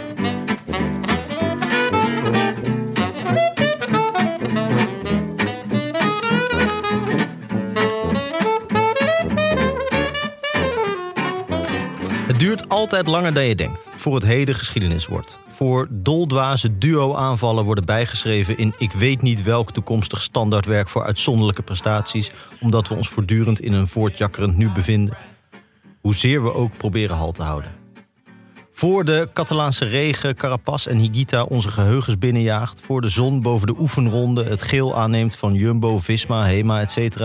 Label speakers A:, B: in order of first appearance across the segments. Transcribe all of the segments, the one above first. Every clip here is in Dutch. A: Het duurt altijd langer dan je denkt voor het heden geschiedenis wordt. Voor doldwaze duo-aanvallen worden bijgeschreven in ik weet niet welk toekomstig standaardwerk voor uitzonderlijke prestaties, omdat we ons voortdurend in een voortjakkerend nu bevinden. Hoezeer we ook proberen halt te houden. Voor de Catalaanse regen Carapaz en Higuita onze geheugens binnenjaagt, voor de zon boven de oefenronde het geel aanneemt van Jumbo, Visma, Hema, etc.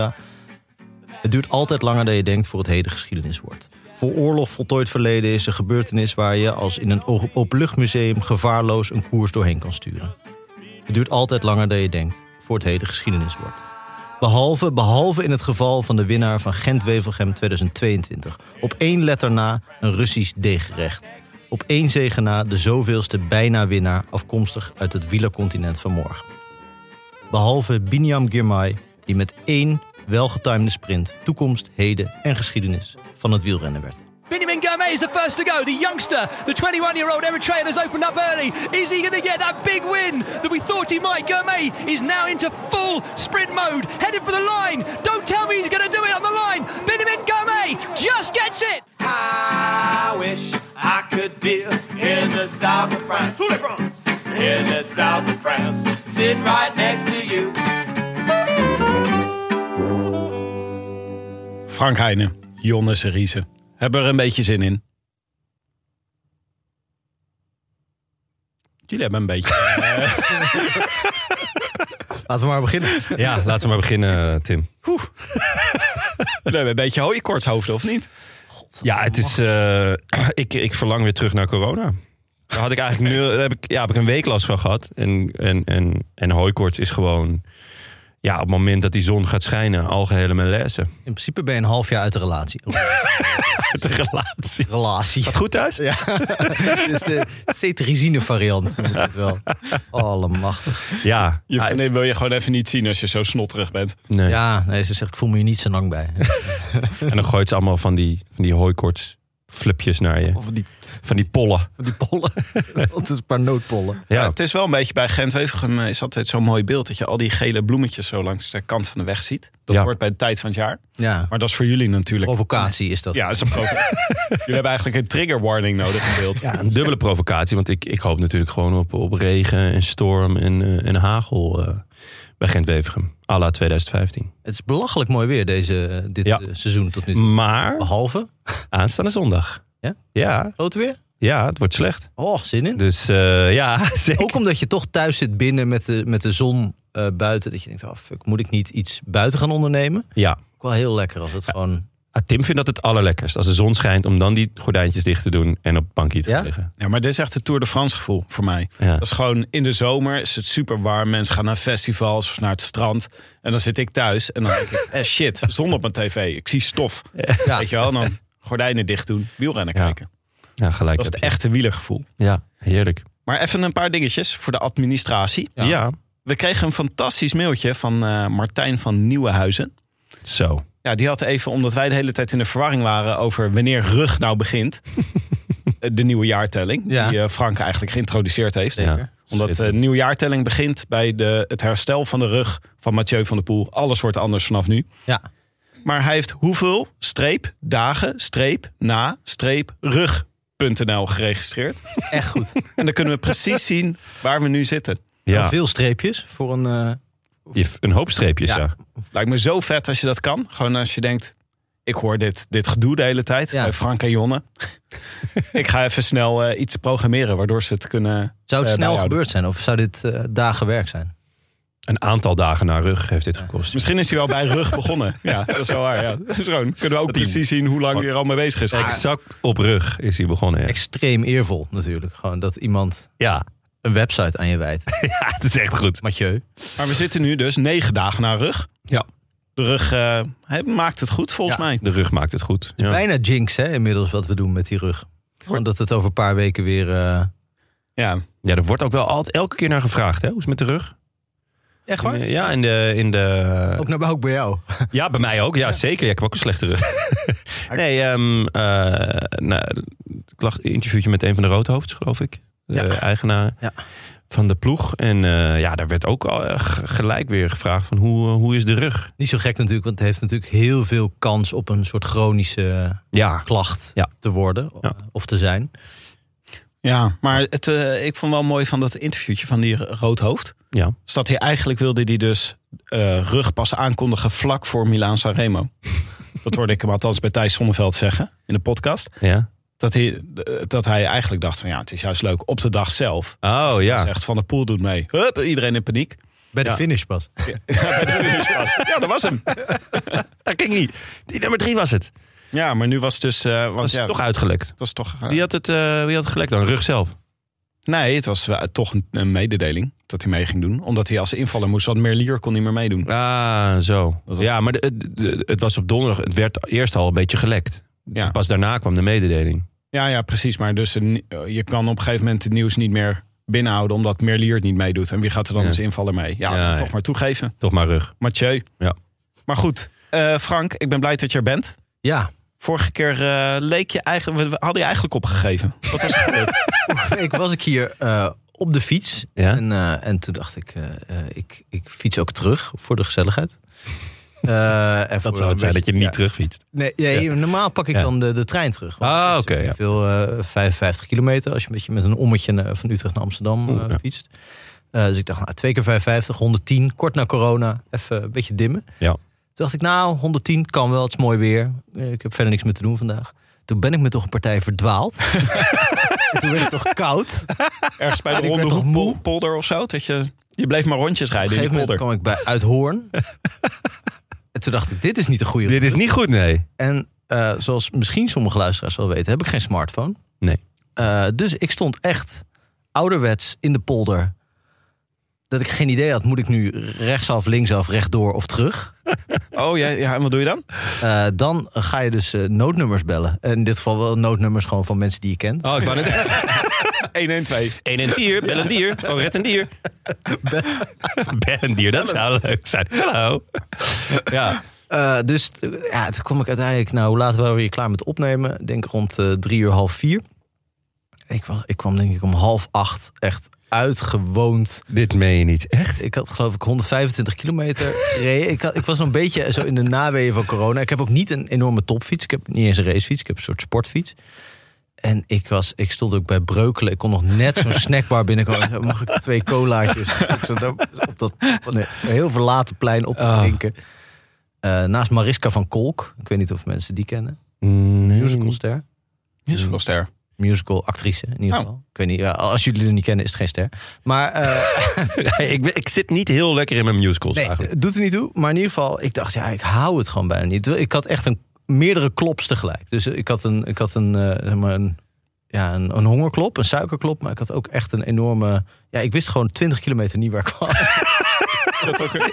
A: Het duurt altijd langer dan je denkt voor het heden geschiedenis wordt. Voor oorlog voltooid verleden is een gebeurtenis waar je als in een oog- openluchtmuseum gevaarloos een koers doorheen kan sturen. Het duurt altijd langer dan je denkt voor het heden geschiedenis wordt. Behalve, behalve in het geval van de winnaar van Gent-Wevelgem 2022. Op één letter na een Russisch deeggerecht. Op één zegen na de zoveelste bijna-winnaar afkomstig uit het wielercontinent van morgen. Behalve Biniam Girmay, die met één welgetimede sprint toekomst, heden en geschiedenis van het wielrennen werd.
B: Benjamin Gourmet is the first to go. The youngster, the 21 year old Eritrean, has opened up early. Is he going to get that big win that we thought he might? Gourmet is now into full sprint mode, headed for the line. Don't tell me he's going to do it on the line. Benjamin Gourmet just gets it.
C: I wish I could be in the south of France. In the south of France. Sitting right next to you.
D: Frank Heijnen, Jonne Seriese. Hebben er een beetje zin in? Jullie hebben een beetje.
A: Laten we maar beginnen.
E: Ja, laten we maar beginnen, Tim.
D: Jullie hebben een beetje hooikortshoofden, of niet?
E: Ja, het is. eh, ik, ik verlang weer terug naar corona. Daar had ik eigenlijk nu. daar Heb ik, ja, heb ik een week last van gehad. En, en, en, en hooikoorts is gewoon. Ja, op het moment dat die zon gaat schijnen, algehele malaise.
A: In principe ben je een half jaar uit de relatie.
E: Uit de relatie.
A: relatie.
E: Gaat goed thuis? Ja.
A: Dus de cetirizine variant noem ik het wel. Allemachtig.
E: Ja.
D: Je
E: Ah,
D: vriendin wil je gewoon even niet zien als je zo snotterig bent.
E: nee.
A: Ja, nee, ze zegt ik voel me hier niet zo lang bij.
E: En dan gooit ze allemaal van die, van die hooikoorts flupjes naar je.
A: Of die,
E: Van die pollen.
A: die pollen. Want het is een paar noodpollen.
D: Ja.
E: Ja.
D: het is wel een beetje bij gent wevelgem is altijd zo'n mooi beeld. Dat je al die gele bloemetjes zo langs de kant van de weg ziet. Dat
E: Ja.
D: hoort bij de tijd van het jaar.
A: Ja,
D: Maar dat is voor jullie natuurlijk.
A: provocatie is dat.
D: Ja, dat is een provo- jullie hebben eigenlijk een trigger warning nodig in beeld.
E: Ja, een dubbele provocatie. Want ik, ik hoop natuurlijk gewoon op, op regen en storm en, eh, en hagel eh, bij Gent-Wevergem. à la 2015.
A: Het is belachelijk mooi weer deze, dit
E: Ja.
A: eh, seizoen tot nu toe.
D: Oh.
E: Maar
A: Behalve,
E: aanstaande zondag.
A: Ja?
E: Ja,
A: groot weer.
E: ja, het wordt slecht.
A: Oh, zin in.
E: Dus eh, ja, zeker.
A: Ook omdat je toch thuis zit binnen met de, met de zon eh, buiten. Dat je denkt, oh fuck, moet ik niet iets buiten gaan ondernemen?
E: Ja.
A: Ook wel heel lekker als het gewoon...
E: Ah, Tim vindt dat het allerlekkerst. Als de zon schijnt, om dan die gordijntjes dicht te doen en op het bankje te
A: Ja?
E: gaan liggen.
D: Ja, maar dit is echt het Tour de France gevoel voor mij.
E: Ja.
D: Dat is gewoon in de zomer is het super warm. Mensen gaan naar festivals of naar het strand. En dan zit ik thuis en dan denk ik, eh shit, zon op mijn tv. Ik zie stof.
A: Ja.
D: Weet je wel, en dan gordijnen dicht doen, wielrennen
E: Ja,
D: kijken.
E: Ja, gelijk.
D: Dat
E: heb
D: is het
E: je.
D: echte wielergevoel.
E: Ja, heerlijk.
D: Maar even een paar dingetjes voor de administratie.
E: Ja.
D: We kregen een fantastisch mailtje van eh, Martijn van Nieuwenhuizen.
E: Zo.
D: Ja, die had even, omdat wij de hele tijd in de verwarring waren over wanneer rug nou begint. eh, de nieuwe jaartelling,
A: Ja.
D: die eh, Frank eigenlijk geïntroduceerd heeft.
E: Ja.
D: Omdat eh, de nieuwe jaartelling begint bij de, het herstel van de rug van Mathieu van der Poel. Alles wordt anders vanaf nu.
A: Ja.
D: Maar hij heeft hoeveel streep dagen streep na streep rug.nl geregistreerd.
A: Echt goed.
D: En dan kunnen we precies zien waar we nu zitten.
E: Ja.
A: Veel streepjes voor een... eh,
E: Je- Een hoop streepjes, ja.
A: Ja.
D: Lijkt me zo vet als je dat kan. Gewoon als je denkt, ik hoor dit, dit gedoe de hele tijd
A: Ja.
D: bij Frank en Jonne. ik ga even snel eh, iets programmeren waardoor ze het kunnen...
A: zou het snel
D: Eh, bijhouden.
A: gebeurd zijn? Of zou dit eh, dagen werk zijn?
E: Een aantal dagen na rug heeft dit gekost.
D: Misschien is hij wel bij rug begonnen. Ja, dat is wel waar. Ja. Dat is gewoon, kunnen we ook
E: hij-
D: precies zien hoe lang hij er al mee bezig
E: Dus
D: is. Ah.
E: Exact op rug is hij begonnen. Ja,
A: Extreem eervol natuurlijk. Gewoon dat iemand
E: ja.
A: een website aan je wijdt.
E: ja het is echt goed.
A: Mathieu.
D: Maar we zitten nu dus negen dagen na rug.
A: Ja.
D: De rug eh, hij maakt het goed volgens
A: Ja.
D: mij.
E: De rug maakt het goed. Ja.
A: Bijna jinx hè, inmiddels wat we doen met die rug. Gewoon dat het over een paar weken weer... eh
D: Ja.
E: ja, er wordt ook wel altijd elke keer naar gevraagd. Hè? Hoe is het met de rug?
A: Echt
E: In, eh, ja, in de, in de
A: Ook, naar, ook bij jou.
E: Ja, bij mij ook. Ja, zeker. Ja, ik heb ook een slechte rug. nee, ehm, eh, nou, ik lag een interviewtje met een van de roodhoofds, geloof ik. De
A: Ja.
E: eigenaar
A: Ja.
E: van de ploeg. En eh, ja, daar werd ook al, eh, g- gelijk weer gevraagd van hoe, eh, hoe is de rug?
A: Niet zo gek natuurlijk, want het heeft natuurlijk heel veel kans op een soort chronische eh,
E: Ja,
A: klacht
E: Ja.
A: te worden
E: Ja.
A: of te zijn.
D: Ja, maar het, eh, ik vond wel mooi van dat interviewtje van die roodhoofd.
E: Ja.
D: Is dat hij eigenlijk wilde die dus eh, rug pas aankondigen vlak voor Milaan Sanremo. dat hoorde ik hem althans bij Thijs Sonneveld zeggen in de podcast.
E: ja.
D: Dat hij, eh, dat hij eigenlijk dacht van ja, het is juist leuk op de dag zelf. Als
E: Oh
D: hij
E: ja.
D: Zegt van de pool doet mee. Hup, iedereen in paniek.
A: Bij de finish pas.
D: Bij de finish pas. ja, dat was hem.
E: Dat ging niet. Die nummer drie was het.
D: Ja, maar nu was het dus... eh want
E: Dat is
D: ja,
E: toch uitgelekt.
D: het was toch eh,
E: Wie had het, eh, wie had het gelekt dan? Rug zelf.
D: Nee, het was eh, toch een, een mededeling dat hij mee ging doen. Omdat hij als invaller moest, want Merlier kon niet meer meedoen.
E: Ah, zo.
D: was-
E: Ja, maar de- de- de- het was op donderdag. Het werd eerst al een beetje gelekt.
D: Ja.
E: Pas daarna kwam de mededeling.
D: Ja, ja, precies. Maar dus een- je kan op een gegeven moment het nieuws niet meer binnenhouden... omdat Merlier het niet meedoet. En wie gaat er dan
E: Ja.
D: als invaller mee? Ja,
E: Ja,
D: toch
E: ja.
D: maar toegeven.
E: Toch maar rug.
D: Mathieu.
E: Ja.
D: Maar goed, eh, Frank, ik ben blij dat je er bent.
A: Ja,
D: Vorige keer eh, leek je eigenlijk... We, we hadden je eigenlijk opgegeven. Wat was er gebeurd?
A: vorige week was ik hier eh, op de fiets.
E: Ja?
A: En, eh, en toen dacht ik, eh, eh, ik, ik fiets ook terug voor de gezelligheid. Eh, en voor
E: Dat zou het
A: een
E: zijn dat je
A: beetje-
E: niet
A: ja.
E: terugfietst.
A: Nee, ja, hier- normaal pak ik
E: Ja.
A: dan de, de trein terug. Want
E: Ah,
A: het is
E: oké, ja.
A: Veel Dus, eh 55 kilometer als je een beetje met een ommetje eh, van Utrecht naar Amsterdam
E: Oeh,
A: eh,
E: ja.
A: fietst. Eh, dus ik dacht, nou, twee keer 55, 110, kort na corona, even een beetje dimmen.
E: Ja.
A: Toen dacht ik, nou, 110 kan wel, het is mooi weer. Eh, Ik heb verder niks meer te doen vandaag. Toen ben ik me toch een partij verdwaald. en toen werd het toch koud. Op
D: Ergens bij de
A: Ik werd
D: ronde
A: toch
D: Hoek-
A: moe?
D: polder of zo? Dat je, je bleef maar rondjes
A: een
D: rijden in die
A: gegeven moment
D: polder.
A: kwam ik bij Uithoorn. en toen dacht ik, dit is niet de goede
E: Dit is niet goed, nee.
A: En eh, zoals misschien sommige luisteraars wel weten, heb ik geen smartphone.
E: Nee.
A: Eh, dus ik stond echt ouderwets in de polder. Dat ik geen idee had, moet ik nu rechtsaf, linksaf, rechtdoor of terug?
D: Oh ja, ja, en wat doe je dan?
A: Eh, dan ga je dus eh, noodnummers bellen. In dit geval wel noodnummers gewoon van mensen die je kent.
E: Oh, ik wou net...
D: 1 en 2.
E: 1 en 4, bel een dier. Oh, red een dier. Bel een dier, dat zou leuk zijn. Hallo. Ja,
A: Eh, dus eh, ja, toen kwam ik uiteindelijk, nou, hoe laat waren we hier klaar met opnemen? Ik Denk rond eh, drie uur, half vier. Ik, was, ik kwam denk ik om half acht echt uitgewoond
E: dit meen je niet. Echt?
A: Ik had geloof ik 125 kilometer gereden. Ik, had- ik was nog een beetje zo in de naweeën van corona. Ik heb ook niet een enorme topfiets. Ik heb niet eens een racefiets. Ik heb een soort sportfiets. En ik, was, ik stond ook bij Breukelen. Ik kon nog net zo'n snackbar binnenkomen. Ik zei, Mag ik twee colaatjes? Ik zo daar op dat van een heel verlaten plein op te
E: Ah.
A: drinken. Eh, naast Mariska van Kolk. Ik weet niet of mensen die kennen.
E: Mm,
A: Musicalster.
D: Musicalster.
A: Musical actrice in ieder
D: Oh.
A: geval. Ik weet niet, ja, als jullie het niet kennen is het geen ster. Maar... eh,
E: ik, ben- ik zit niet heel lekker in mijn musicals
A: Nee,
E: eigenlijk.
A: doet er niet toe. Maar in ieder geval, ik dacht, ja, ik hou het gewoon bijna niet. Ik had echt een, meerdere klops tegelijk. Dus ik had een, ik had een, eh, zeg maar een, ja, een, een hongerklop, een suikerklop. Maar ik had ook echt een enorme... Ja, ik wist gewoon 20 kilometer niet waar ik kwam.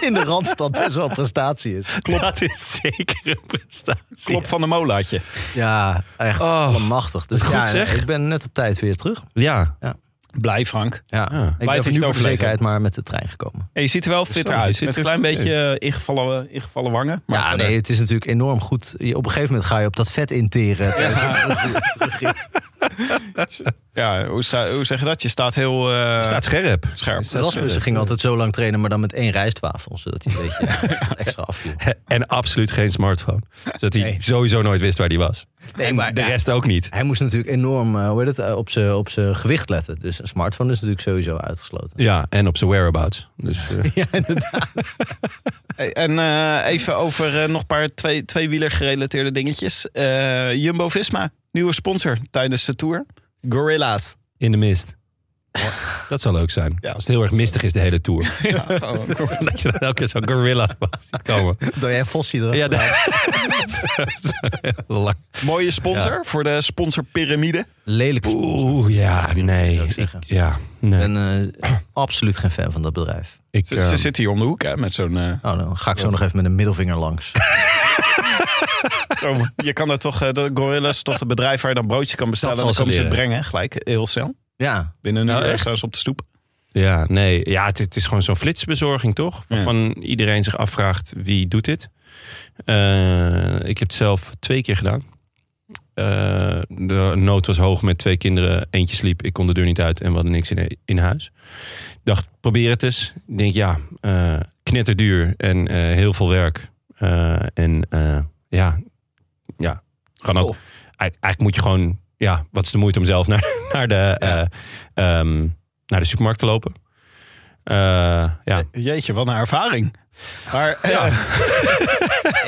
A: in de Randstad best wel een prestatie is.
E: Dat is zeker een prestatie.
D: Klop van de molaatje.
A: Ja, echt
E: Oh,
A: machtig. Dus
E: goed
A: ja,
E: zeg.
A: ik ben net op tijd weer terug.
E: Ja.
A: Ja.
D: Blij, Frank.
E: Ah.
A: Ja. Ik ben voor
D: het niet
A: nu voor de
D: overlezen.
A: zekerheid maar met de trein gekomen.
D: En je ziet er wel fitter
E: Zo,
D: uit.
E: zit
D: Met
E: er
D: een klein
E: goed
D: beetje eh, ingevallen, ingevallen wangen. Maar
A: ja,
D: verder-
A: nee, het is natuurlijk enorm goed. Je- Op een gegeven moment ga je op dat vet interen. tijdens het terug- terugrit.
D: ja hoe, sta- hoe zeg je dat? Je staat heel eh,
E: staat scherp.
D: scherp.
E: dus
A: Rasmussen ging altijd zo lang trainen, maar dan met één rijstwafel. Zodat hij een beetje extra afviel.
E: En absoluut geen smartphone. Zodat hij
A: Nee.
E: sowieso nooit wist waar hij was.
A: Nee,
E: en
A: maar
E: de
A: ja,
E: rest ook niet.
A: Hij moest natuurlijk enorm eh, hoe heet het, eh, op zijn op zijn gewicht letten. Dus een smartphone is natuurlijk sowieso uitgesloten.
E: Ja, en op zijn whereabouts. Dus, eh,
A: Ja, inderdaad.
D: Hey, En eh, even over eh, nog een paar twee, tweewieler gerelateerde dingetjes. Eh, Jumbo-Visma, nieuwe sponsor tijdens de Tour. Gorilla's.
E: in de mist. Dat zou leuk zijn.
D: Ja.
E: Als het heel erg mistig is de hele tour. dat je dan elke keer zo'n gorilla ziet komen.
A: Door jij Fossie eraf.
E: Ja, dat, dat is heel lang.
D: Mooie sponsor voor de sponsorpyramide.
A: Lelijke sponsor.
E: Oeh, ja, nee.
A: zou ik
E: Ik,
A: zeggen.
E: ja, nee.
A: Ik ben eh, absoluut geen fan van dat bedrijf.
E: ik,
D: Dus Ze,
E: eh,
D: ze zit hier om de hoek hè, met zo'n... eh,
A: Oh, dan ga ik zo nog even met een middelvinger langs.
D: zo'n- je kan daar toch... eh, de Gorilla's, toch het bedrijf waar je dan broodje kan bestellen. En
E: zal
D: dan
E: ze
D: komen ze het
E: leren.
D: brengen gelijk, heel snel.
A: Ja,
D: Binnen een
E: Nou,
D: uur
E: echt?
D: staan ze op de stoep.
E: ja, nee. Ja, het, het is gewoon zo'n flitsbezorging, toch?
D: Ja.
E: Waarvan iedereen zich afvraagt, wie doet dit? Eh, ik heb het zelf twee keer gedaan. Eh, de nood was hoog met twee kinderen. Eentje sliep, ik kon de deur niet uit en we hadden niks in, in huis. Ik dacht, probeer het eens. Ik denk, ja, eh, knetterduur en eh, heel veel werk. Eh, en eh, ja, ja, kan ook. Eigen- Eigenlijk moet je gewoon, ja, wat is de moeite om zelf naar, naar, de, eh, ehm, naar de supermarkt te lopen? Eh, ja.
D: Jeetje, wat een ervaring. Maar eh,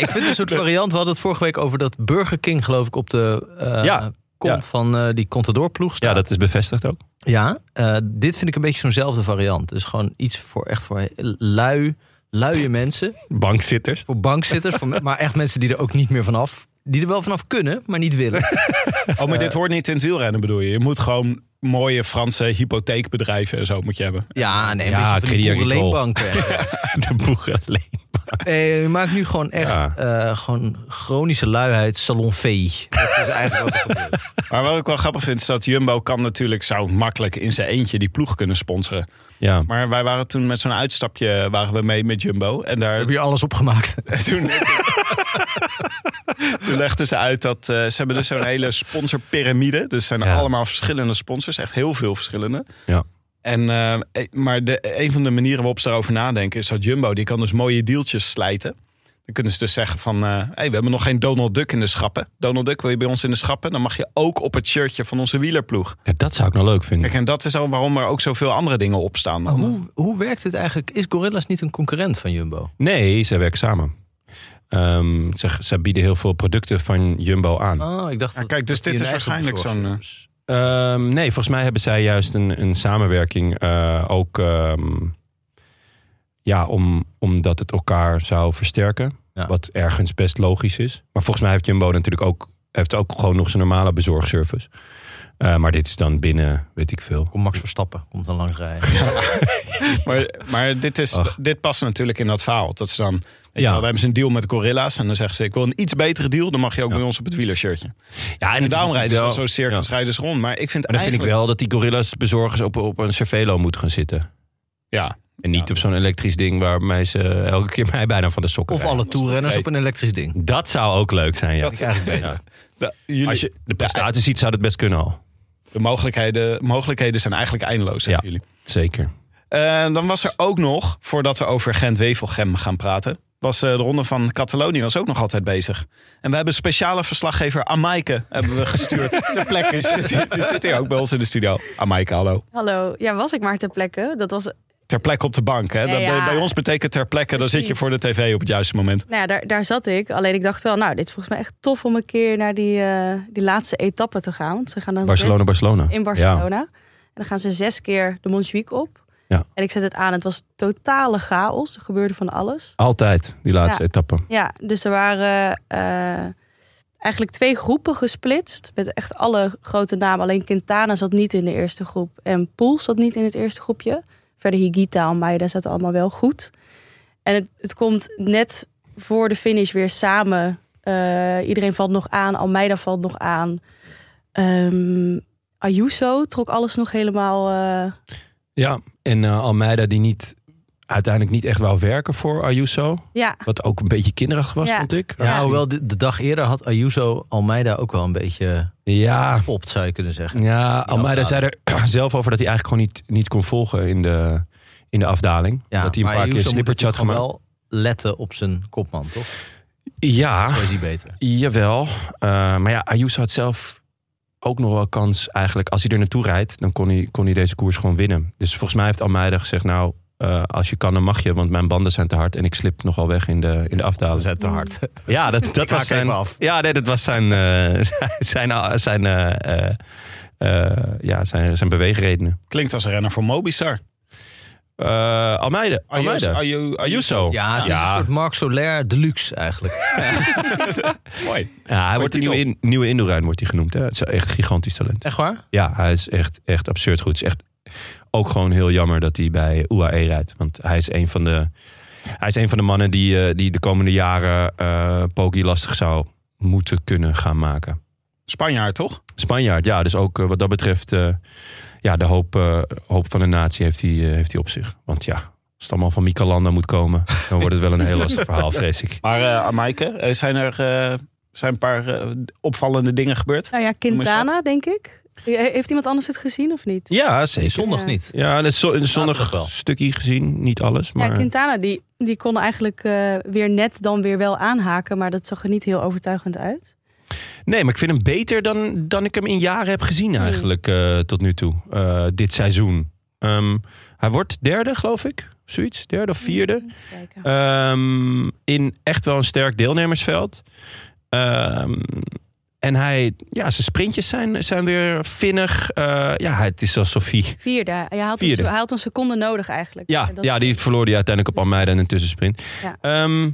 A: ik vind een soort variant. We hadden het vorige week over dat Burger King, geloof ik, op de eh,
E: Ja,
A: kont
E: ja.
A: van eh, die Contador-ploeg staat.
E: ja, dat is bevestigd ook.
A: Ja, eh, dit vind ik een beetje zo'nzelfde variant. Dus gewoon iets voor echt voor lui, luie mensen.
E: Bankzitters.
A: Voor bankzitters, voor, me- maar echt mensen die er ook niet meer vanaf... Die er wel vanaf kunnen, maar niet willen.
D: oh, maar dit hoort niet in het wielrennen bedoel je. Je moet gewoon mooie Franse hypotheekbedrijven en zo moet je hebben.
A: Ja, nee, een
E: Ja,
A: beetje van die
E: Crédit Agricole.
A: boerenleenbanken.
E: De boerenleen.
A: Nee, je maakt nu gewoon echt
E: Ja.
A: eh, gewoon chronische luiheid salonvee. Dat is eigenlijk wat er gebeurt.
D: Maar wat ik wel grappig vind is dat Jumbo kan natuurlijk zou makkelijk in zijn eentje die ploeg kunnen sponsoren.
E: Ja.
D: Maar wij waren toen met zo'n uitstapje waren we mee met Jumbo en daar
A: Heb je alles opgemaakt?
D: toen, toen legden ze uit dat eh, ze hebben dus zo'n hele sponsorpyramide. Dus zijn
E: Ja.
D: allemaal verschillende sponsors, echt heel veel verschillende.
E: Ja.
D: En, eh, eh, maar de, een van de manieren waarop ze daarover nadenken is dat Jumbo die kan dus mooie deeltjes slijten. Dan kunnen ze dus zeggen van, eh, hey, we hebben nog geen Donald Duck in de schappen. Donald Duck wil je bij ons in de schappen? Dan mag je ook op het shirtje van onze wielerploeg.
E: Ja, dat zou ik nou leuk vinden.
D: Kijk, en dat is al waarom er ook zoveel andere dingen op staan.
A: Maar hoe, hoe werkt het eigenlijk? Is Gorillas niet een concurrent van Jumbo?
E: Nee, zij werken samen. Ehm, ze, ze bieden heel veel producten van Jumbo aan.
A: Oh, ik dacht...
D: Ja,
A: dat-
D: kijk, dus
A: dat
D: dit
A: die
D: is
A: een eigen
D: waarschijnlijk zo'n... eh,
A: consortium
E: Ehm, nee, volgens mij hebben zij juist een, een samenwerking eh, ook. ehm, ja, om, omdat het elkaar zou versterken.
A: Ja.
E: Wat ergens best logisch is. Maar volgens mij heeft Jumbo natuurlijk ook, heeft ook gewoon nog zijn normale bezorgservice. Eh, maar dit is dan binnen, weet ik veel.
A: Kom Max Verstappen, komt dan langs rijden.
D: Maar, maar dit, is,
E: Ach.
D: dit past natuurlijk in dat verhaal. Dat ze dan, weet je
E: Ja.
D: wel, dan hebben ze een deal met Gorilla's. En dan zeggen ze, ik wil een iets betere deal. Dan mag je ook
E: Ja.
D: bij ons op het wielershirtje.
E: Ja,
D: En daarom rijden ze
E: wel-
D: zo circus,
E: ja.
D: rijden ze rond. Maar ik vind
E: Maar dan vind ik
D: eigenlijk...
E: wel dat die gorilla's bezorgers op, op een cervelo moeten gaan zitten.
D: Ja,
E: En niet
D: Ja,
E: op zo'n elektrisch ding waarmee ze elke keer mij bijna van de sokken
A: Of
E: rijden.
A: alle toerrenners op een elektrisch ding.
E: Dat zou ook leuk zijn, ja.
D: dat is eigenlijk beter. De, jullie,
E: Als je de prestaties ziet, zou dat best kunnen al.
D: de mogelijkheden, mogelijkheden zijn eigenlijk eindeloos, zeggen
E: Ja.
D: jullie.
E: Zeker.
D: Eh, dan was er ook nog, voordat we over Gent-Wevelgem gaan praten... was eh, de ronde van Catalonië was ook nog altijd bezig. En we hebben speciale verslaggever Amaike hebben we gestuurd. De plek is, zit, hier- die zit hier ook bij ons in de studio. Amaike, hallo.
F: Hallo, ja, was ik maar ter plekke. Dat was, nou
D: Ter plekke op de bank. Hè?
F: Ja,
D: Dat-
F: ja.
D: Bij ons betekent ter plekke, dan zit je
F: Precies.
D: voor de tv op het juiste moment.
F: Nou ja, daar, daar zat ik. Alleen ik dacht wel, nou, dit is volgens mij echt tof om een keer naar die, eh, die laatste etappe te gaan. Want ze gaan dan
E: Barcelona, Barcelona.
F: zes- in Barcelona. En dan gaan ze zes keer de Montjuïc op.
E: Ja.
F: En ik zet het aan. Het was totale chaos. Er gebeurde van alles.
E: Altijd, die laatste
F: Ja.
E: etappe.
F: Ja, dus er waren eh, eigenlijk twee groepen gesplitst. Met echt alle grote namen. Alleen Quintana zat niet in de eerste groep. En Poel zat niet in het eerste groepje. Verder Higita, Almeida zaten allemaal wel goed. En het, het komt net voor de finish weer samen. Eh, iedereen valt nog aan. Almeida valt nog aan. Ehm, Ayuso trok alles nog helemaal... eh,
E: Ja, en eh, Almeida die niet, uiteindelijk niet echt wou werken voor Ayuso.
F: ja,
E: Wat ook een beetje kinderachtig was,
F: Ja.
E: vond ik. Nou,
A: Ja, hoewel de, de dag eerder had Ayuso Almeida ook wel een beetje
E: Ja,
A: popt, zou je kunnen zeggen.
E: ja Almeida zei
A: afdaling.
E: er zelf over dat hij eigenlijk gewoon niet, niet kon volgen in de, in de afdaling.
A: Ja,
E: dat hij een
A: maar
E: paar keer
A: Ayuso moet
E: slippertje had
A: natuurlijk
E: gemaakt.
A: gewoon wel letten op zijn kopman, toch?
E: Ja,
A: Dat is hij beter.
E: jawel. Eh, maar ja, Ayuso had zelf ook nog wel kans eigenlijk. Als hij er naartoe rijdt, dan kon hij, kon hij deze koers gewoon winnen. Dus volgens mij heeft Almeida gezegd, nou... eh, als je kan, dan mag je, want mijn banden zijn te hard en ik slip nogal weg in de, in de afdaling.
A: Dat is te hard.
E: Ja, dat, dat
A: Ik haak
E: was zijn.
A: even af.
E: Ja, nee, dat was zijn. eh, zijn, zijn, zijn, eh, eh, eh, ja, zijn, zijn beweegredenen.
D: Klinkt als een renner voor Mobistar.
E: Eh Almeida.
D: Ayuso.
E: Almeida.
D: Ayu- Ayuso.
E: Ayuso. Ah,
A: Ja, het is een soort Marc Soler deluxe eigenlijk.
D: Mooi.
E: Ja, hij wordt de
D: titel.
E: nieuwe, in, nieuwe Indoorijn wordt hij genoemd. Hè. Het is echt gigantisch talent.
A: Echt waar?
E: Ja, hij is echt, echt absurd goed. Het is echt ook gewoon heel jammer dat hij bij UAE rijdt. Want hij is een van de, hij is een van de mannen die, eh, die de komende jaren eh Poggi lastig zou moeten kunnen gaan maken.
D: Spanjaard, toch?
E: Spanjaard, ja. Dus ook eh, wat dat betreft, eh, ja, de hoop, eh, hoop van de natie heeft hij, eh, heeft hij op zich. Want ja, als het allemaal van Micalanda moet komen, dan wordt het wel een heel lastig verhaal, vrees ik.
D: Maar eh Amaike, eh, zijn er eh, zijn een paar eh, opvallende dingen gebeurd?
F: nou ja,
D: eens wat.
F: Quintana, denk ik. Eh, Heeft iemand anders het gezien of niet?
E: Ja, zeker.
A: Zondag
F: Ja.
A: niet.
E: Ja, een zo- een zonnig
A: Zaterdag wel.
E: stukje gezien, niet alles. Maar
F: Ja, Quintana, die, die kon eigenlijk eh, weer net dan weer wel aanhaken. Maar dat zag er niet heel overtuigend uit.
E: Nee, maar ik vind hem beter dan, dan ik hem in jaren heb gezien
F: Hmm.
E: eigenlijk eh, tot nu toe. eh, dit seizoen. Ehm, hij wordt derde, geloof ik. of Zoiets, derde of vierde.
F: Kijken.
D: Eh,
E: Ehm, in echt wel een sterk deelnemersveld. Ehm, en hij, ja, zijn sprintjes zijn, zijn weer vinnig. Eh, ja, het is alsof hij.
F: Vierde. Hij had,
E: Vierde.
F: Een, hij had een seconde nodig eigenlijk.
E: Ja,
F: En dat-
E: ja die verloor hij uiteindelijk op Almeida in een tussensprint. Ehm,
F: Ja.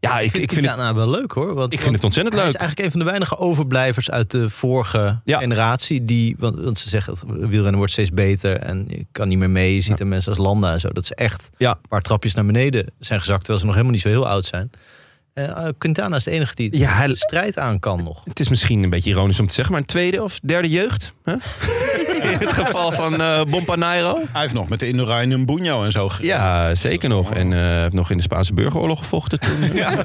E: Ja, ja ik,
A: Ik vind,
E: ik, vind het,
A: Quintana wel leuk hoor. Want,
E: ik vind het ontzettend
A: Hij
E: leuk.
A: is eigenlijk een van de weinige overblijvers uit de vorige
E: Ja.
A: generatie. Die, want, want ze zeggen, het wielrennen wordt steeds beter en je kan niet meer mee. Je ziet er mensen als Landa en zo. Dat ze echt
E: Ja.
A: een paar trapjes naar beneden zijn gezakt. Terwijl ze nog helemaal niet zo heel oud zijn. Eh, Quintana is de enige die
E: Ja, hij-
A: de strijd aan kan nog.
E: Het is misschien een beetje ironisch om te zeggen, maar een tweede of derde jeugd. Hè? in het geval van eh Bompanairo.
D: Hij heeft nog met de Indurain en Bunjo en zo gereden.
E: Ja, zeker nog. En eh, heeft nog in de Spaanse burgeroorlog gevochten toen.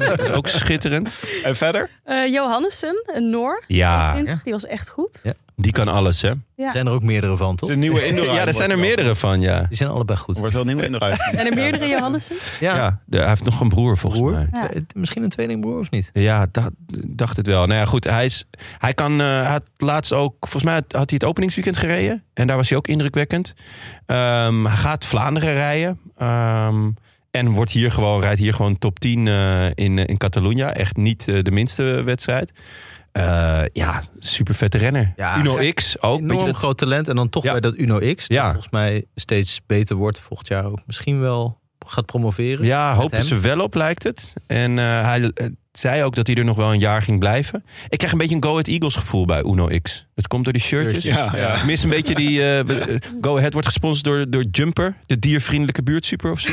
E: Dat is ook schitterend.
D: En verder?
F: Eh, Johannessen, een Noor.
E: Ja,
F: 20, die was echt goed.
E: die kan alles, hè?
F: Ja.
A: Er zijn er ook meerdere van, toch?
D: De nieuwe Indurain.
E: Ja, daar zijn er meerdere van, ja.
A: Die zijn allebei goed.
D: Er wordt wel een nieuwe Indurain.
F: En er meerdere Johannessen.
A: Ja,
E: ja de- hij heeft nog een broer volgens
A: broer.
E: mij.
A: Twee- misschien een tweelingbroer of niet?
E: Ja, dacht, dacht het wel. Nou ja, goed, hij, is, hij kan, eh, hij had laatst ook, volgens mij had, had hij het openingsweekend gereden. En daar was hij ook indrukwekkend. Ehm, hij gaat Vlaanderen rijden. Ehm, en wordt hier gewoon, rijdt hier gewoon top 10 eh, in, eh, in Catalonia. Echt niet eh, de minste wedstrijd. Eh, ja, super vette renner.
A: Ja,
E: Uno X ook.
A: Enorm
E: Beetje dat-
A: groot talent. En dan toch
E: Ja.
A: bij dat Uno X. Dat
E: Ja.
A: volgens mij steeds beter wordt. Volgend jaar ook misschien wel gaat promoveren.
E: Ja, hopen
A: hem.
E: ze wel op, lijkt het. En eh, hij eh, zei ook dat hij er nog wel een jaar ging blijven. Ik krijg een beetje een Go Ahead Eagles gevoel bij Uno X. Het komt door die shirtjes.
D: Ja, ja.
E: Ik mis een beetje die... eh, be- eh, Go Ahead wordt gesponsord door, door Jumper. De diervriendelijke buurtsuper of zo.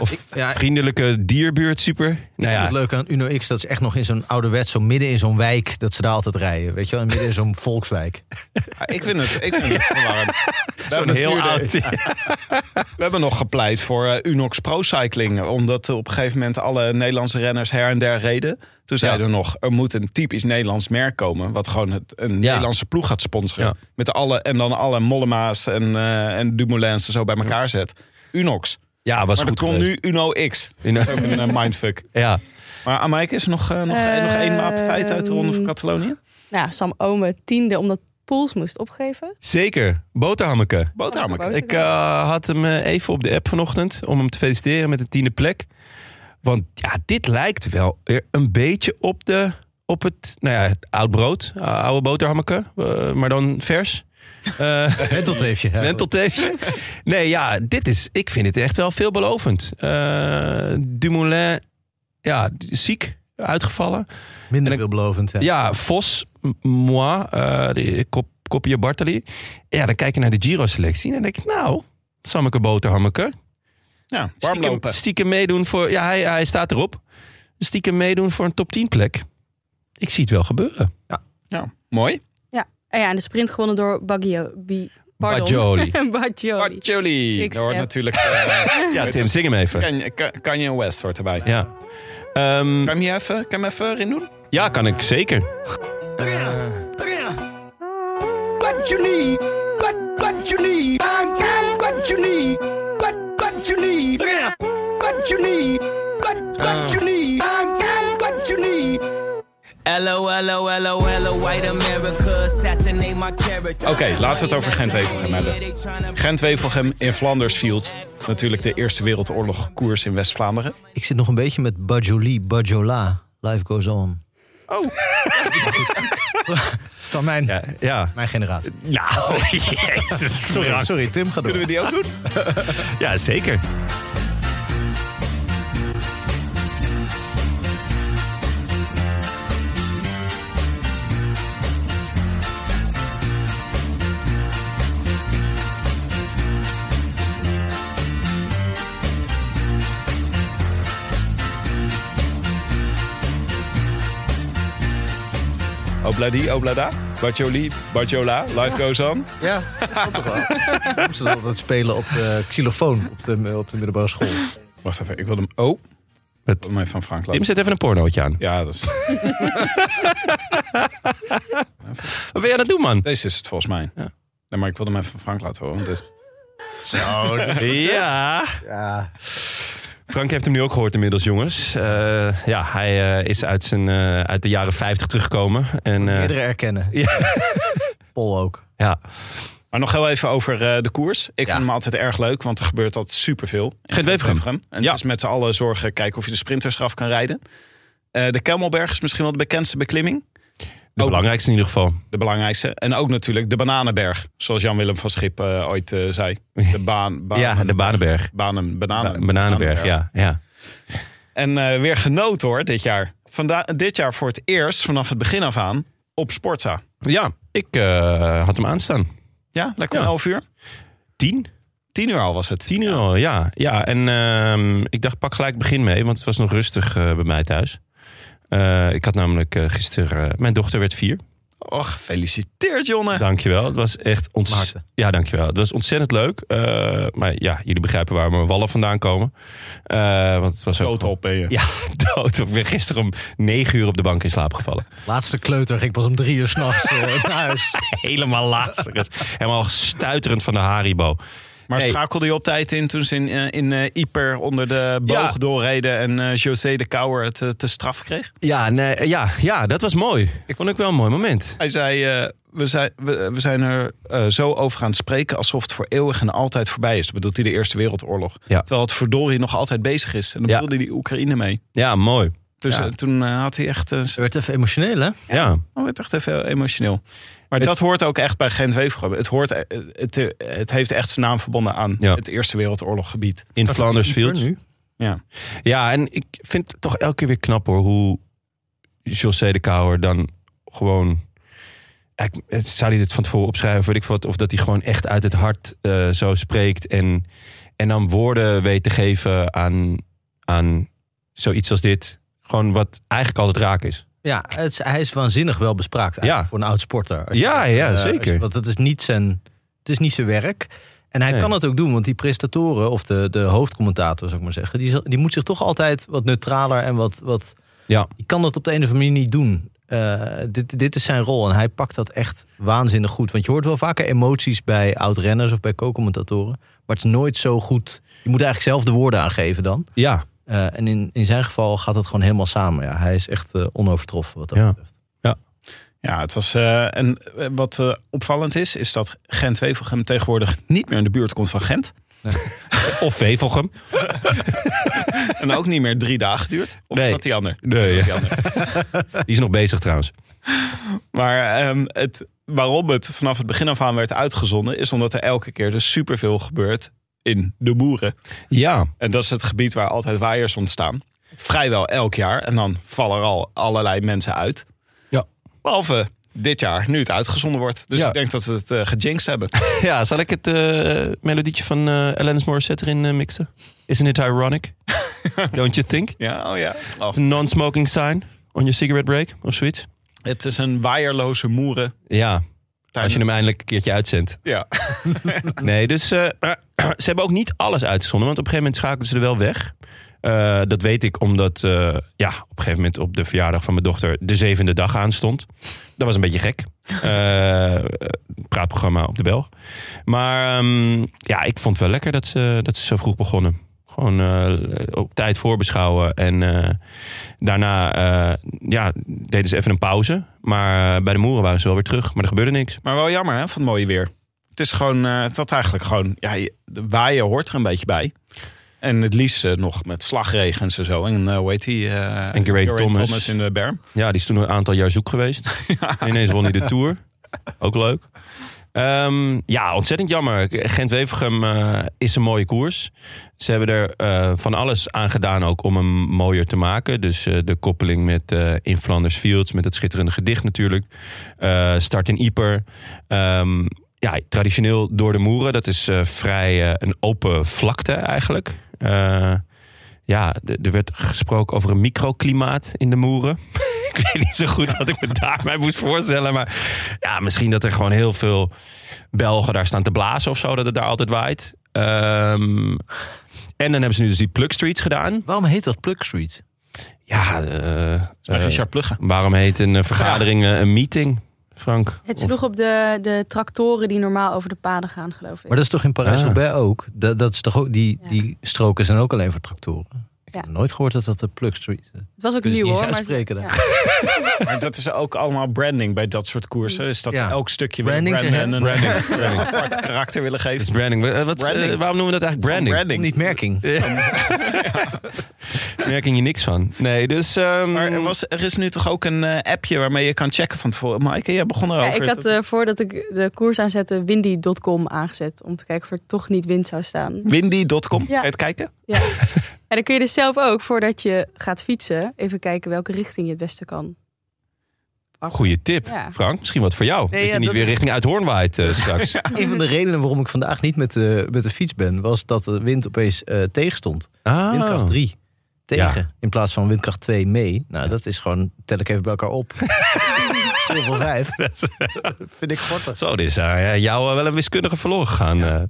E: Of
A: Ja, ik
E: vriendelijke dierbuurtsuper. Nou
A: vind
E: ja,
A: het leuk aan Uno X dat ze echt nog in zo'n ouderwets, zo midden in zo'n wijk, dat ze daar altijd rijden. Weet je wel, midden in zo'n volkswijk.
D: Ja, Ah, Ik vind het, ik vind het verwarrend. We
E: zo'n
D: hebben
E: heel
D: natuurlijk-
E: oud...
D: We hebben nog gepleit voor eh, Unox Pro Cycling. Omdat op een gegeven moment alle Nederlandse renners her en der reden. Toen zeiden we nog, er moet een typisch Nederlands merk komen. Wat gewoon het, een Nederlandse ploeg gaat sponsoren.
E: Ja.
D: Met alle, en dan alle Mollema's en, eh, en Dumoulins en zo bij elkaar zet. Unox.
E: Ja, was
D: Maar er
E: goed
D: komt nu
E: geweest.
D: Uno X.
E: Uno-
D: Dat is ook een eh, mindfuck.
E: Ja.
D: Maar Amaike, is er nog, eh, nog,
F: Eh,
D: nog één wapenfeit uit de Ronde van Catalonië?
F: Ehm, Nou, ja, Sam Ome, tiende, omdat Poels moest opgeven.
E: Zeker. Boterhammeke.
D: Boterhammeke.
F: Boterhammeke.
E: Ik eh, had hem eh, even op de app vanochtend om hem te feliciteren met de tiende plek. Want ja, dit lijkt wel weer een beetje op, de, op het, nou ja, het oud brood, eh, oude boterhammeke, eh, maar dan vers. Eh
A: Wentelt heeft je.
E: Wentelteefje. Nee, ja, dit is, ik vind het echt wel veelbelovend. Eh, Dumoulin, ja, ziek, uitgevallen.
A: Minder
E: En-
A: veelbelovend. hè.
E: Ja, Vos, m- Moi, eh die kop, kopje Bartali. Ja, dan kijk je naar de Giro-selectie en dan denk ik, nou, Sammeke Boterhammeke.
D: Ja, warm
E: Stiekem,
D: lopen.
E: stiekem meedoen voor, ja, hij, hij staat erop. Stiekem meedoen voor een top 10 plek. Ik zie het wel gebeuren.
D: Ja, mooi.
F: Ja, Eh, ja, en de sprint gewonnen door Baggio. Bi- pardon.
E: Bajoli.
F: Bajoli.
D: Bart Jolie.
F: Ik
D: Daar hoort
F: snap.
D: natuurlijk eh,
E: Ja, Tim, zing hem even.
D: Kanye- Ka- Kanye West hoort erbij. Kan
E: Ja. Ehm,
D: je hem hier even, kan je hem even erin doen?
E: ja, kan ik zeker.
C: Hello, hello, hello, hello, white America, assassinate my character.
D: Oké, laten we het over Gent-Wevelgem hebben. Gent-Wevelgem in Flandersfield. Natuurlijk de Eerste Wereldoorlog koers in West-Vlaanderen.
A: Ik zit nog een beetje met Bajoli, Bajola. Life goes on. Oh. is dan mijn,
E: Ja, ja.
A: mijn generatie.
E: Nou, jezus.
A: Sorry,
E: Frank.
A: sorry Tim gaat door.
D: Kunnen we die ook doen?
E: Ja, zeker.
D: Obladi, oblada. Bartjoli, Bartjola. Life goes on.
A: Ja, dat toch wel. Ik moest dat altijd spelen op de xylofoon op de, op de middelbare school.
D: Wacht even, ik wil hem... Oh,
E: Het-
D: ik wil hem even van Frank
E: Tim
D: laten.
E: zet even een pornootje aan.
D: Ja, dat is...
E: Wat ben jij aan het doen, man?
D: Deze is het volgens mij.
E: Ja.
D: Nee, maar ik wilde hem even van Frank laten horen. want dit- Oh,
A: Zo, dat
E: Ja.
A: ja.
E: Frank heeft hem nu ook gehoord inmiddels, jongens. Eh, ja, hij eh, is uit, zijn, eh, uit de jaren 50 teruggekomen. En, eh,
A: Meerdere erkennen. Pol ook.
E: ja.
D: Maar nog heel even over eh, de koers. Ik
A: Ja.
D: vind hem altijd erg leuk, want er gebeurt altijd superveel. in
E: Gent-Wevelgem.
D: Gent-Wevelgem. En
E: Ja.
D: dus met z'n allen zorgen, kijken of je de sprinters eraf kan rijden. Eh, de Kemmelberg is misschien wel de bekendste beklimming.
E: De
D: Ook-
E: belangrijkste in ieder geval.
D: De belangrijkste. En ook natuurlijk de Bananenberg. Zoals Jan-Willem van Schip eh, ooit eh, zei. De baan, baan,
E: ja, de Banenberg.
D: Banen,
E: Ba-
D: bananen,
E: Bananenberg, ja. ja.
D: En eh, weer genoot hoor, dit jaar. Vanda dit jaar voor het eerst, vanaf het begin af aan, op Sportza.
E: Ja, ik eh, had hem aanstaan.
D: Ja, lekker om
E: Ja.
D: 11 uur.
E: Tien?
D: 10 uur al was het.
E: Tien uur al, ja. ja. En ehm, ik dacht, pak gelijk begin mee, want het was nog rustig eh, bij mij thuis. Eh, ik had namelijk eh, gisteren... eh, mijn dochter werd vier.
D: Och, gefeliciteerd Jonne.
E: Dankjewel. Het was echt ontzettend.
A: Maarten.
E: Ja, dankjewel. Het was ontzettend leuk. Eh, maar ja, jullie begrijpen waar mijn wallen vandaan komen. Eh, want het was ook.
D: Total ben je.
E: Ja, dood. Ik ben gisteren om negen uur op de bank in slaap gevallen.
A: Laatste kleuter ging pas om drie uur s'nachts eh naar huis.
E: Helemaal laatst. Helemaal stuiterend van de Haribo.
D: Maar
E: Hey.
D: schakelde je op tijd in toen ze in, eh, in eh, Ieper onder de boog
E: Ja.
D: doorreden en eh, José de Kouwer het eh, te straf kreeg?
E: Ja, nee, ja, ja, dat was mooi. Ik vond ik wel een mooi moment.
D: Hij zei, eh, we, zijn, we, we zijn er eh, zo over gaan spreken alsof het voor eeuwig en altijd voorbij is. Dat bedoelt hij de Eerste Wereldoorlog.
E: Ja.
D: Terwijl het verdorie nog altijd bezig is. En dan
E: Ja.
D: bedoelde hij die Oekraïne mee.
E: Ja, mooi.
D: Dus
E: Ja.
D: eh, toen eh, had hij echt, eh,
A: Je werd even emotioneel, hè?
E: Ja,
D: oh, werd echt even heel emotioneel. Maar
E: Het-
D: dat hoort ook echt bij Gent-Wevelgem. Het, hoort, eh, het, eh, het heeft echt zijn naam verbonden aan
E: Ja.
D: het Eerste Wereldoorloggebied.
E: in Flandersfield.
A: nu.
D: Ja.
E: Ja, en ik vind het toch elke keer weer knap hoor hoe José de Kouwer dan gewoon. Ja, Ik, het- zou hij dit van tevoren opschrijven, of weet ik veel wat, of dat hij gewoon echt uit het hart eh, zo spreekt en, en dan woorden weet te geven aan, aan zoiets als dit. Gewoon wat eigenlijk altijd raak is.
A: Ja, het is, hij is waanzinnig wel bespraakt
E: Ja.
A: eigenlijk voor een oud sporter. Als
E: Ja, ja,
A: als je-
E: zeker.
A: want het is niet zijn, het is niet zijn werk. En hij
E: Nee.
A: kan het ook doen, want die prestatoren, of de, de hoofdcommentator, zou ik maar zeggen, die, zal- die moet zich toch altijd wat neutraler en wat. wat
E: Ja.
A: Die kan dat op de een of andere manier niet doen. Eh, dit, dit is zijn rol en hij pakt dat echt waanzinnig goed. Want je hoort wel vaker emoties bij oud-renners of bij co-commentatoren. Maar het is nooit zo goed. Je moet eigenlijk zelf de woorden aangeven dan.
E: Ja,
A: Eh, en in, in zijn geval gaat het gewoon helemaal samen. Ja, hij is echt eh, onovertroffen wat dat
E: Ja.
A: betreft.
D: Ja, het was. eh, en eh, wat eh, opvallend is, is dat Gent-Wevelgem tegenwoordig niet meer in de buurt komt van Gent.
E: of Wevelgem.
D: En ook niet meer drie dagen duurt. Of
E: Nee.
D: is dat die ander?
E: Nee, ja. die is nog bezig trouwens.
D: Maar ehm, het, waarom het vanaf het begin af aan werd uitgezonden, is omdat er elke keer dus superveel gebeurt in de boeren.
E: Ja,
D: En dat is het gebied waar altijd waaiers ontstaan. Vrijwel elk jaar. En dan vallen er al allerlei mensen uit.
E: Ja.
D: Behalve dit jaar, nu het uitgezonden wordt. Dus
E: Ja.
D: ik denk dat ze het eh gejinxed hebben.
E: ja zal ik het eh, melodietje van eh Alanis Morissette erin eh, mixen? Isn't it ironic? Don't you think?
D: Ja, oh ja. Oh.
E: It's a non-smoking sign on your cigarette break of zoiets.
D: Het is een waaierloze moeren
E: Ja, Als je hem eindelijk een keertje uitzendt.
D: Ja.
E: Nee, dus eh, ze hebben ook niet alles uitgezonden. Want op een gegeven moment schakelden ze er wel weg. Eh, dat weet ik omdat eh, ja, op een gegeven moment op de verjaardag van mijn dochter de zevende dag aanstond. Dat was een beetje gek. Eh, praatprogramma op de Belg. Maar ehm, ja, ik vond het wel lekker dat ze, dat ze zo vroeg begonnen. Gewoon eh, op tijd voorbeschouwen. En eh, daarna eh, ja, deden ze even een pauze. Maar eh, bij de moeren waren ze wel weer terug. Maar er gebeurde niks.
D: Maar wel jammer, hè, van het mooie weer. Het is gewoon, eh, het had eigenlijk gewoon, ja, je- de waaien hoort er een beetje bij. En het liefst eh, nog met slagregens en zo. En eh, hoe heet die? eh,
E: Geraint Thomas.
D: in de berm.
E: Ja, die is toen een aantal jaar zoek geweest. En ineens won hij de Tour. Ook leuk. Ehm, ja, ontzettend jammer. Gent-Wevergem eh, is een mooie koers. Ze hebben er eh, van alles aan gedaan ook om hem mooier te maken. Dus eh, de koppeling met eh, In Flanders Fields, met het schitterende gedicht natuurlijk. Eh, start in Yper. Ehm, ja, traditioneel door de moeren. Dat is eh, vrij eh, een open vlakte eigenlijk. Eh, ja, d- er werd gesproken over een microklimaat in de moeren ik weet niet zo goed wat ik me daarbij moest voorstellen. Maar ja, misschien dat er gewoon heel veel Belgen daar staan te blazen of zo. Dat het daar altijd waait. Ehm, en dan hebben ze nu dus die plugstreets gedaan.
A: Waarom heet dat Plug Street?
E: Ja, eh,
D: Maar
E: eh,
D: Richard Plugge.
E: waarom heet een eh, vergadering eh, een meeting, Frank?
F: Het sloeg op de, de tractoren die normaal over de paden gaan, geloof ik.
A: Maar dat is toch in Parijs-Roubaix ook? Dat, dat is toch ook die,
F: Ja.
A: die stroken zijn ook alleen voor tractoren. Ik
F: Ja.
A: heb nooit gehoord dat dat de Plug Street eh, is.
F: het was ook
A: kun
D: Dus
A: je
F: nieuw
A: niet
F: hoor.
A: eens
F: Maar
A: uitspreken daar.
F: ja.
D: Maar dat is ook allemaal branding bij dat soort koersen. Is dat
A: Ja.
D: elk stukje
A: Branding,
D: weer
A: zeg
D: branden en een
E: Branding. branding.
D: apart karakter willen
E: Het
D: geven?
E: is branding. Eh, wat, eh,
D: Branding.
E: waarom noemen we dat eigenlijk branding?
D: Branding.
A: Niet merking.
E: Merk je niks van. Nee, dus... ehm,
D: Maar
F: Mm-hmm.
D: er, was, er is nu toch ook een eh, appje waarmee je kan checken van tevoren. Maaike, jij begon erover.
F: Ja, ik had eh, voordat ik de koers aanzette windy.com aangezet. Om te kijken of er toch niet wind zou staan.
D: Windy.com,
F: Ja.
D: ga je het kijken?
F: Ja. en dan kun je dus zelf ook, voordat je gaat fietsen, even kijken welke richting je het beste kan.
E: Goeie tip,
F: Ja.
E: Frank. Misschien wat voor jou.
A: Nee,
E: dat je
A: ja,
E: niet
A: dat
E: weer
A: is-
E: richting Uithoorn waait eh, straks.
A: Een van de redenen waarom ik vandaag niet met de, met de fiets ben, was dat de wind opeens eh tegen stond.
E: Ah.
A: Windkracht 3 tegen, in plaats van windkracht 2 mee. Nou, dat is gewoon, tel ik even bij elkaar op. Schil van 5. Vind ik gortig.
E: Zo, dit is eh, ja, jou eh, wel een wiskundige verloren gegaan. eh.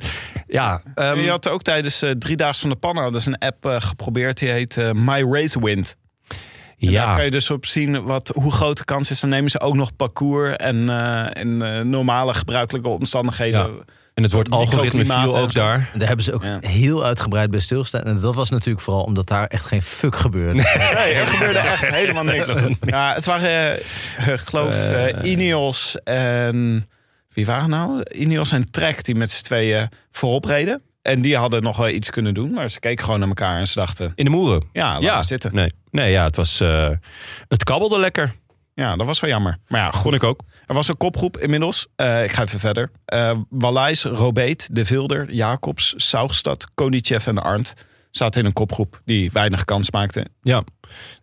E: Ja, ehm,
D: je had ook tijdens eh Drie Daags van de Pannen hadden ze een app eh, geprobeerd. Die heet eh, My Race Wind. En Daar
E: ja,
D: kan je dus op zien wat, hoe groot de kans is. Dan nemen ze ook nog parcours en, eh, en eh, normale gebruikelijke omstandigheden.
E: Ja. en het woord algoritme
D: microklimaat
E: viel
D: en
E: ook
D: zo.
E: daar.
A: Daar hebben ze ook
D: Ja.
A: heel uitgebreid bij stilstaan. En dat was natuurlijk vooral omdat daar echt geen fuck gebeurde.
D: Nee, er gebeurde echt helemaal niks. Ja, het waren, eh, ik geloof, eh, Ineos en... Wie waren het nou? Ineos en Trek die met z'n tweeën voorop reden. En die hadden nog wel iets kunnen doen. Maar ze keken gewoon naar elkaar en ze dachten...
E: In de moeren.
D: Ja, laten
E: Ja,
D: we zitten.
E: Nee, nee ja, het was. eh, het kabbelde lekker.
D: Ja, dat was wel jammer. Maar ja, goed.
E: Vond ik ook.
D: Er was een kopgroep inmiddels. Eh, ik ga even verder. Eh Wallijs, Robeet, De Vilder, Jacobs, Saugstad, Konitschev en Arndt zaten in een kopgroep die weinig kans maakte.
E: Ja.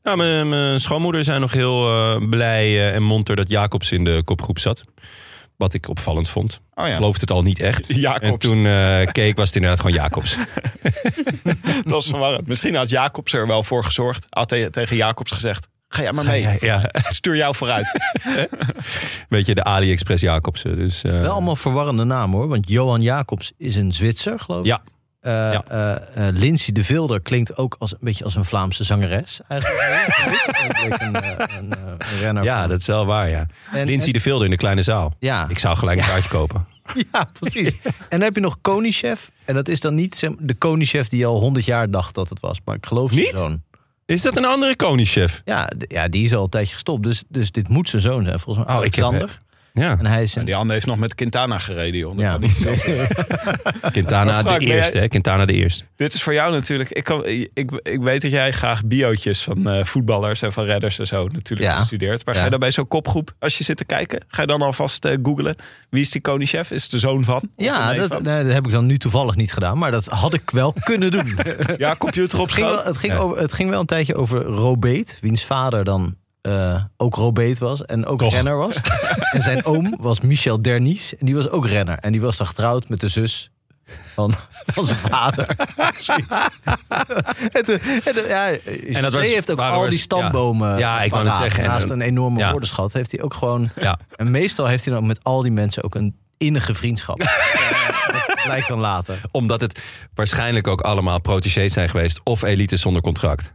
E: Nou, mijn, mijn schoonmoeder zijn nog heel eh, blij eh, en monter dat Jacobs in de kopgroep zat. Wat ik opvallend vond.
D: Oh ja,
E: Geloofde het al niet echt.
D: Jacobs.
E: En toen eh, keek, was het inderdaad gewoon Jacobs.
D: dat was verwarrend. Misschien had Jacobs er wel voor gezorgd. Had te- tegen Jacobs gezegd, ga jij maar mee.
E: Ja, ja,
D: Stuur jou vooruit.
E: weet je, de AliExpress Jacobs. Dus, eh,
A: Wel allemaal verwarrende namen hoor. Want Johan Jacobs is een Zwitser, geloof ik.
E: Ja.
A: Eh, eh, eh, Lindsay de Vilder klinkt ook als, een beetje als een Vlaamse zangeres. Eigenlijk. Ook leek een, eh, een, eh, een renner
E: ja,
A: van-
E: dat is wel waar, ja.
A: en,
E: Lindsay de Vilder in de kleine zaal.
A: en- ja.
E: Ik zou gelijk een kaartje kopen.
A: ja, precies. en dan heb je nog Koningschef. En dat is dan niet zeg maar, de Koningschef die al 100 jaar dacht dat het was. Maar ik geloof
E: Niet?
A: zijn zoon.
E: Is dat een andere koningschef?
A: Ja, d- ja, die is al een tijdje gestopt. Dus, dus dit moet zijn zoon zijn, volgens mij.
E: Oh, ik heb-
A: Alexander.
E: Ja.
A: En hij is een...
D: Die ander heeft nog met Quintana gereden. joh. Dat
A: Ja.
D: had niet zelf.
E: Quintana
D: Maar Frank,
E: de
D: ben
E: eerste,
D: jij-
E: hè? Quintana de eerste.
D: Dit is voor jou natuurlijk. Ik, kan, ik, ik weet dat jij graag biootjes van eh, voetballers en van redders en zo natuurlijk
A: Ja.
D: gestudeerd. Maar ga
A: Ja.
D: je dan bij zo'n kopgroep, als je zit te kijken, ga je dan alvast eh googlen. Wie is die koningschef? Is het de zoon van? Of de
A: Ja,
D: neef
A: dat,
D: van?
A: nee, dat heb ik dan nu toevallig niet gedaan. Maar dat had ik wel kunnen doen.
D: Ja, computer op
A: Het ging, wel,
D: schoot.
A: het, ging
E: Ja.
A: over, het ging wel een tijdje over Robeet, wiens vader dan eh, ook Robeet was en ook
E: Toch.
A: renner was. en zijn oom was Michel Dernies en die was ook renner. En die was dan getrouwd met de zus van, van zijn vader. Zoiets. en, toen- en, toen- ja, en
E: dat was-
A: heeft ook
E: waren
A: al
E: we-
A: die stambomen.
E: ja. Ja, ik wou net
A: paraat.
E: zeggen. En
A: Naast
E: dan-
A: een enorme
E: ja.
A: woordenschat heeft hij ook gewoon.
E: Ja.
A: En meestal heeft hij dan ook met al die mensen ook een innige vriendschap. dat blijkt dan later.
E: Omdat het waarschijnlijk ook allemaal protégés zijn geweest. Of elite zonder contract.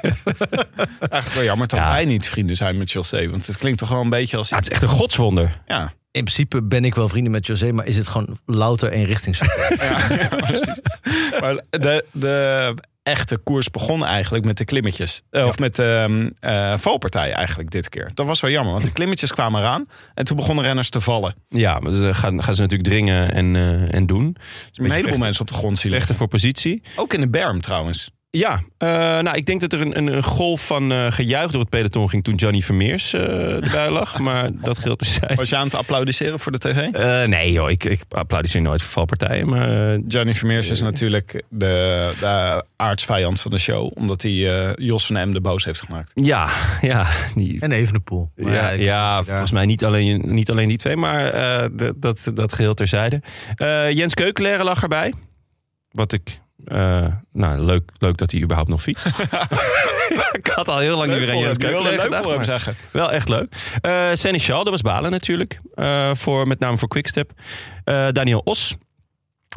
D: Eigenlijk wel jammer dat
E: Ja.
D: wij niet vrienden zijn met José. Want het klinkt toch wel een beetje als...
E: Ja, Ah, het is echt een godswonder.
D: Ja.
A: In principe ben ik wel vrienden met José, maar is het gewoon louter eenrichtingsverkeer?
D: Maar de, de echte koers begon eigenlijk met de klimmetjes. Eh, Of met de ehm, eh, valpartij eigenlijk dit keer. Dat was wel jammer, want de klimmetjes kwamen eraan. En toen begonnen renners te vallen.
E: Ja, maar dat gaan, gaan ze natuurlijk dringen en, eh, en doen. Dus
D: Een heleboel mensen op de grond zien liggen.
E: Rechten voor positie.
D: Ook in de berm trouwens.
E: Ja, eh, nou, ik denk dat er een, een, een golf van eh, gejuich door het peloton ging toen Johnny Vermeers eh erbij lag. maar dat geldt te zijn. Eh,
D: Was je aan het applaudisseren voor de tv?
E: nee joh, ik, ik applaudisseer nooit voor valpartijen. Maar eh,
D: Johnny Vermeers is natuurlijk de, de aardsvijand van de show. Omdat hij eh, Jos van Emden boos heeft gemaakt.
E: ja, ja, die,
A: en Evenepoel. Maar
E: Ja,
A: ik-
E: ja volgens mij niet alleen, niet alleen die twee, maar eh, dat- dat, dat geheel terzijde. Eh, Jens Keukenleren lag erbij. Wat ik. eh, nou, leuk, leuk dat hij überhaupt nog fietst. ik had al heel lang niet meer aan Jens Keukenleren
D: leuk
E: gedacht,
D: voor hem
E: maar
D: zeggen.
E: Wel echt leuk. Eh Seneschal, dat was Balen natuurlijk. Eh, voor, met name voor Quickstep. Eh Daniel Os.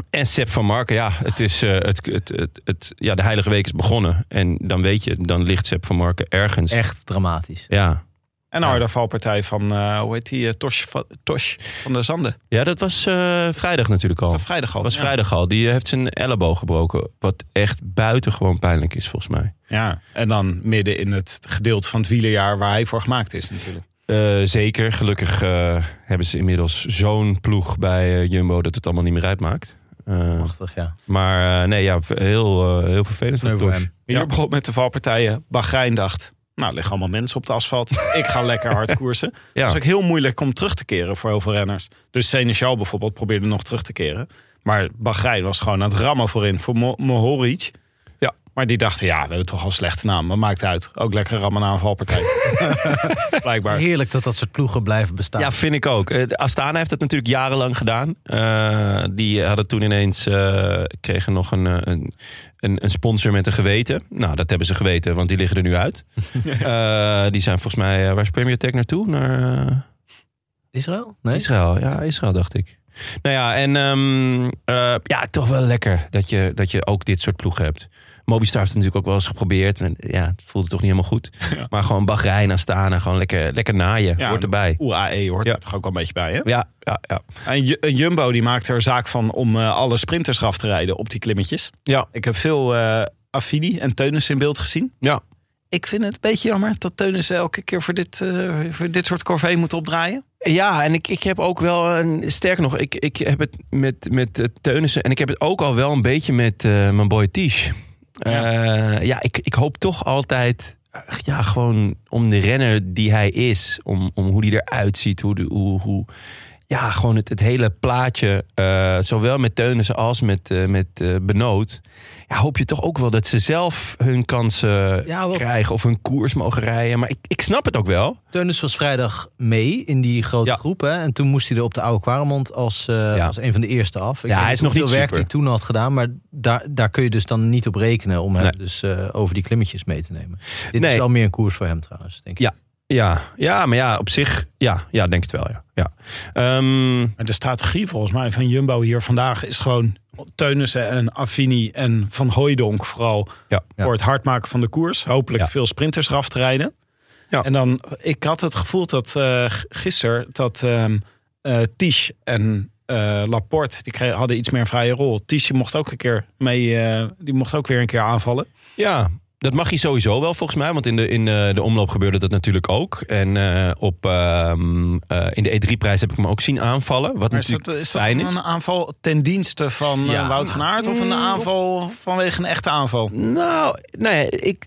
E: En Sepp van Marken, ja, het is, eh, het, het, het, het- ja, de Heilige Week is begonnen. En dan weet je, dan ligt Sepp van Marken ergens.
A: Echt dramatisch.
E: Ja,
D: En een harde valpartij van, eh, hoe heet die, eh, Tosh, van- Tosh van der Zanden.
E: ja dat was eh, vrijdag natuurlijk al.
D: Dat is vrijdag al.
E: was
D: ja.
E: vrijdag al. Die heeft zijn elleboog gebroken. Wat echt buitengewoon pijnlijk is, volgens mij.
D: Ja, en dan midden in het gedeelte van het wielerjaar waar hij voor gemaakt is natuurlijk.
E: Eh, zeker. Gelukkig eh, hebben ze inmiddels zo'n ploeg bij eh, Jumbo dat het allemaal niet meer uitmaakt. Eh,
A: Prachtig, ja.
E: maar eh, nee, ja, heel, eh, heel vervelend voor
A: Sneu voor
E: Tosh.
A: hem.
D: Hier begon met de valpartijen. Bahrein dacht, nou er liggen allemaal mensen op het asfalt. Ik ga lekker hard koersen.
E: Ja.
D: Het is ook heel moeilijk om terug te keren voor heel veel renners. Dus Seneschal bijvoorbeeld probeerde nog terug te keren. Maar Bahrein was gewoon aan het rammen voorin voor Mo- Mohoric.
E: Ja.
D: Maar die dachten, ja, we hebben toch al een slechte naam. Maar maakt uit. Ook lekker rammen na een valpartij. Blijkbaar.
A: Heerlijk dat dat soort ploegen blijven bestaan.
E: Ja, vind ik ook. Eh, Astana heeft dat natuurlijk jarenlang gedaan. Eh, die hadden toen ineens eh, kregen nog een, eh, een, een, een sponsor met een geweten. Nou, dat hebben ze geweten, want die liggen er nu uit. Eh, die zijn volgens mij, eh, waar is Premier Tech naartoe? Naar eh,
A: Israël? Nee?
E: Israël. Ja, Israël dacht ik. Nou ja, en ehm, eh, ja, toch wel lekker dat je, dat je ook dit soort ploegen hebt. Mobistar heeft het natuurlijk ook wel eens geprobeerd. En, ja, het voelde toch niet helemaal goed. Maar gewoon Bahrein, Astana, gewoon lekker, lekker naaien.
D: Ja,
E: Hoort erbij.
D: UAE E hoort
E: Ja.
D: er toch ook wel een beetje bij, hè?
E: Ja, ja, ja.
D: En Ju- en Jumbo die maakt er zaak van om eh, alle sprinters eraf te rijden op die klimmetjes.
E: Ja,
D: Ik heb veel eh Affini en Teunis in beeld gezien.
E: ja.
D: Ik vind het een beetje jammer dat Teunis elke keer voor dit, eh, voor dit soort corvée moet opdraaien.
E: Ja, en ik, ik heb ook wel, een, sterker nog, ik, ik heb het met, met eh, Teunissen en ik heb het ook al wel een beetje met eh, mijn boy Tisch. Ja, ja ik, ik hoop toch altijd, eh, ja, gewoon om de renner die hij is, om, om hoe die eruit ziet, hoe, de, hoe, hoe ja, gewoon het, het hele plaatje, eh, zowel met Teunissen als met, eh, met eh, Benoot, ja, hoop je toch ook wel dat ze zelf hun kansen
A: Ja, wel.
E: krijgen of hun koers mogen rijden. Maar ik, ik snap het ook wel.
A: Teunis was vrijdag mee in die grote
E: Ja.
A: groep. Hè? En toen moest hij er op de Oude Kwaremond als, eh,
E: Ja.
A: als een van de eerste af. Ik
E: Ja,
A: weet
E: hij is nog niet
A: hoeveel werk
E: super.
A: hij toen had gedaan. Maar daar, daar kun je dus dan niet op rekenen om hem
E: Nee.
A: dus eh, over die klimmetjes mee te nemen. Dit
E: Nee.
A: is wel meer een koers voor hem trouwens, denk ik.
E: Ja. Ja, ja, maar ja, op zich, ja, ja, denk het wel, ja. ja. Ehm,
D: Maar de strategie volgens mij van Jumbo hier vandaag is gewoon Teunissen en Affini en Van Hooijdonk vooral
E: ja.
D: voor het hard maken van de koers. Hopelijk
E: Ja.
D: veel sprinters eraf te rijden.
E: Ja.
D: En dan, ik had het gevoel dat eh, g- gisteren dat ehm eh, Tisch en eh, Laporte, die kregen, hadden iets meer een vrije rol. Tisch die mocht ook een keer mee, eh, die mocht ook weer een keer aanvallen.
E: ja, dat mag je sowieso wel volgens mij, want in de, in eh, de omloop gebeurde dat natuurlijk ook. En eh, op, ehm, eh, in de E3-prijs heb ik hem ook zien aanvallen, wat
D: Maar is
E: natuurlijk
D: dat, is dat
E: fijn
D: dan
E: is.
D: een aanval ten dienste van eh,
A: Ja.
D: Wout van Aert of een aanval vanwege een echte aanval?
E: Nou, nee, ik,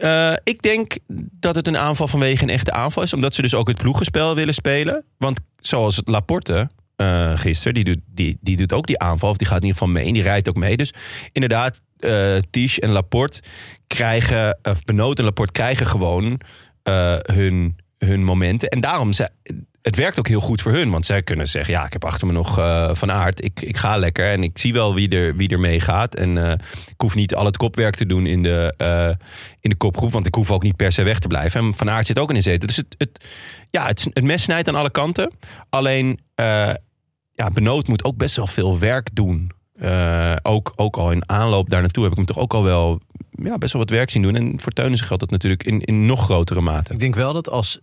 E: eh, ik denk dat het een aanval vanwege een echte aanval is. Omdat ze dus ook het ploegenspel willen spelen. Want zoals het Laporte eh gisteren, die doet, die, die doet ook die aanval. Of die gaat in ieder geval mee en die rijdt ook mee. Dus inderdaad, eh Tisch en Laporte krijgen, of Benoot en Laporte krijgen gewoon eh, hun, hun momenten. En daarom ze, het werkt ook heel goed voor hun. Want zij kunnen zeggen, ja, ik heb achter me nog eh, Van Aert. Ik, ik ga lekker en ik zie wel wie er, wie er mee gaat. En eh, ik hoef niet al het kopwerk te doen in de, eh, in de kopgroep. Want ik hoef ook niet per se weg te blijven. En Van Aert zit ook in een zetel. Dus het, het, ja, het, het mes snijdt aan alle kanten. Alleen, eh, ja, Benoot moet ook best wel veel werk doen. Eh, ook, ook al in aanloop daar naartoe heb ik hem toch ook al wel ja, best wel wat werk zien doen. En voor Teunissen geldt dat natuurlijk in, in nog grotere mate.
A: Ik denk wel dat als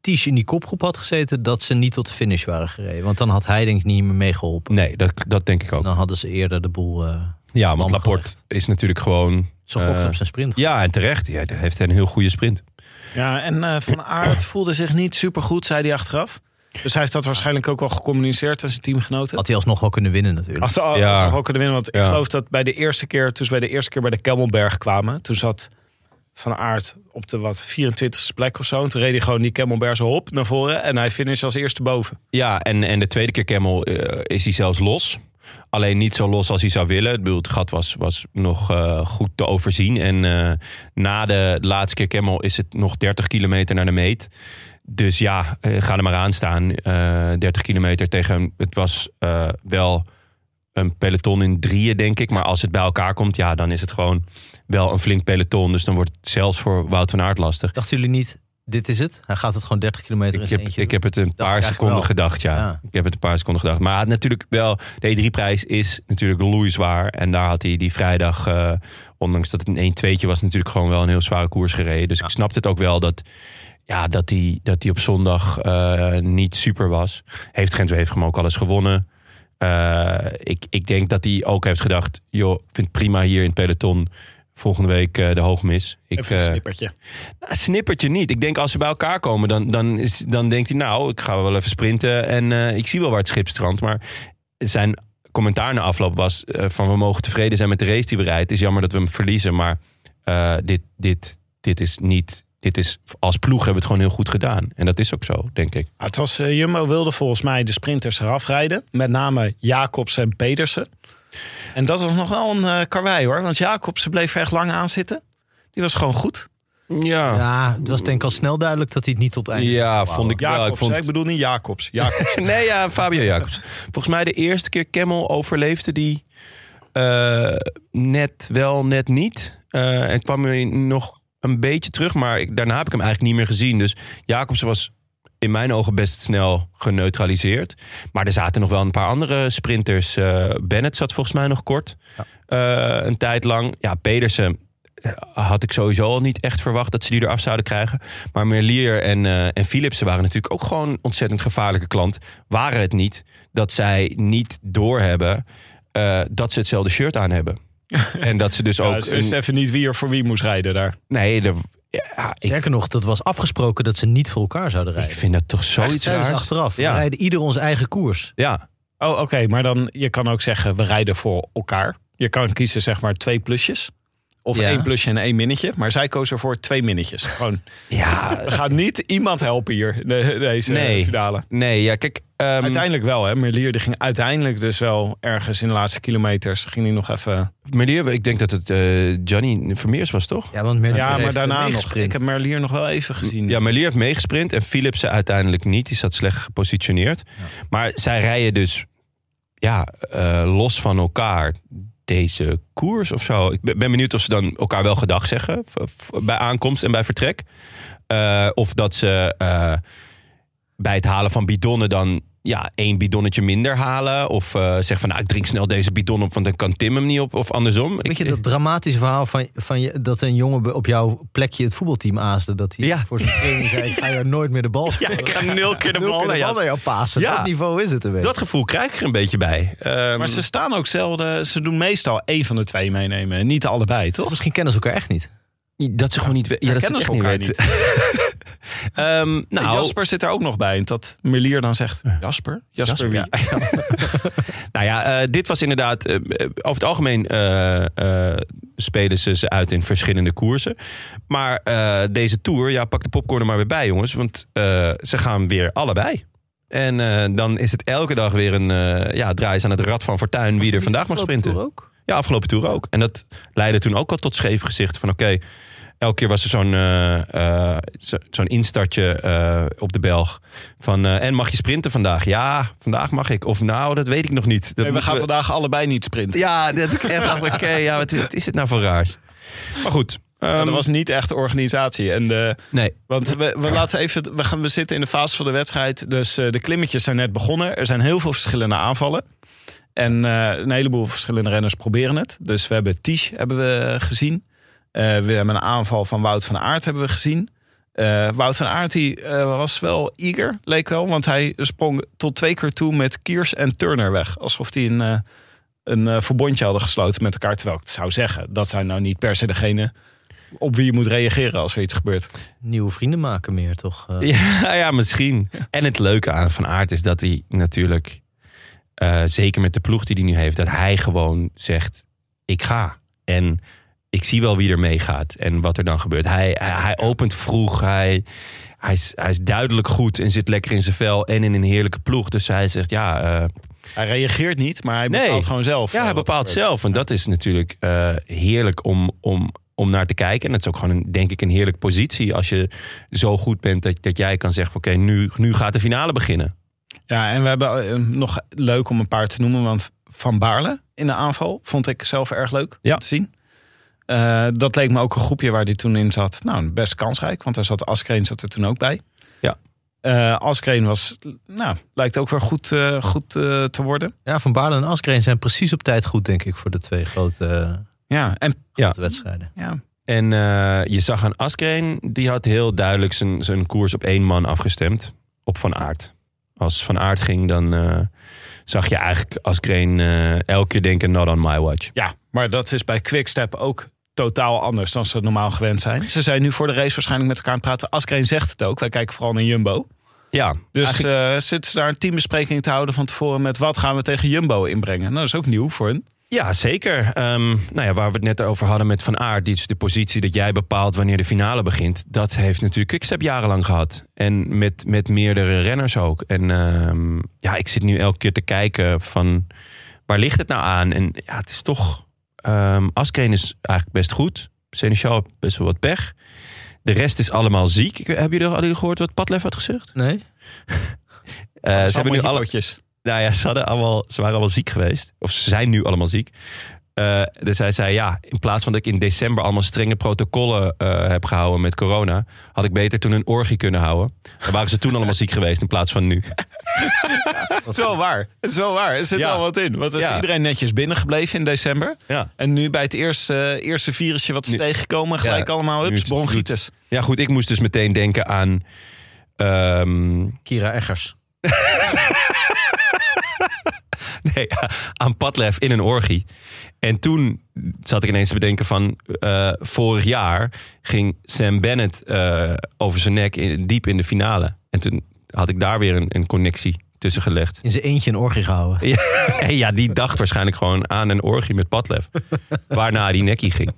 A: Ties in die kopgroep had gezeten, dat ze niet tot de finish waren gereden. Want dan had hij denk ik niet meer meegeholpen.
E: Nee, dat, dat denk ik ook.
A: Dan hadden ze eerder de boel. eh
E: Ja, want
A: Lam
E: Laporte
A: gelegd.
E: is natuurlijk gewoon...
A: ze gokten
E: Eh,
A: op zijn sprint.
E: Ja, en terecht. Ja, hij heeft een heel goede sprint.
D: Ja, en eh, Van Aert voelde zich niet supergoed, zei hij achteraf. Dus hij heeft dat waarschijnlijk ook wel gecommuniceerd aan zijn teamgenoten.
A: Had hij alsnog wel kunnen winnen natuurlijk.
D: Als ze al-
E: Ja.
D: als ze al kunnen winnen. Want
E: Ja.
D: ik geloof dat bij de eerste keer, toen ze bij de eerste keer bij de Kemmelberg kwamen, toen zat Van Aert op de wat 24ste plek of zo. En toen reed hij gewoon die Kemmelberg zo hop naar voren en hij finisht als eerste boven.
E: Ja, en, en de tweede keer Kemmel eh, is hij zelfs los. Alleen niet zo los als hij zou willen. Ik bedoel, het gat was, was nog eh, goed te overzien. En eh, na de laatste keer Kemmel is het nog 30 kilometer naar de meet. Dus ja, eh, ga er maar aan staan. Eh, 30 kilometer tegen... Het was eh, wel een peloton in drieën, denk ik. Maar als het bij elkaar komt, ja, dan is het gewoon wel een flink peloton. Dus dan wordt het zelfs voor Wout van Aert lastig.
A: Dachten jullie niet, dit is het? Hij gaat het gewoon 30 kilometer in
E: Ik
A: zijn
E: heb,
A: eentje
E: ik heb het een
A: ik
E: paar
A: eigenlijk
E: seconden
A: wel.
E: gedacht, ja.
A: Ja.
E: Ik heb het een paar seconden gedacht. Maar hij had natuurlijk wel, de E3-prijs is natuurlijk loeizwaar. En daar had hij die vrijdag, eh, ondanks dat het een 1-2'tje was, natuurlijk gewoon wel een heel zware koers gereden. Dus ik snapte het ook wel dat, ja, dat, hij, dat hij op zondag eh, niet super was. Heeft Gent heeft hem ook alles gewonnen. Eh, ik, ik denk dat hij ook heeft gedacht, joh, ik vind het prima hier in het peloton. Volgende week eh, de hoogmis. Ik,
D: Even een
E: eh,
D: snippertje.
E: nou, snippertje niet. Ik denk als ze bij elkaar komen, dan, dan, is, dan denkt hij, nou, ik ga wel even sprinten en eh, ik zie wel waar het schip strandt. Maar zijn commentaar na afloop was eh, van we mogen tevreden zijn met de race die we rijden. Het is jammer dat we hem verliezen, maar eh, dit, dit, dit is niet... Dit is, als ploeg hebben we het gewoon heel goed gedaan. En dat is ook zo, denk ik.
D: Ah, het was, eh, Jumbo wilde volgens mij de sprinters eraf rijden. Met name Jacobs en Pedersen. En dat was nog wel een eh karwei hoor. Want Jacobsen bleef er echt lang aan zitten. Die was gewoon goed.
E: Ja, ja,
A: Ja, het was denk ik al snel duidelijk dat hij het niet tot eind
E: vond ik wel. Ik
D: Jacobs,
E: vond,
D: hè? ik bedoel niet Jacobs. Jacobs.
E: Nee, ja, Fabio Jacobs. Volgens mij de eerste keer Kemmel overleefde die eh, net wel, net niet. Eh, en kwam hij nog een beetje terug, maar ik, daarna heb ik hem eigenlijk niet meer gezien. Dus Jacobs was in mijn ogen best snel geneutraliseerd. Maar er zaten nog wel een paar andere sprinters. Eh, Bennett zat volgens mij nog kort. Eh, een tijd lang. Ja, Pedersen eh, had ik sowieso al niet echt verwacht dat ze die eraf zouden krijgen. Maar Merlier en, eh en Philipsen waren natuurlijk ook gewoon een ontzettend gevaarlijke klant. Waren het niet dat zij niet doorhebben eh dat ze hetzelfde shirt aan hebben. en dat ze dus
D: Ja,
E: ook...
D: dus wist
E: een-
D: even niet wie er voor wie moest rijden daar.
E: nee, de, ja, ik,
A: Sterker nog, dat was afgesproken dat ze niet voor elkaar zouden
E: ik
A: rijden.
E: vind dat toch
A: Zoiets
E: zoiets
A: zeiden ze
E: raars.
A: achteraf.
E: Ja.
A: We rijden ieder onze eigen koers.
E: Ja,
D: Oh, oké. maar dan, je kan ook zeggen, we rijden voor elkaar. Je kan kiezen, zeg maar, twee plusjes. Of
A: Ja.
D: één plusje en één minnetje. Maar zij koos ervoor twee minnetjes. Gewoon,
E: ja
D: we gaan niet iemand helpen hier, de- deze
E: Nee.
D: finale.
E: nee, ja, kijk... ehm,
D: Uiteindelijk wel, hè. Merlier die ging uiteindelijk dus wel ergens in de laatste kilometers. Ging hij nog even...
E: Merlier, ik denk dat het eh Johnny Vermeers was, toch?
A: Ja, want Merlier
D: Ja, maar
A: heeft
D: daarna nog.
A: meegesprint.
D: Ik heb Merlier nog wel even gezien.
E: Ja, Merlier heeft meegesprint en Philipsen uiteindelijk niet. Die zat slecht gepositioneerd. Maar zij rijden dus ja, eh, los van elkaar deze koers of zo. Ik ben ben benieuwd of ze dan elkaar wel gedag zeggen. v- v- Bij aankomst en bij vertrek. Eh, of dat ze eh, bij het halen van bidonnen dan ja, één bidonnetje minder halen. Of eh zeggen van nou, ik drink snel deze bidon op, want dan kan Tim hem niet op. Of andersom.
A: Weet je
E: Ik-
A: dat dramatische verhaal van, van je, dat een jongen be- op jouw plekje het voetbalteam aasde? Dat hij
E: Ja.
A: voor zijn training zei, ik ga jou nooit meer de bal
E: Ja,
A: spelen.
E: ik ga nul keer de
A: Nul
E: bal
A: keer
E: naar jou.
A: naar jou pasen.
E: Ja.
A: Dat niveau is het een beetje.
E: Dat gevoel krijg ik er een beetje bij. Ehm,
D: Maar ze staan ook zelden... Ze doen meestal één van de twee meenemen. en Niet allebei,
A: Of
D: toch?
A: misschien kennen ze elkaar echt niet.
E: Dat ze gewoon niet weten. Ja, dat ze
D: Herkennen
E: het echt
D: ze
E: niet
D: elkaar
E: weten. Ehm, nou,
D: Jasper zit er ook nog bij. En dat Merlier dan zegt... Jasper? Jasper wie?
E: nou ja, eh, dit was inderdaad. eh, eh, over het algemeen eh, eh, spelen ze ze uit in verschillende koersen. Maar eh, deze tour, ja, pak de popcorn er maar weer bij, jongens. Want eh, ze gaan weer allebei. En eh, dan is het elke dag weer een eh ja, draai is aan het rad van fortuin wie er vandaag mag sprinten.
A: Ook.
E: Ja, afgelopen toer ook. En dat leidde toen ook al tot scheef gezicht van oké, elke keer was er zo'n eh, eh, zo- zo'n instartje eh, op de Belg. Van, eh, en mag je sprinten vandaag? Ja, vandaag mag ik. Of nou, dat weet ik nog niet. Dat
D: Nee, we
E: moeten
D: gaan vandaag allebei niet sprinten.
E: Ja, dat ik echt dacht, oké, ja, wat is, wat is het nou voor raars? Maar goed.
D: Maar
E: ehm,
D: dat was niet echt de organisatie. En de,
E: Nee,
D: Want we, we, laten even, we, gaan, we zitten in de fase van de wedstrijd. Dus eh, de klimmetjes zijn net begonnen. Er zijn heel veel verschillende aanvallen. En eh, een heleboel verschillende renners proberen het. Dus we hebben Tisch hebben we gezien. Eh, we hebben een aanval van Wout van Aert hebben we gezien. Eh, Wout van Aert die, eh, was wel eager, leek wel. Want hij sprong tot twee keer toe met Kiers en Turner weg. Alsof die een, eh, een eh, verbondje hadden gesloten met elkaar. Terwijl ik zou zeggen, dat zijn nou niet per se degene op wie je moet reageren als er iets gebeurt.
A: Nieuwe vrienden maken meer, toch? Eh,
E: Nou Ja, ja, misschien. En het leuke aan Van Aert is dat hij natuurlijk, eh, zeker met de ploeg die hij nu heeft, dat hij gewoon zegt: ik ga. En ik zie wel wie er meegaat en wat er dan gebeurt. Hij, hij, hij opent vroeg, hij, hij, is, hij is duidelijk goed en zit lekker in zijn vel en in een heerlijke ploeg. Dus hij zegt: ja, eh,
D: Hij reageert niet, maar hij
E: Nee.
D: bepaalt gewoon zelf.
E: Ja,
D: eh,
E: hij
D: wat
E: bepaalt
D: er gebeurt.
E: zelf. En dat is natuurlijk eh, heerlijk om, om, om naar te kijken. En dat is ook gewoon, een, denk ik, een heerlijke positie. Als je zo goed bent dat, dat jij kan zeggen: Oké, nu, nu gaat de finale beginnen.
D: Ja, en we hebben eh, nog leuk om een paar te noemen. Want Van Baarle in de aanval vond ik zelf erg leuk
E: Ja.
D: om te zien. Eh, dat leek me ook een groepje waar hij toen in zat. Nou, best kansrijk, want daar zat Askreen zat er toen ook bij.
E: Ja.
D: Eh, Askreen was, nou, lijkt ook weer goed, eh, goed eh, te worden.
A: Ja, Van Baarle en Askreen zijn precies op tijd goed, denk ik, voor de twee grote, eh,
D: Ja, en
A: grote wedstrijden.
D: ja,
E: En eh, je zag aan Askreen, die had heel duidelijk zijn, zijn koers op één man afgestemd. Op Van Aert. Als Van Aert ging, dan eh, zag je eigenlijk Askreen eh, elke keer denken: Not on my watch.
D: Ja, maar dat is bij Quickstep ook totaal anders dan ze het normaal gewend zijn. Ze zijn nu voor de race waarschijnlijk met elkaar aan het praten. Askreen zegt het ook. Wij kijken vooral naar Jumbo.
E: Ja,
D: Dus
E: eigenlijk-
D: eh zitten ze daar een teambespreking te houden van tevoren met wat gaan we tegen Jumbo inbrengen? Nou, dat is ook nieuw voor hen.
E: Ja, zeker. Ehm, nou ja, waar we het net over hadden met Van Aert. Die is de positie dat jij bepaalt wanneer de finale begint. Dat heeft natuurlijk Quickstep jarenlang gehad. En met, met meerdere renners ook. En ehm, ja, ik zit nu elke keer te kijken van... Waar ligt het nou aan? En ja, het is toch... ehm Askreen is eigenlijk best goed. Seneschal heeft best wel wat pech. De rest is allemaal ziek. Ik- Hebben jullie, hadden jullie gehoord wat Padlef had gezegd?
A: Nee?
E: Eh, ze hebben nu alle,
D: Hypootjes.
E: nou ja, ze, hadden allemaal, ze waren allemaal ziek geweest. Of ze zijn nu allemaal ziek. Eh, dus hij zei, ja, in plaats van dat ik in december allemaal strenge protocollen eh, heb gehouden met corona, had ik beter toen een orgie kunnen houden. Dan waren ze toen allemaal ziek geweest in plaats van nu.
D: Het is wel waar. Het is wel waar. Er zit
E: Ja.
D: wel wat in. Want er is
E: Ja.
D: iedereen netjes binnengebleven in december.
E: Ja.
D: En nu bij het eerste, eh, eerste virusje wat ze
E: Nu-
D: tegenkomen, gelijk
E: Ja,
D: allemaal
E: nu
D: hups,
E: het bloed.
D: bronchitis.
E: Ja, goed, ik moest dus meteen denken aan. ehm,
A: Kira Eggers.
E: nee, aan Padlef in een orgie. En toen zat ik ineens te bedenken van... eh, vorig jaar ging Sam Bennett eh, over zijn nek in- diep in de finale. En toen had ik daar weer een, een connectie tussen gelegd.
A: In zijn eentje een orgie gehouden.
E: Ja, nee, ja, die dacht waarschijnlijk gewoon aan een orgie met Padlef. Waarna die nekkie ging.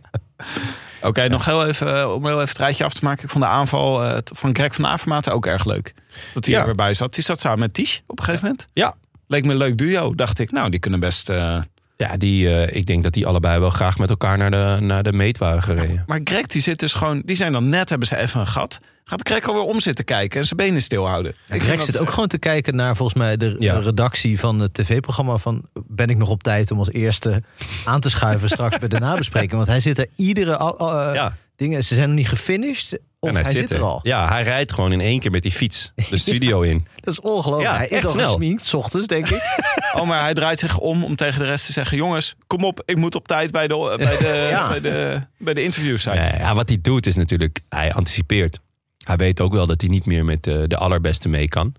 D: Oké, nog heel even, eh, om heel even het rijtje af te maken. Ik vond de aanval eh, t- van Greg van Avermaat ook erg leuk. Dat hij
E: Ja.
D: er weer bij zat. Die zat samen met Tisch op een gegeven moment.
E: Ja.
D: Leek me een leuk duo, dacht ik. Nou, die kunnen best... eh,
E: Ja, die, eh, ik denk dat die allebei wel graag met elkaar naar de, naar de meet waren gereden.
D: Maar Greg die zit dus gewoon, die zijn dan net, hebben ze even een gat. Gaat Greg alweer om zitten kijken en zijn benen stilhouden. Ik vind
A: Greg
D: dat-
A: zit ook gewoon te kijken naar volgens mij de
E: eh, Ja.
A: de redactie van het tv-programma van ben ik nog op tijd om als eerste aan te schuiven straks bij de nabespreking. Want hij zit er iedere al- al, eh,
E: Ja.
A: dingen, ze zijn nog niet gefinished of
E: En
A: hij, zit er al.
E: Ja, hij rijdt gewoon in één keer met die fiets de studio in.
A: Dat is ongelooflijk.
E: Ja,
A: hij is
E: echt
A: al
E: snel.
A: gesminkt, 's ochtends denk ik.
D: Oh, maar hij draait zich om om tegen de rest te zeggen: jongens, kom op, ik moet op tijd bij de, bij de,
A: Ja.
D: bij de, bij de interviews zijn.
E: Nee, ja, wat hij doet is natuurlijk, hij anticipeert. Hij weet ook wel dat hij niet meer met eh, de allerbeste mee kan.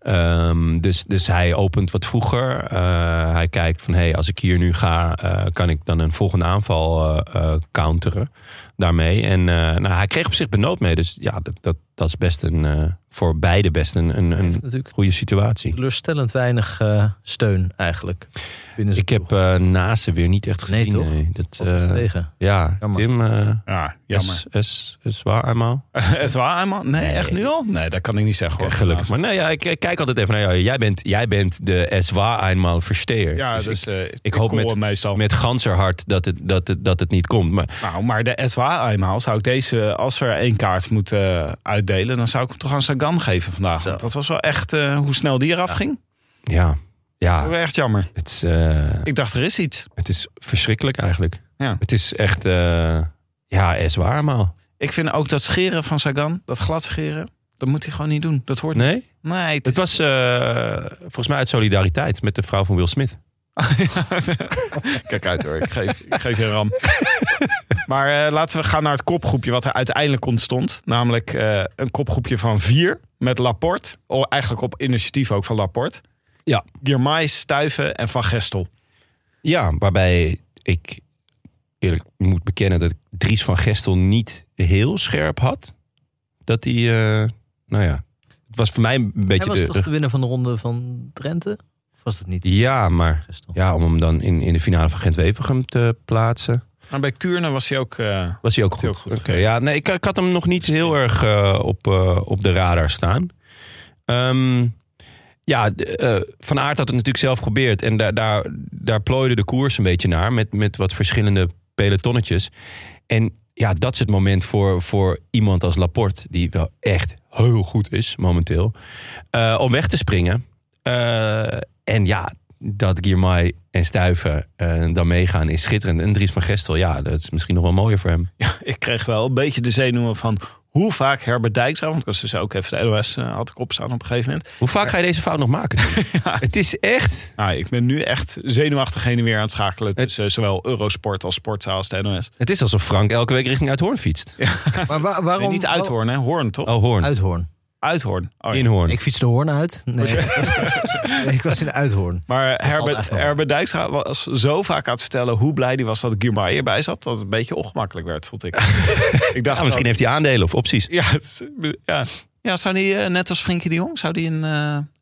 E: Ehm, dus, dus hij opent wat vroeger. Eh, hij kijkt van, hey, als ik hier nu ga, eh, kan ik dan een volgende aanval eh, eh, counteren daarmee. En eh, nou, hij kreeg op zich benood mee. Dus ja, dat, dat, dat is best een eh, voor beide best een, een,
A: heeft
E: een
A: natuurlijk
E: goede situatie.
A: teleurstellend weinig eh, steun eigenlijk. Binnen zijn
E: Ik heb
A: ploeg.
E: eh Nase weer niet echt
A: Nee,
E: gezien.
A: toch?
E: Dat,
A: Valt echt
E: eh,
A: tegen.
E: ja,
A: Jammer.
E: Tim, eh
D: Ja, jammer.
E: is, is, is waar eenmaal.
D: Is waar, eenmaal? Nee, echt nu al? Nee, dat kan ik niet zeggen.
E: Oké,
D: Hoor.
E: gelukkig. Maar nou ja, ik, ik kijk altijd even naar jou. Jij bent, jij bent de es war einmal versteer.
D: Ja, dus,
E: Dus ik,
D: eh, ik,
E: hoop
D: hoor
E: met-
D: hem meestal.
E: met ganserhart dat het, dat, het, dat het niet komt. Maar
D: Nou, maar de SWA eenmaal zou ik deze, als we er één kaart moeten eh, uitdelen, dan zou ik hem toch aan Sagan geven vandaag.
A: Zo.
D: Want dat was wel echt eh, hoe snel die eraf ging.
E: ja, ja
D: Dat was echt jammer.
E: het, is, eh,
D: Ik dacht, er is iets.
E: het is verschrikkelijk eigenlijk.
D: Ja.
E: Het is echt, eh, ja, es war einmal.
D: Ik vind ook dat scheren van Sagan, dat glad scheren, dat moet hij gewoon niet doen. Dat hoort
E: Nee?
D: niet. Nee, het,
E: Het
D: is-
E: was eh, volgens mij uit solidariteit met de vrouw van Will Smith.
D: Kijk uit hoor, ik geef, ik geef je een ram. maar eh, laten we gaan naar het kopgroepje wat er uiteindelijk ontstond. Namelijk eh, een kopgroepje van vier met Laporte. O, eigenlijk op initiatief ook van Laporte.
E: Ja.
D: Girmay, Stuiven en Van Gestel.
E: Ja, waarbij ik eerlijk moet bekennen dat ik Dries van Gestel niet heel scherp had. Dat hij, eh, nou ja, het was voor mij een beetje
A: Hij was
E: de...
A: toch de winnaar van de ronde van Drenthe? Of was dat niet?
E: Ja, maar
A: Gestel.
E: ja, om hem dan in, in de finale van Gent-Wevergem te plaatsen,
D: Maar bij Kuurne was hij ook... eh,
E: was hij ook goed.
D: Heel goed
E: Oké,
D: gegeven.
E: ja, nee, ik, ik had hem nog niet heel erg eh, op, eh, op de radar staan. Ehm, ja, d- eh, Van Aert had het natuurlijk zelf geprobeerd. En daar, daar, daar plooide de koers een beetje naar. Met, met wat verschillende pelotonnetjes. En ja, dat is het moment voor, voor iemand als Laporte. Die wel echt heel goed is momenteel. eh, om weg te springen. Eh, en ja, dat Girmay en Stuiven eh, dan meegaan is schitterend. En Dries van Gestel, ja, dat is misschien nog wel mooier voor hem.
D: ja, ik kreeg wel een beetje de zenuwen van hoe vaak Herbert Dijkstra... want ik was dus ook even de NOS eh, had ik opstaan op een gegeven moment.
E: Hoe vaak ga je deze fout nog maken? Tim? Het is echt...
D: Nou, ik ben nu echt zenuwachtig heen en weer aan het schakelen... tussen eh, zowel Eurosport als Sportzaal als de NOS.
E: Het is alsof Frank elke week richting Uithoorn fietst.
A: Maar waar-
D: Nee,
A: waarom?
D: niet Uithoorn, hè? Hoorn, toch?
E: Oh, Hoorn.
A: Uithoorn.
D: Uithoorn. Oh, ja.
E: In Hoorn. Nou,
A: Ik fiets de Hoorn uit.
E: Oh,
A: Nee, ik was- nee, ik was in Uithoorn.
D: Maar
A: valt
D: Herbert,
A: eigenlijk wel mee.
D: Herbert Dijkstra was zo vaak aan het vertellen hoe blij hij was dat Girmay erbij zat, dat het een beetje ongemakkelijk werd, vond ik. ik dacht,
E: Ah, misschien heeft hij aandelen of opties.
D: ja, het is- ja. ja, zou die eh, net als Frenkie de Jong, zou die een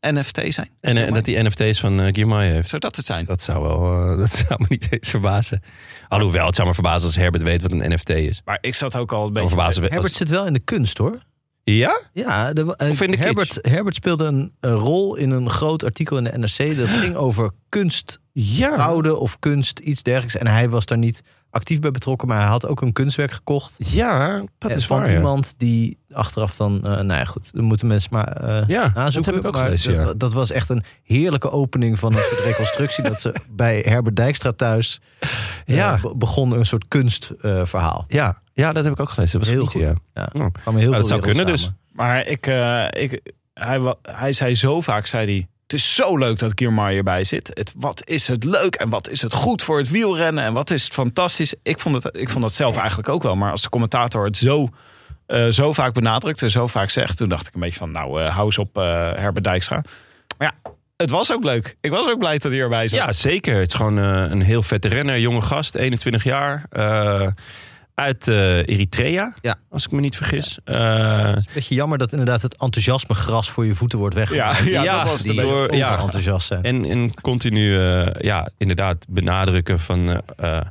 D: eh, NFT zijn?
E: En eh, dat hij NFT's van eh Girmay heeft.
D: Zou dat het zijn?
E: Dat zou, wel, eh, dat zou me niet eens verbazen. Alhoewel, het zou me verbazen als Herbert weet wat een NFT is.
D: Maar ik zat ook al een
E: Dan
D: beetje...
E: verbazen we,
A: Herbert
E: als,
A: zit wel in de kunst hoor.
E: ja?
A: Ja, de, eh,
E: Of in de kitsch.
A: Herbert, Herbert speelde een, een rol in een groot artikel in de NRC. Dat ging over kunst
E: Ja.
A: houden of kunst, iets dergelijks. En hij was daar niet actief bij betrokken, maar hij had ook een kunstwerk gekocht.
E: Ja, dat
A: Eh,
E: is
A: van
E: waar. ja.
A: iemand die achteraf dan, eh, nou ja goed, dan moeten mensen maar eh,
E: Ja,
A: nazoeken.
E: dat heb ik ook
A: maar
E: gelezen,
A: dat,
E: ja.
A: wa- dat was echt een heerlijke opening van een soort reconstructie. dat ze bij Herbert Dijkstra thuis eh,
E: Ja.
A: be- begon een soort eh, kunstverhaal.
E: Ja. ja, dat heb ik ook gelezen. Dat was
A: Heel
E: goed,
A: goed.
E: ja.
A: ja.
E: Nou,
A: kwamen heel
E: nou, dat zou
A: veel
E: kunnen
A: werelden
E: dus.
A: samen.
D: Maar ik, eh, ik, hij, wa- hij zei zo vaak, zei hij... Het is zo leuk dat Girmay erbij zit. Het, wat is het leuk en wat is het goed voor het wielrennen en wat is het fantastisch. Ik vond, het, ik vond dat zelf eigenlijk ook wel. Maar als de commentator het zo, eh, zo vaak benadrukt en zo vaak zegt... toen dacht ik een beetje van, nou, eh, hou eens op eh Herbert Dijkstra. Maar ja, het was ook leuk. Ik was ook blij dat hij erbij zat.
E: Ja, zeker. Het is gewoon eh, een heel vette renner. Jonge gast, 21 jaar. eh, uit eh, Eritrea,
A: Ja.
E: als ik me niet vergis. Eh,
A: Het is een beetje jammer dat inderdaad het enthousiasme gras voor je voeten wordt
D: ja,
A: weggemaakt.
D: ja,
E: Ja,
D: dat was de
A: die
E: door-
D: beste.
E: ja.
A: overenthousiast zijn.
E: En, en continu, eh, ja, inderdaad benadrukken van eh, eh,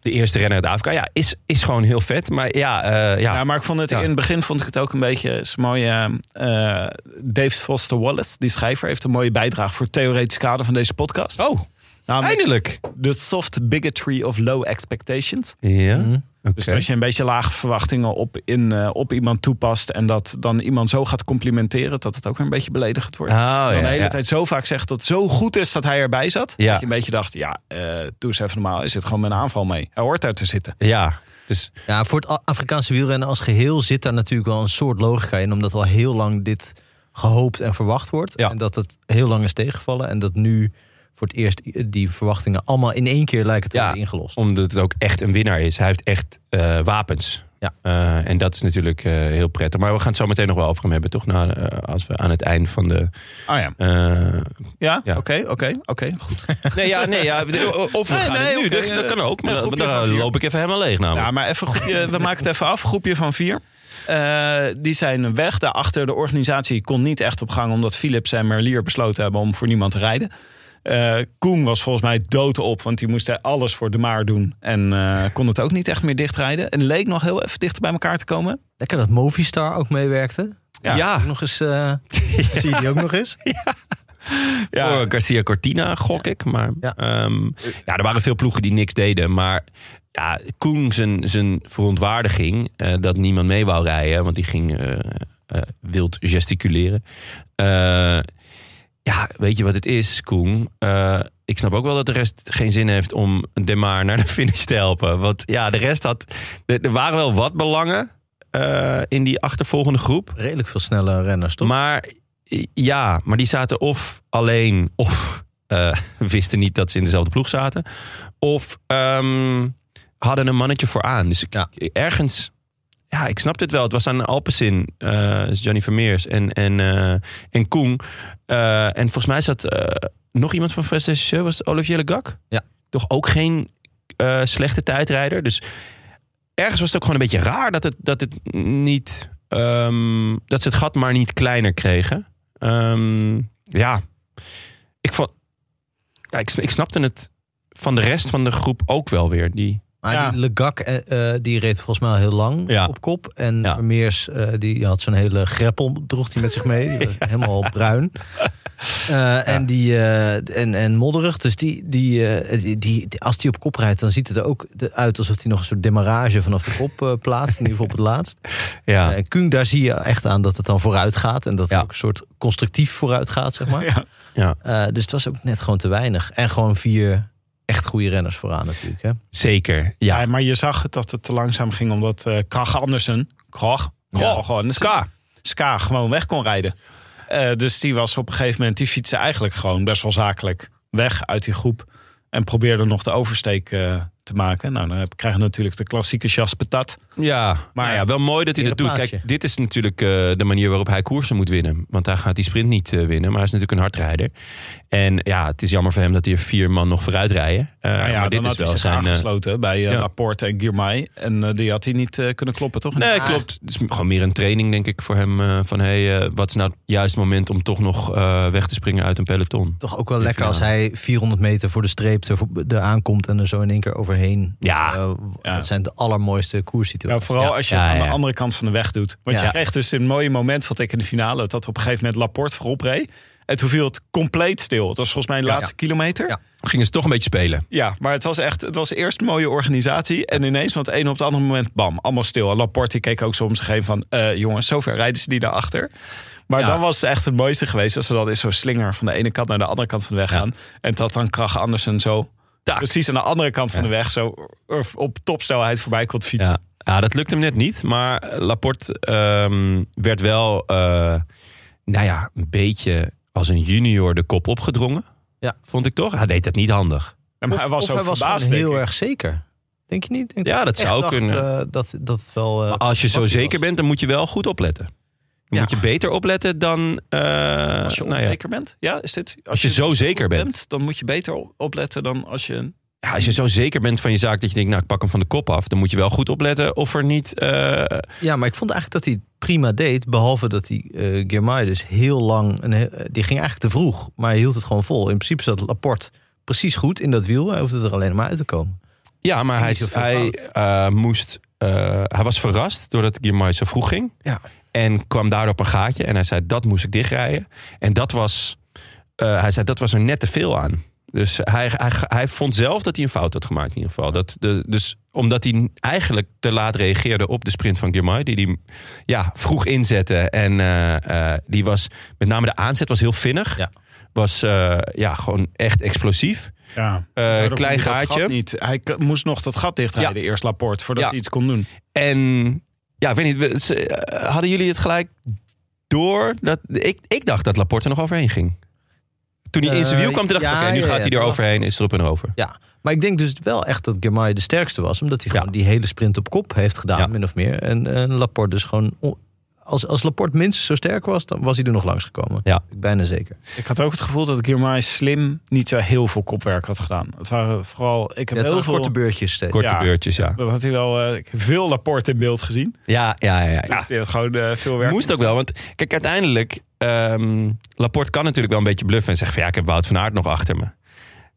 E: de eerste renner uit Afrika. Ja, is, is gewoon heel vet. Maar ja, eh, ja.
D: Ja, maar ik vond het
E: Ja.
D: in het begin vond ik het ook een beetje het is een mooie. eh, Dave Foster Wallace, die schrijver, heeft een mooie bijdrage voor het theoretisch kader van deze podcast.
E: Oh,
D: Namelijk
E: eindelijk.
D: The Nou, Soft Bigotry of Low Expectations.
E: Ja,
A: Mhm.
E: oké.
D: Dus als je een beetje lage verwachtingen op, in, eh, op iemand toepast en dat dan iemand zo gaat complimenteren, dat het ook weer een beetje beledigend wordt.
E: Oh,
D: En dan
E: ja,
D: de hele
E: ja.
D: tijd zo vaak zegt dat het zo goed is dat hij erbij zat.
E: Ja.
D: Dat je een beetje dacht, ja, eh, doe eens even normaal. Hij zit gewoon met een aanval mee. Hij hoort daar te zitten.
E: Ja, dus
A: Ja, voor het A- Afrikaanse wielrennen als geheel zit daar natuurlijk wel een soort logica in. Omdat al heel lang dit gehoopt en verwacht wordt.
E: Ja.
A: En dat het heel lang is tegengevallen. En dat nu voor het eerst i- die verwachtingen allemaal in één keer lijken te
E: Ja.
A: worden ingelost.
E: omdat het ook echt een winnaar is. Hij heeft echt eh, wapens.
A: Ja.
E: Eh, en dat is natuurlijk eh, heel prettig. Maar we gaan het zo meteen nog wel over hem hebben, toch? Na, eh, als we aan het eind van de...
D: Oh ja,
E: eh,
D: ja,
E: Ja.
D: oké, oké, oké, goed.
E: Nee, ja, nee, ja, of we
D: Nee,
E: gaan
D: nee,
E: het nu.
D: oké,
E: dat,
D: eh,
E: dat kan ook. Maar
D: een
E: dan,
D: groepje van
E: dan
D: vier. Nou, Oh.
E: loop ik even helemaal leeg namelijk.
D: Ja, maar even groepje, we maken het even af. Groepje van vier. Eh, die zijn weg. Daarachter, de organisatie kon niet echt op gang... omdat Philips en Merlier besloten hebben om voor niemand te rijden. Eh, Koen was volgens mij dood op, want die moest alles voor de maar doen. En eh, kon het ook niet echt meer dichtrijden. En leek nog heel even dichter bij elkaar te komen.
A: Lekker dat Movistar ook meewerkte.
D: Ja.
A: Ook Nog eens, eh, zie je die ook nog eens?
D: Ja.
E: Voor Garcia Cortina gok ik. Maar
A: Ja.
E: ja. ja, er waren veel ploegen die niks deden. Maar ja, Koen zijn, zijn verontwaardiging eh, dat niemand mee wou rijden. Want die ging eh, eh, wild gesticuleren. Eh, ja, weet je wat het is, Koen? Eh, ik snap ook wel dat de rest geen zin heeft om De Maar naar de finish te helpen. Want ja, de rest had... Er er waren wel wat belangen eh, in die achtervolgende groep.
A: Redelijk veel snelle renners, toch?
E: Maar i- ja, maar die zaten of alleen, of eh, wisten niet dat ze in dezelfde ploeg zaten, of ehm, hadden een mannetje vooraan. Dus ik,
A: Ja.
E: ergens, ja, ik snap dit wel. Het was aan Alpecin, eh dus Johnny Vermeers en, en, eh, en Koen. Eh, en volgens mij zat eh, nog iemand van Vestesje, was het Olivier Le Gac?
A: Ja.
E: Toch ook geen eh, slechte tijdrijder. Dus ergens was het ook gewoon een beetje raar dat het, dat het niet. ehm, dat ze het gat maar niet kleiner kregen. Ehm, ja. Ik, vond, ja ik, ik snapte het van de rest van de groep ook wel weer. Die,
A: Maar
D: Ja.
A: die Legak, eh, eh, die reed volgens mij heel lang
E: Ja.
A: op kop. En
E: Ja.
A: Vermeers, eh, die had zo'n hele greppel, droeg hij met zich mee. Die was helemaal bruin. Eh, en, die, eh, en, en modderig. Dus die, die, eh, die, die- die- als die op kop rijdt, dan ziet het er ook de- uit alsof hij nog een soort demarrage vanaf de kop eh, plaatst. In ieder geval op het laatst.
E: ja.
A: Eh, En Kung, daar zie je echt aan dat het dan vooruit gaat. En dat het
E: Ja.
A: ook een soort constructief vooruit gaat, zeg maar.
D: Ja.
E: Ja.
A: Eh, dus het was ook net gewoon te weinig. En gewoon vier echt goede renners vooraan natuurlijk. Hè?
E: zeker.
D: Ja.
E: Ja.
D: maar je zag het dat het te langzaam ging omdat eh Krach Andersen, Krach, Krach,
E: Ja.
D: gewoon, Dus Ska. Ska gewoon weg kon rijden. Eh, dus die was op een gegeven moment, die fietste eigenlijk gewoon best wel zakelijk weg uit die groep. En probeerde nog de oversteek eh, te maken. Nou, dan heb- krijg je natuurlijk de klassieke chasse patat.
E: Ja,
D: Maar-
E: maar ja, wel mooi dat hij dat
A: Hele
E: doet.
A: plaatsje.
E: Kijk, dit is natuurlijk eh, de manier waarop hij koersen moet winnen. Want hij gaat die sprint niet eh, winnen, maar hij is natuurlijk een hardrijder. En ja, het is jammer voor hem dat hier vier man nog vooruit rijden. Eh,
D: Nou
E: maar
D: ja, dan
E: dit is
D: had hij
E: wel
D: zich
E: zijn. eh,
D: aangesloten bij eh,
E: ja.
D: Laporte en Girmay. En eh, die had hij niet eh, kunnen kloppen, toch?
E: Nee, klopt. Het is gewoon meer een training, denk ik, voor hem. eh, van, hey, eh, wat is nou het juiste moment om toch nog eh, weg te springen uit een peloton?
A: Toch ook wel lekker als hij 400 meter voor de streep er, er aankomt en er zo in één keer overheen.
E: Ja.
A: Eh,
D: Ja.
A: Dat zijn de allermooiste
D: Ja,
A: koerssituaties.
D: vooral als je het
E: Ja,
D: aan de
E: ja.
D: andere kant van de weg doet. Want
A: Ja.
D: je kreeg dus een mooie moment, vond ik in de finale, dat op een gegeven moment Laporte voorop reed. En toen viel het compleet stil. Het was volgens mij de
A: Ja.
D: laatste kilometer.
A: Ja.
D: Ja.
E: Gingen ze toch een beetje spelen.
D: maar het was echt, het was eerst een mooie organisatie. En ineens, want het een op het andere moment, bam, allemaal stil. En Laporte die keek ook soms geen van, eh, jongens, zover rijden ze niet naar achter. Maar
E: Ja.
D: dan was het echt het mooiste geweest als ze dan in zo'n slinger van de ene kant naar de andere kant van de weg gaan. En dat dan Krach Andersen zo
E: Tak.
D: precies aan de andere kant van de weg zo eh, op topsnelheid voorbij kon fietsen.
E: Ja. ja, dat lukt hem net niet. Maar eh, Laporte ehm, werd wel, eh, nou ja, een beetje als een junior de kop opgedrongen.
A: Ja.
E: Vond ik toch? Hij deed dat niet handig.
D: En hij was
A: of
D: ook
A: hij was
D: verbaasd,
A: gewoon
D: denk ik.
A: heel erg zeker. Denk je niet? Denk
E: Ja,
A: ik
E: dat
A: echt
E: zou
A: dacht,
E: kunnen.
A: eh, dat, dat het wel... eh,
E: Maar als je zo
A: was.
E: zeker bent, dan moet je wel goed opletten. Dan
A: Ja.
E: moet je beter opletten dan... eh,
D: Als je
E: nou ja.
D: onzeker bent? Ja, is dit, als,
E: je zo zeker bent.
D: dan moet je beter op- opletten dan als je...
E: Ja, als je zo zeker bent van je zaak dat je denkt, nou ik pak hem van de kop af. Dan moet je wel goed opletten of er niet... eh,
A: Ja, maar ik vond eigenlijk dat hij het prima deed. Behalve dat hij eh Girmay dus heel lang... Een, he- die ging eigenlijk te vroeg, maar hij hield het gewoon vol. In principe zat Laporte precies goed in dat wiel. Hij hoefde er alleen maar uit te komen.
E: Ja, maar hij,
A: niet zoveel
E: hij
A: fout.
E: eh, moest. eh, hij was verrast doordat Girmay zo vroeg ging.
A: Ja.
E: En kwam daardoor op een gaatje. En hij zei: dat moest ik dichtrijden. En dat was. eh, hij zei: dat was er net te veel aan. Dus hij, hij, hij vond zelf dat hij een fout had gemaakt, in ieder geval. Dat de, dus omdat hij eigenlijk te laat reageerde op de sprint van Girmay, die hij ja, vroeg inzette. En eh, eh, die was, met name de aanzet was heel vinnig.
A: Ja.
E: Was eh, ja, gewoon echt explosief.
D: Ja.
E: Eh, klein gaatje.
D: Niet. Hij k- moest nog dat gat dichtrijden, eerst Laporte, voordat
E: Ja.
D: hij iets kon doen.
E: En ja, ik weet niet, we- ze- eh, hadden jullie het gelijk door? Dat, ik, ik dacht dat Laporte er nog overheen ging. Toen hij in zijn
A: Eh,
E: wiel kwam, toen dacht ik,
A: ja,
E: oké, nu
A: ja,
E: gaat
A: ja,
E: hij
A: dat
E: er
A: dacht
E: overheen, is er op en over.
A: Ja, maar ik denk dus wel echt dat Girmay de sterkste was. Omdat hij
E: Ja.
A: gewoon die hele sprint op kop heeft gedaan,
E: Ja.
A: min of meer. En, en Laporte dus gewoon on- Als, als Laporte minstens zo sterk was, dan was hij er nog langs gekomen.
E: Ja.
A: Ik bijna zeker.
D: Ik had ook het gevoel dat ik hier maar slim niet zo heel veel kopwerk had gedaan. Het waren vooral. Ik heb
A: Ja, het
D: heel
A: waren
D: veel.
A: korte beurtjes steeds.
E: Korte
D: Ja.
E: beurtjes, ja.
D: dat had hij wel. eh, ik heb veel Laporte in beeld gezien.
E: Ja, ja, ja. ja.
D: Dus die had gewoon eh, veel werk.
E: Moest ook wel, want kijk, uiteindelijk... ehm, Laporte kan natuurlijk wel een beetje bluffen en zeggen van... ja, ik heb Wout van Aert nog achter me.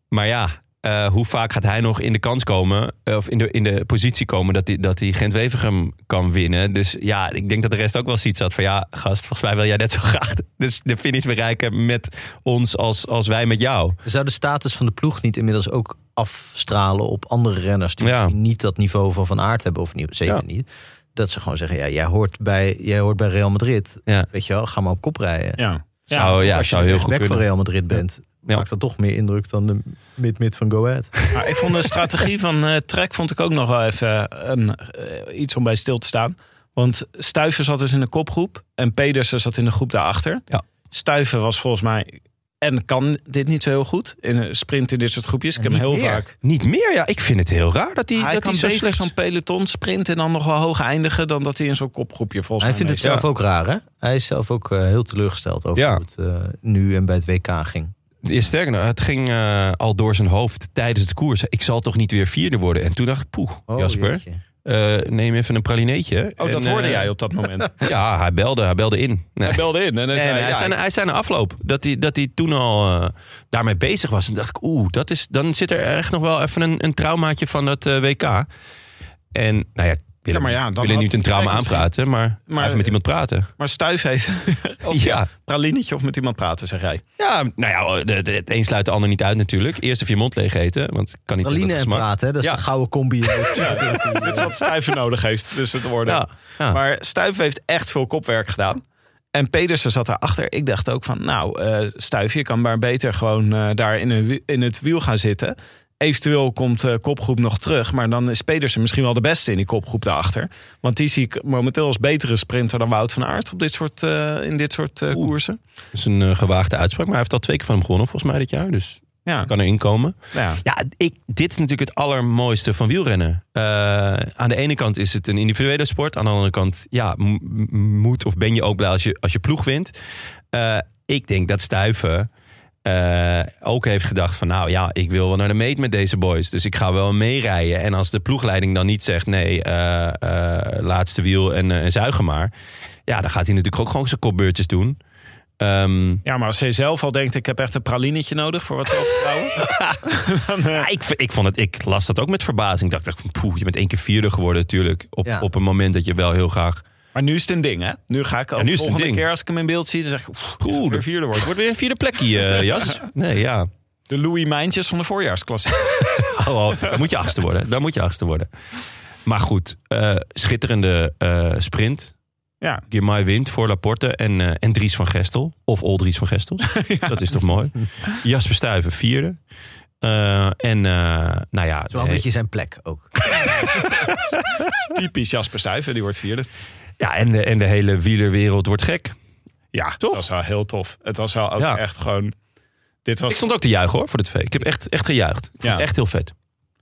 E: Maar ja, eh, hoe vaak gaat hij nog in de kans komen... eh, of in de, in de positie komen dat hij dat die Gent-Wevergem kan winnen. Dus ja, ik denk dat de rest ook wel zoiets had van... ja, gast, volgens mij wil jij net zo graag dus de finish bereiken met ons als, als wij met jou.
A: Zou de status van de ploeg niet inmiddels ook afstralen op andere renners... die
E: Ja.
A: misschien niet dat niveau van Van Aert hebben, of niet, zeker
E: Ja.
A: niet... dat ze gewoon zeggen, ja, jij hoort bij, jij hoort bij Real Madrid.
E: Ja.
A: Weet je wel, ga maar op kop rijden.
D: Ja.
E: Zou, ja,
A: Als je
E: zou
A: de
E: heel goed
A: rechtsback
E: kunnen.
A: van Real Madrid bent,
E: Ja.
A: maakt dat toch meer indruk dan de mid-mid van Go Ahead.
D: Maar ik vond de strategie van eh Trek vond ik ook nog wel even een, eh, iets om bij stil te staan. Want Stuiven zat dus in de kopgroep en Pedersen zat in de groep daarachter.
E: Ja.
D: Stuiven was volgens mij en kan dit niet zo heel goed in een sprint in dit soort groepjes. Ik heb hem heel
E: Niet meer.
D: vaak.
E: Niet meer, ja. Ik vind het heel raar dat hij,
D: hij
E: dat
D: kan
E: hij zo
D: beter
E: slecht-
D: zo'n peloton sprinten en dan nog wel hoog eindigen dan dat hij in zo'n kopgroepje volgens
A: Hij
D: mij
A: vindt het
D: meegaat.
A: zelf ook raar, hè? Hij is zelf ook eh, heel teleurgesteld over
E: Ja.
A: hoe het eh, nu en bij het WK ging.
E: Ja, sterker nog, het ging eh, al door zijn hoofd tijdens het koers. Ik zal toch niet weer vierde worden? En toen dacht ik, poeh, Oh, Jasper,
A: jeetje.
E: eh, neem even een pralineetje.
D: Oh, dat
E: En,
D: hoorde
E: eh,
D: jij op dat moment.
E: Ja, hij belde, hij belde in. Nee.
D: Hij belde in en hij
E: Nee,
D: zei... "Nou,
E: nee,
D: ja,
E: hij, zei, hij zei na afloop dat hij, dat hij toen al eh, daarmee bezig was. En dacht ik, oeh, dat is, dan zit er echt nog wel even een, een traumaatje van dat eh, WK. En, nou ja, ik wil
D: Ja, maar
E: hem-
D: ja,
E: ik
D: dan
E: wil hem
D: had
E: niet een
D: het
E: trauma
D: misschien-
E: aanpraten, maar,
D: Maar-
E: even met iemand praten.
D: Maar Stuif heeft of
E: ja.
D: pralinetje of met iemand praten, zeg jij.
E: Ja, nou ja, de- de- het een sluit de ander niet uit natuurlijk. Eerst even je mond leeg eten, want ik kan niet
A: Praline
E: dat
A: en
E: gesmak.
A: praten, hè? dat is
E: Ja.
A: de gouden combi. in de psychotherapie.
D: Dit is wat Stuiven nodig heeft, dus het worden.
E: Ja, ja.
D: Maar Stuiven heeft echt veel kopwerk gedaan. En Pedersen zat daarachter. Ik dacht ook van, nou, eh Stuif, je kan maar beter gewoon eh, daar in, een wi- in het wiel gaan zitten. Eventueel komt eh kopgroep nog terug. Maar dan is Pedersen misschien wel de beste in die kopgroep daarachter. Want die zie ik momenteel als betere sprinter dan Wout van Aert op dit soort, eh, in dit soort eh, koersen.
E: Dat is een eh, gewaagde uitspraak, maar hij heeft al twee keer van hem gewonnen volgens mij dit jaar. Dus
D: Ja, Nou
E: kan erin komen.
D: ja.
E: Ja, ik, dit is natuurlijk het allermooiste van wielrennen. Eh, aan de ene kant is het een individuele sport. Aan de andere kant, ja, m- m- moet of ben je ook blij als je, als je ploeg wint. Eh, ik denk dat Stuiven eh, ook heeft gedacht van... nou ja, ik wil wel naar de meet met deze boys. Dus ik ga wel meerijden. En als de ploegleiding dan niet zegt... nee, eh, eh, laatste wiel en, eh, en zuigen maar... ja, dan gaat hij natuurlijk ook gewoon zijn kopbeurtjes doen. Ehm,
D: ja, maar als hij zelf al denkt, ik heb echt een pralinetje nodig voor wat zelfvertrouwen.
E: Ja, ik, v- ik, vond het, ik las dat ook met verbazing. Ik dacht, echt van, poeh, je bent één keer vierde geworden natuurlijk. Op,
A: Ja.
E: op een moment dat je wel heel graag...
D: Maar nu is het een ding, hè? Nu ga ik ook
E: Ja, nu is het
D: volgende
E: een ding.
D: keer als ik hem in beeld zie, dan zeg ik... oef, die gaat
E: Oeh,
D: weer
E: de vierde wordt. Wordt weer een vierde plekje, eh, Jas. Nee, ja.
D: De Louis Mijntjes van de voorjaarsklasse.
E: Oh, oh, dan moet je achtste worden. Dan moet je achtste worden. Maar goed, eh, schitterende eh, sprint.
D: Ja.
E: Girmay wint voor Laporte en, eh, en Dries van Gestel. Of Old Dries van Gestel. Dat is toch mooi. Jasper Stuyven vierde. Eh, en eh, nou ja...
A: Zo een
E: nee.
A: beetje zijn plek ook.
D: Typisch Jasper Stuyven, die wordt vierde.
E: ja, en, de, en de hele wielerwereld wordt gek.
D: Ja,
E: Toch?
D: dat was wel heel tof. Het was wel ook
E: Ja.
D: echt gewoon... Dit
E: Ik
D: was...
E: stond ook te juichen hoor, voor de twee. Ik heb echt, echt gejuicht. Ik vond
D: Ja.
E: het echt heel vet.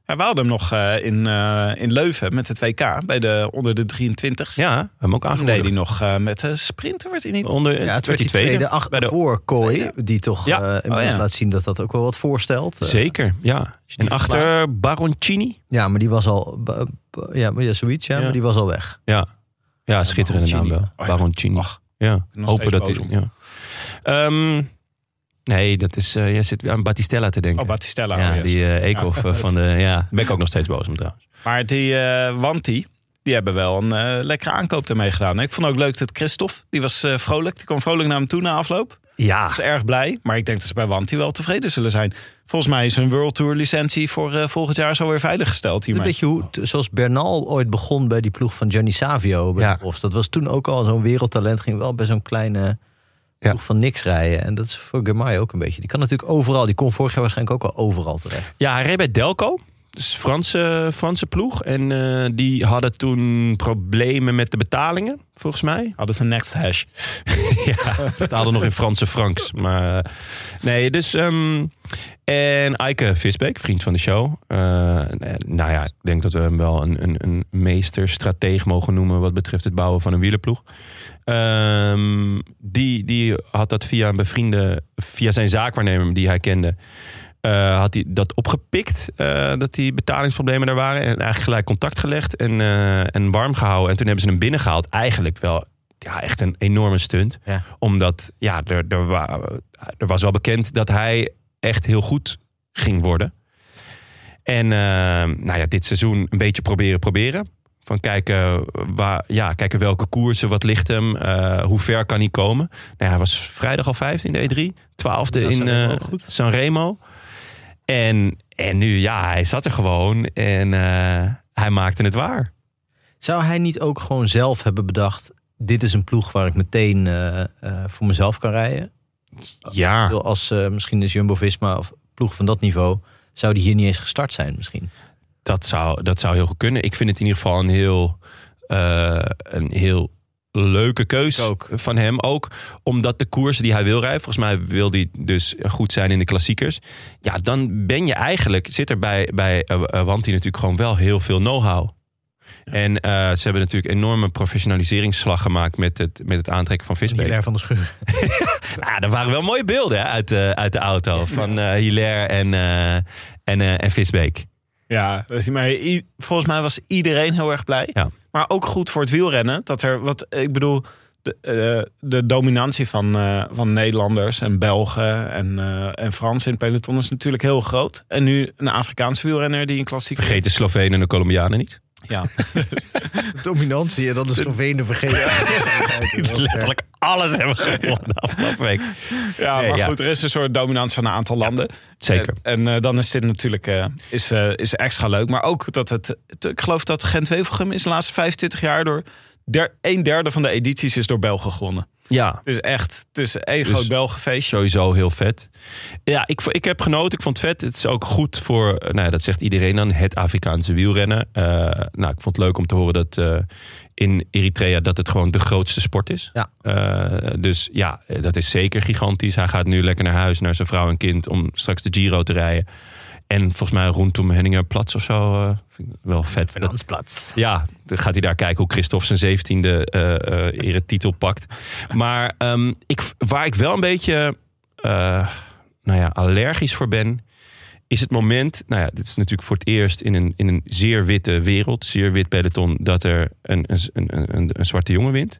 D: Ja, we hadden hem nog eh, in, eh, in Leuven met het WK, bij de, onder de 23.
E: Ja, Oh, we hem ook
D: Toen deed
E: aangekondigd.
D: hij nog eh, met de sprinter, werd hij niet...
E: Onder,
A: Ja, het werd die tweede, acht-
E: bij de-
A: voor Kooi, die toch
E: Ja.
A: eh, inmiddels
D: Oh, ja.
A: laat zien dat dat ook wel wat voorstelt. Eh,
E: Zeker, ja. En achter Baroncini.
A: Ja, maar die was al, b- b- ja, maar ja, zoiets, ja,
E: Ja.
A: maar die was al weg.
E: Ja, ja schitterende naam
D: Baroncini.
E: wel.
D: Oh ja.
E: Baroncini. Ja,
D: nog
E: hopen
D: steeds
E: dat hij...
D: boos
E: Ja. Ehm, nee, dat is, eh, jij zit aan Battistella te denken.
D: Oh, Battistella. oh,
E: ja,
D: yes.
E: die eh Eekhoff eh, van de... Ja, daar ben ik ook nog steeds boos om trouwens.
D: Maar die eh Wanti, die hebben wel een eh, lekkere aankoop ermee gedaan. Ik vond ook leuk dat Christophe, die was eh, vrolijk. Die kwam vrolijk naar hem toe na afloop.
E: Ja,
D: was erg blij. Maar ik denk dat ze bij Wanti wel tevreden zullen zijn. Volgens mij is hun World Tour licentie voor eh, volgend jaar zo weer veiliggesteld
A: Een
D: hiermee.
A: beetje hoe, t- zoals Bernal ooit begon bij die ploeg van Gianni Savio. Bij
E: Ja.
A: de profs. Dat was toen ook al zo'n wereldtalent. Ging wel bij zo'n kleine
E: Ja.
A: ploeg van niks rijden. En dat is voor Germay ook een beetje. Die kan natuurlijk overal. Die kon vorig jaar waarschijnlijk ook al overal terecht.
E: Ja, hij reed bij Delco. Dus Franse, Franse ploeg. En eh, die hadden toen problemen met de betalingen, volgens mij.
D: Hadden ze een next hash.
E: ja, betaalde nog in Franse francs. Maar eh, nee, dus... ehm, en Eike Visbeek, vriend van de show. Eh, nou ja, ik denk dat we hem wel een, een, een meesterstrateeg mogen noemen... wat betreft het bouwen van een wielerploeg. Ehm, die, die had dat via een bevriende, via zijn zaakwaarnemer die hij kende, eh, had hij dat opgepikt. eh, dat die betalingsproblemen er waren. En eigenlijk gelijk contact gelegd en, eh, en warm gehouden. En toen hebben ze hem binnengehaald. Eigenlijk wel ja, echt een enorme stunt.
A: Ja.
E: Omdat ja, er, er, wa- er was wel bekend dat hij echt heel goed ging worden. En eh, nou ja, dit seizoen een beetje proberen, proberen. Van kijken, waar, ja, kijken welke koersen, wat ligt hem, eh, hoe ver kan hij komen. Nou ja, hij was vrijdag al 15 de E3, 12e in
A: Ja, Sanremo
E: eh,
A: ook goed.
E: Sanremo. En, en nu, ja, hij zat er gewoon en eh, hij maakte het waar.
A: Zou hij niet ook gewoon zelf hebben bedacht... dit is een ploeg waar ik meteen eh, eh, voor mezelf kan rijden? Ik
E: Ja,
A: bedoel, Als eh, misschien is Jumbo-Visma of ploeg van dat niveau... zou die hier niet eens gestart zijn misschien.
E: Dat zou, dat zou heel goed kunnen. Ik vind het in ieder geval een heel, eh, een heel leuke keus
A: Ik ook.
E: van hem. Ook omdat de koersen die hij wil rijden, volgens mij wil hij dus goed zijn in de klassiekers. Ja, dan ben je eigenlijk, zit er bij, bij eh, eh, Wanty natuurlijk gewoon wel heel veel know-how. En eh, ze hebben natuurlijk enorme professionaliseringsslag gemaakt met het, met het aantrekken van Visbeek.
A: Hilaire van de Schuur.
E: Ah, er waren wel mooie beelden hè, uit, de- uit de auto van eh Hilaire en, eh, en, eh, en Visbeek.
D: Ja, dat is- maar i- volgens mij was iedereen heel erg blij.
E: Ja.
D: Maar ook goed voor het wielrennen. Dat er wat, ik bedoel, de, eh, de dominantie van, eh, van Nederlanders en Belgen en, eh en Fransen in het peloton is natuurlijk heel groot. En nu een Afrikaanse wielrenner die een klassiek.
E: Vergeet de Slovenen en de Colombianen niet.
D: Ja.
A: Dominantie en dan de Slovenen
E: Die
A: vergeten.
E: letterlijk alles hebben gewonnen afgelopen week.
D: ja,
E: Nee,
D: maar
E: ja.
D: goed, er is een soort dominantie van een aantal landen.
E: Zeker.
D: En, en, eh, dan is dit natuurlijk eh, is, eh, is extra leuk. Maar ook dat het. het- ik geloof dat Gent-Wevelgem is de laatste 25 jaar door. Der, een derde van de edities is door Belgen gewonnen.
E: Ja,
D: Het is echt. Het is één
E: Dus-
D: groot Belgenfeestje.
E: sowieso heel vet. Ja, ik, vo- ik heb genoten. Ik vond het vet. Het is ook goed voor, eh, nou ja, dat zegt iedereen dan, het Afrikaanse wielrennen. Eh, nou, ik vond het leuk om te horen dat eh, in Eritrea dat het gewoon de grootste sport is.
A: Ja.
E: Eh, dus ja, eh, dat is zeker gigantisch. Hij gaat nu lekker naar huis, naar zijn vrouw en kind, om straks de Giro te rijden. En volgens mij rondom Henninger Plats of zo. eh, vind ik wel vet. Dat-
A: Finansplatz.
E: Ja, dan gaat hij daar kijken hoe Christophe zijn zeventiende eh eh eretitel pakt. Maar ehm, ik, waar ik wel een beetje eh, nou ja, allergisch voor ben, is het moment. Nou ja, dit is natuurlijk voor het eerst in een, in een zeer witte wereld, zeer wit peloton, dat er een, een, een, een, een zwarte jongen wint.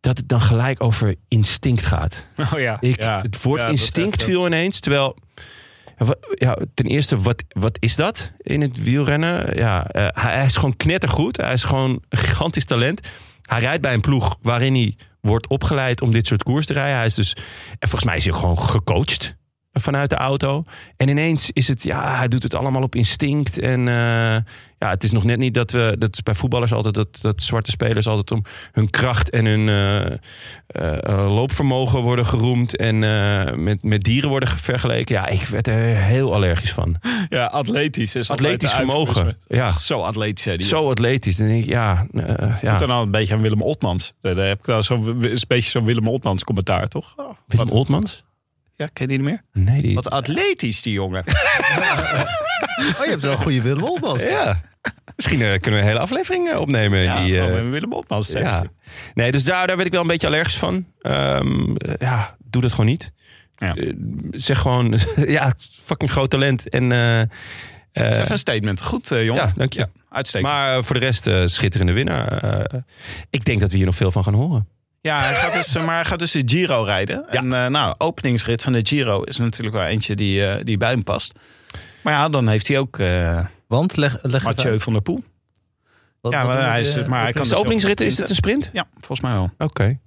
E: Dat het dan gelijk over instinct gaat.
D: Oh ja.
E: Ik,
D: ja.
E: het woord
D: Ja, dat
E: instinct
D: echt,
E: viel ineens. Terwijl, ja, wa- ja, ten eerste, wat, wat is dat in het wielrennen? Ja, eh, hij, hij is gewoon knettergoed. Hij is gewoon een gigantisch talent. Hij rijdt bij een ploeg waarin hij wordt opgeleid om dit soort koers te rijden. Hij is dus, en volgens mij is hij ook gewoon gecoacht vanuit de auto. En ineens is het, ja, hij doet het allemaal op instinct. En eh, ja, het is nog net niet dat we, dat is bij voetballers altijd, dat, dat zwarte spelers altijd om hun kracht en hun eh, eh, eh, loopvermogen worden geroemd. En eh, met, met dieren worden ge- vergeleken. Ja, ik werd er heel allergisch van.
D: eh, Ja, atletisch. Is altijd
E: Atletisch
D: de uitverkoop.
E: vermogen. Ja,
D: Zo atletisch, hè, die.
E: zo atletisch. Dan denk ik, ja, eh, ja.
D: Moet dan al een beetje aan Willem Otmans. Daar heb ik nou zo'n is een beetje zo'n Willem Otmans commentaar, toch? Oh,
E: Willem
D: wat-
E: Oltmans?
D: Ja, ken je die niet meer?
E: Nee, die...
D: Wat atletisch, die jongen.
A: Oh, je hebt wel een goede Willem Olmans.
E: Ja. Misschien eh, kunnen we een hele aflevering eh, opnemen. in
D: Ja,
E: die, eh,
D: gewoon met Oh, Willem Otmans. zeg.
E: Ja. Nee, dus daar, daar werd ik wel een beetje allergisch van. Ehm, eh, ja, doe dat gewoon niet.
D: Ja.
E: Eh, zeg gewoon, ja, fucking groot talent. En, eh, eh,
D: Dat is even een statement. Goed, eh, jongen.
E: ja, dank je.
D: Uitstekend.
E: maar eh, voor de rest, eh, schitterende winnaar. Eh, ik denk dat we hier nog veel van gaan horen.
D: Ja, hij gaat dus, eh, maar hij gaat dus de Giro rijden. En eh, nou, openingsrit van de Giro is natuurlijk wel eentje die, eh, die bij hem past. Maar ja, dan heeft hij ook eh
A: Want, leg, leg het
D: Mathieu
A: uit.
D: van der Poel.
A: Wat-
D: Ja,
A: wat
D: maar
A: doen
D: hij
A: we,
D: is,
A: eh,
D: maar hij
E: Is
D: kan dus
E: de openingsrit, is het een sprint?
D: Ja, volgens mij wel.
E: Oké.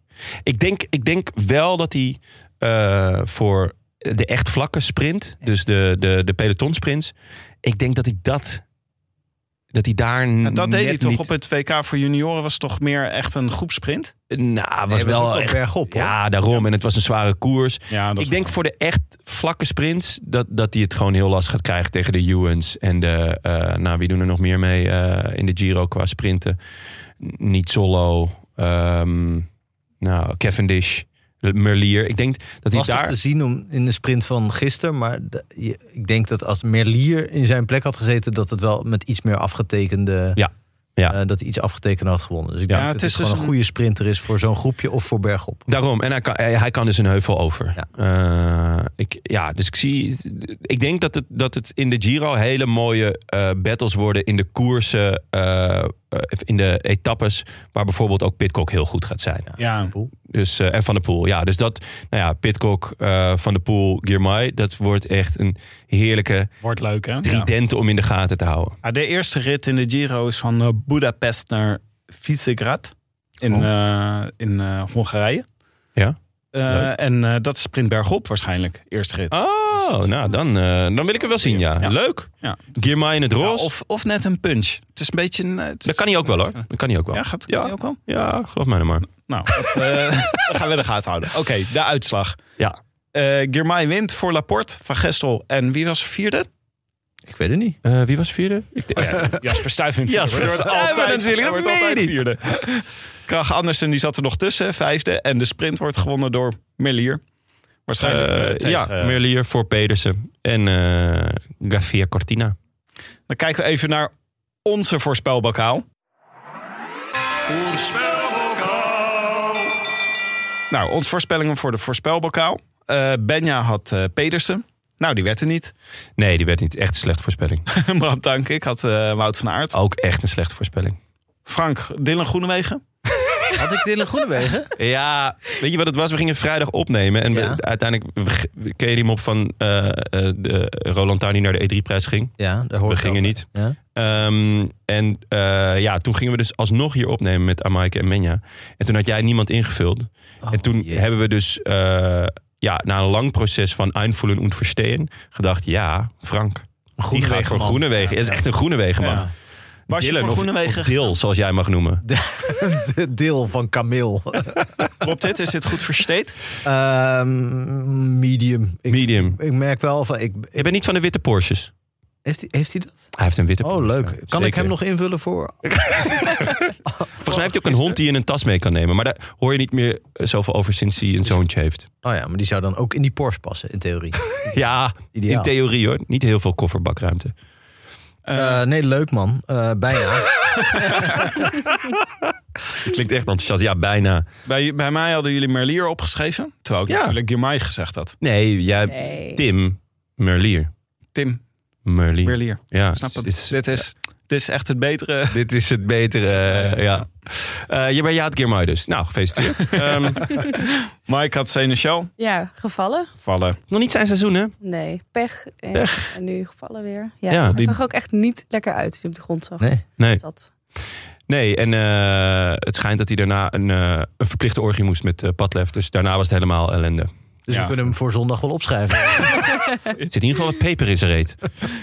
E: Ik, denk, ik denk wel dat hij eh, voor de echt vlakke sprint, dus de, de, de pelotonsprints, ik denk dat hij dat, Nou, dat hij daar
D: En dat deed
E: net
D: hij toch
E: niet-
D: op het WK voor junioren. Was toch meer echt een groepsprint?
E: Nou, was
A: Nee, was ook
E: wel
A: wel
E: echt
A: bergop, hoor.
E: Ja, daarom. En het was een zware koers.
D: Ja,
E: ik denk voor de echt vlakke sprints dat, dat hij het gewoon heel lastig gaat krijgen tegen de Ewens. En de, eh, nou, wie doen er nog meer mee eh, in de Giro qua sprinten? Niet Solo, ehm, nou, Cavendish, Merlier. Ik denk dat hij
A: Lastig
E: daar...
A: te zien om in de sprint van gisteren. Maar de- je- ik denk dat als Merlier in zijn plek had gezeten... dat het wel met iets meer afgetekende
E: Ja, Ja.
A: eh, dat hij iets afgetekend had gewonnen. Dus ik
D: Ja,
A: denk
D: het
A: dat
D: is
A: het gewoon
D: dus
A: een
D: een-
A: goede sprinter is voor zo'n groepje of voor bergop.
E: Daarom, en hij kan, hij hij kan dus een heuvel over.
A: Ja.
E: Eh, ik, ja, dus ik zie. Ik denk dat het, dat het in de Giro hele mooie eh, battles worden in de koersen, eh, eh, in de etappes, waar bijvoorbeeld ook Pitcock heel goed gaat zijn.
D: Ja,
E: Dus, eh, en Van de Poel, ja. Dus dat, nou ja, Pitcock, eh, Van de Poel, Girmay, dat wordt echt een heerlijke
D: wordt leuk hè. Ja.
E: trident om in de gaten te houden.
D: Ah, de eerste rit in de Giro is van eh, Budapest naar Visegrad in,
E: Oh.
D: eh, in eh, Hongarije.
E: Ja.
D: Eh,
E: Leuk.
D: en eh, dat is sprint bergop waarschijnlijk, eerste rit. Dus
E: Oh,
D: dat-
E: nou dan, eh, dan wil ik hem wel zien, ja.
D: Ja.
E: Leuk.
D: Ja.
E: Girmay in het
D: Ja,
E: roos.
D: of, of net een punch. Het is een beetje een... eh, het is-
E: dat kan hij ook wel hoor. Dat kan hij ook wel.
D: Ja, gaat kan
E: Ja.
D: die ook wel?
E: Ja, geloof mij nou maar.
D: Nou, dat eh, dat gaan we in de gaten houden. Oké, de uitslag.
E: Ja.
D: Eh Girmay wint voor Laporte, Van Gestel. En wie was er vierde?
A: Ik weet het niet.
E: Eh, wie was vierde? Ik denk-
D: Jasper Stuyven.
E: Jasper Stuyven natuurlijk, dat meen ik.
D: vierde. Krach Andersen die zat er nog tussen, vijfde. En de sprint wordt gewonnen door Merlier. Waarschijnlijk. eh,
E: Eh,
D: tegen,
E: ja,
D: eh,
E: Merlier voor Pedersen en eh Garcia Cortina.
D: Dan kijken we even naar onze voorspelbokaal. Nou, onze voorspellingen voor de voorspelbokaal. Eh, Benja had eh, Pedersen. Nou, die werd er niet.
E: Nee, die werd niet. Echt een slechte voorspelling.
D: Bram Tank, ik had eh, Wout van Aert.
E: Ook echt een slechte voorspelling.
D: Frank, Dylan Groenewegen.
A: Had ik Dylan Groenewegen?
E: Ja, weet je wat het was? We gingen vrijdag opnemen. En we-
A: Ja.
E: uiteindelijk we g- we keken hem op van eh, eh, de Roland Tuin die naar de E3-prijs ging.
A: Ja, daar hoort
E: We gingen
A: ook.
E: niet.
A: Ja.
E: Ehm, en eh, ja, toen gingen we dus alsnog hier opnemen met Amaike en Menja. En toen had jij niemand ingevuld.
A: Oh,
E: en toen
A: jee.
E: hebben we dus eh, ja, na een lang proces van aanvoelen en verstehen gedacht, ja, Frank, die gaat voor
A: Groenewegenman.
E: Groenewegen. Het is echt een Groenewegen, man.
D: Ja. Was je
E: Dylan
D: voor
E: of-
D: Groenewegen?
E: Of Dil, zoals jij mag noemen.
A: De deel van Camille.
D: Klopt dit? Is dit goed versteed?
A: Ehm, medium. Ik,
E: Medium.
A: ik merk wel van... Ik,
E: Je bent niet van de witte Porsches.
A: heeft, hij, heeft hij dat?
E: Hij heeft een witte
A: Oh,
E: Porsche,
A: leuk.
E: ja.
A: Kan ik
E: Zeker.
A: hem nog invullen voor...
E: Volgens mij heeft hij ook een hond die je in een tas mee kan nemen. Maar daar hoor je niet meer eh, zoveel over sinds hij een zoontje heeft.
A: Oh ja, maar die zou dan ook in die Porsche passen, in theorie.
E: Ja,
A: Ideaal.
E: in theorie hoor. Niet heel veel kofferbakruimte.
A: Eh, nee, leuk man. Eh, bijna.
E: Het klinkt echt enthousiast. Ja, bijna.
D: Bij, bij mij hadden jullie Merlier opgeschreven. Terwijl ik
E: Ja.
D: natuurlijk Girmay gezegd had.
E: Nee, jij,
F: Nee.
E: Tim Merlier.
D: Tim
E: Merlier.
D: Merlier.
E: Ja,
D: Snap het?
E: is-
D: dit, is, dit is echt het betere.
E: dit is het betere. eh, ja. Eh, je bent Jaat Girmay dus. Nou, gefeliciteerd. Ehm,
D: Mike had Seneschal
F: Ja, gevallen?
D: vallen.
E: nog niet zijn seizoen, hè?
F: Nee, pech. En, en nu gevallen weer. Ja,
E: Ja,
F: hij
E: die-
F: zag ook echt niet lekker uit toen hij op de grond zag.
A: Nee.
E: Nee,
F: Zat.
E: nee en eh, het schijnt dat hij daarna een, eh, een verplichte orgie moest met eh, Padlef. Dus daarna was het helemaal ellende.
A: Dus
D: Ja.
A: we kunnen hem voor zondag wel opschrijven.
E: Er zit in ieder geval wat peper in zijn reet.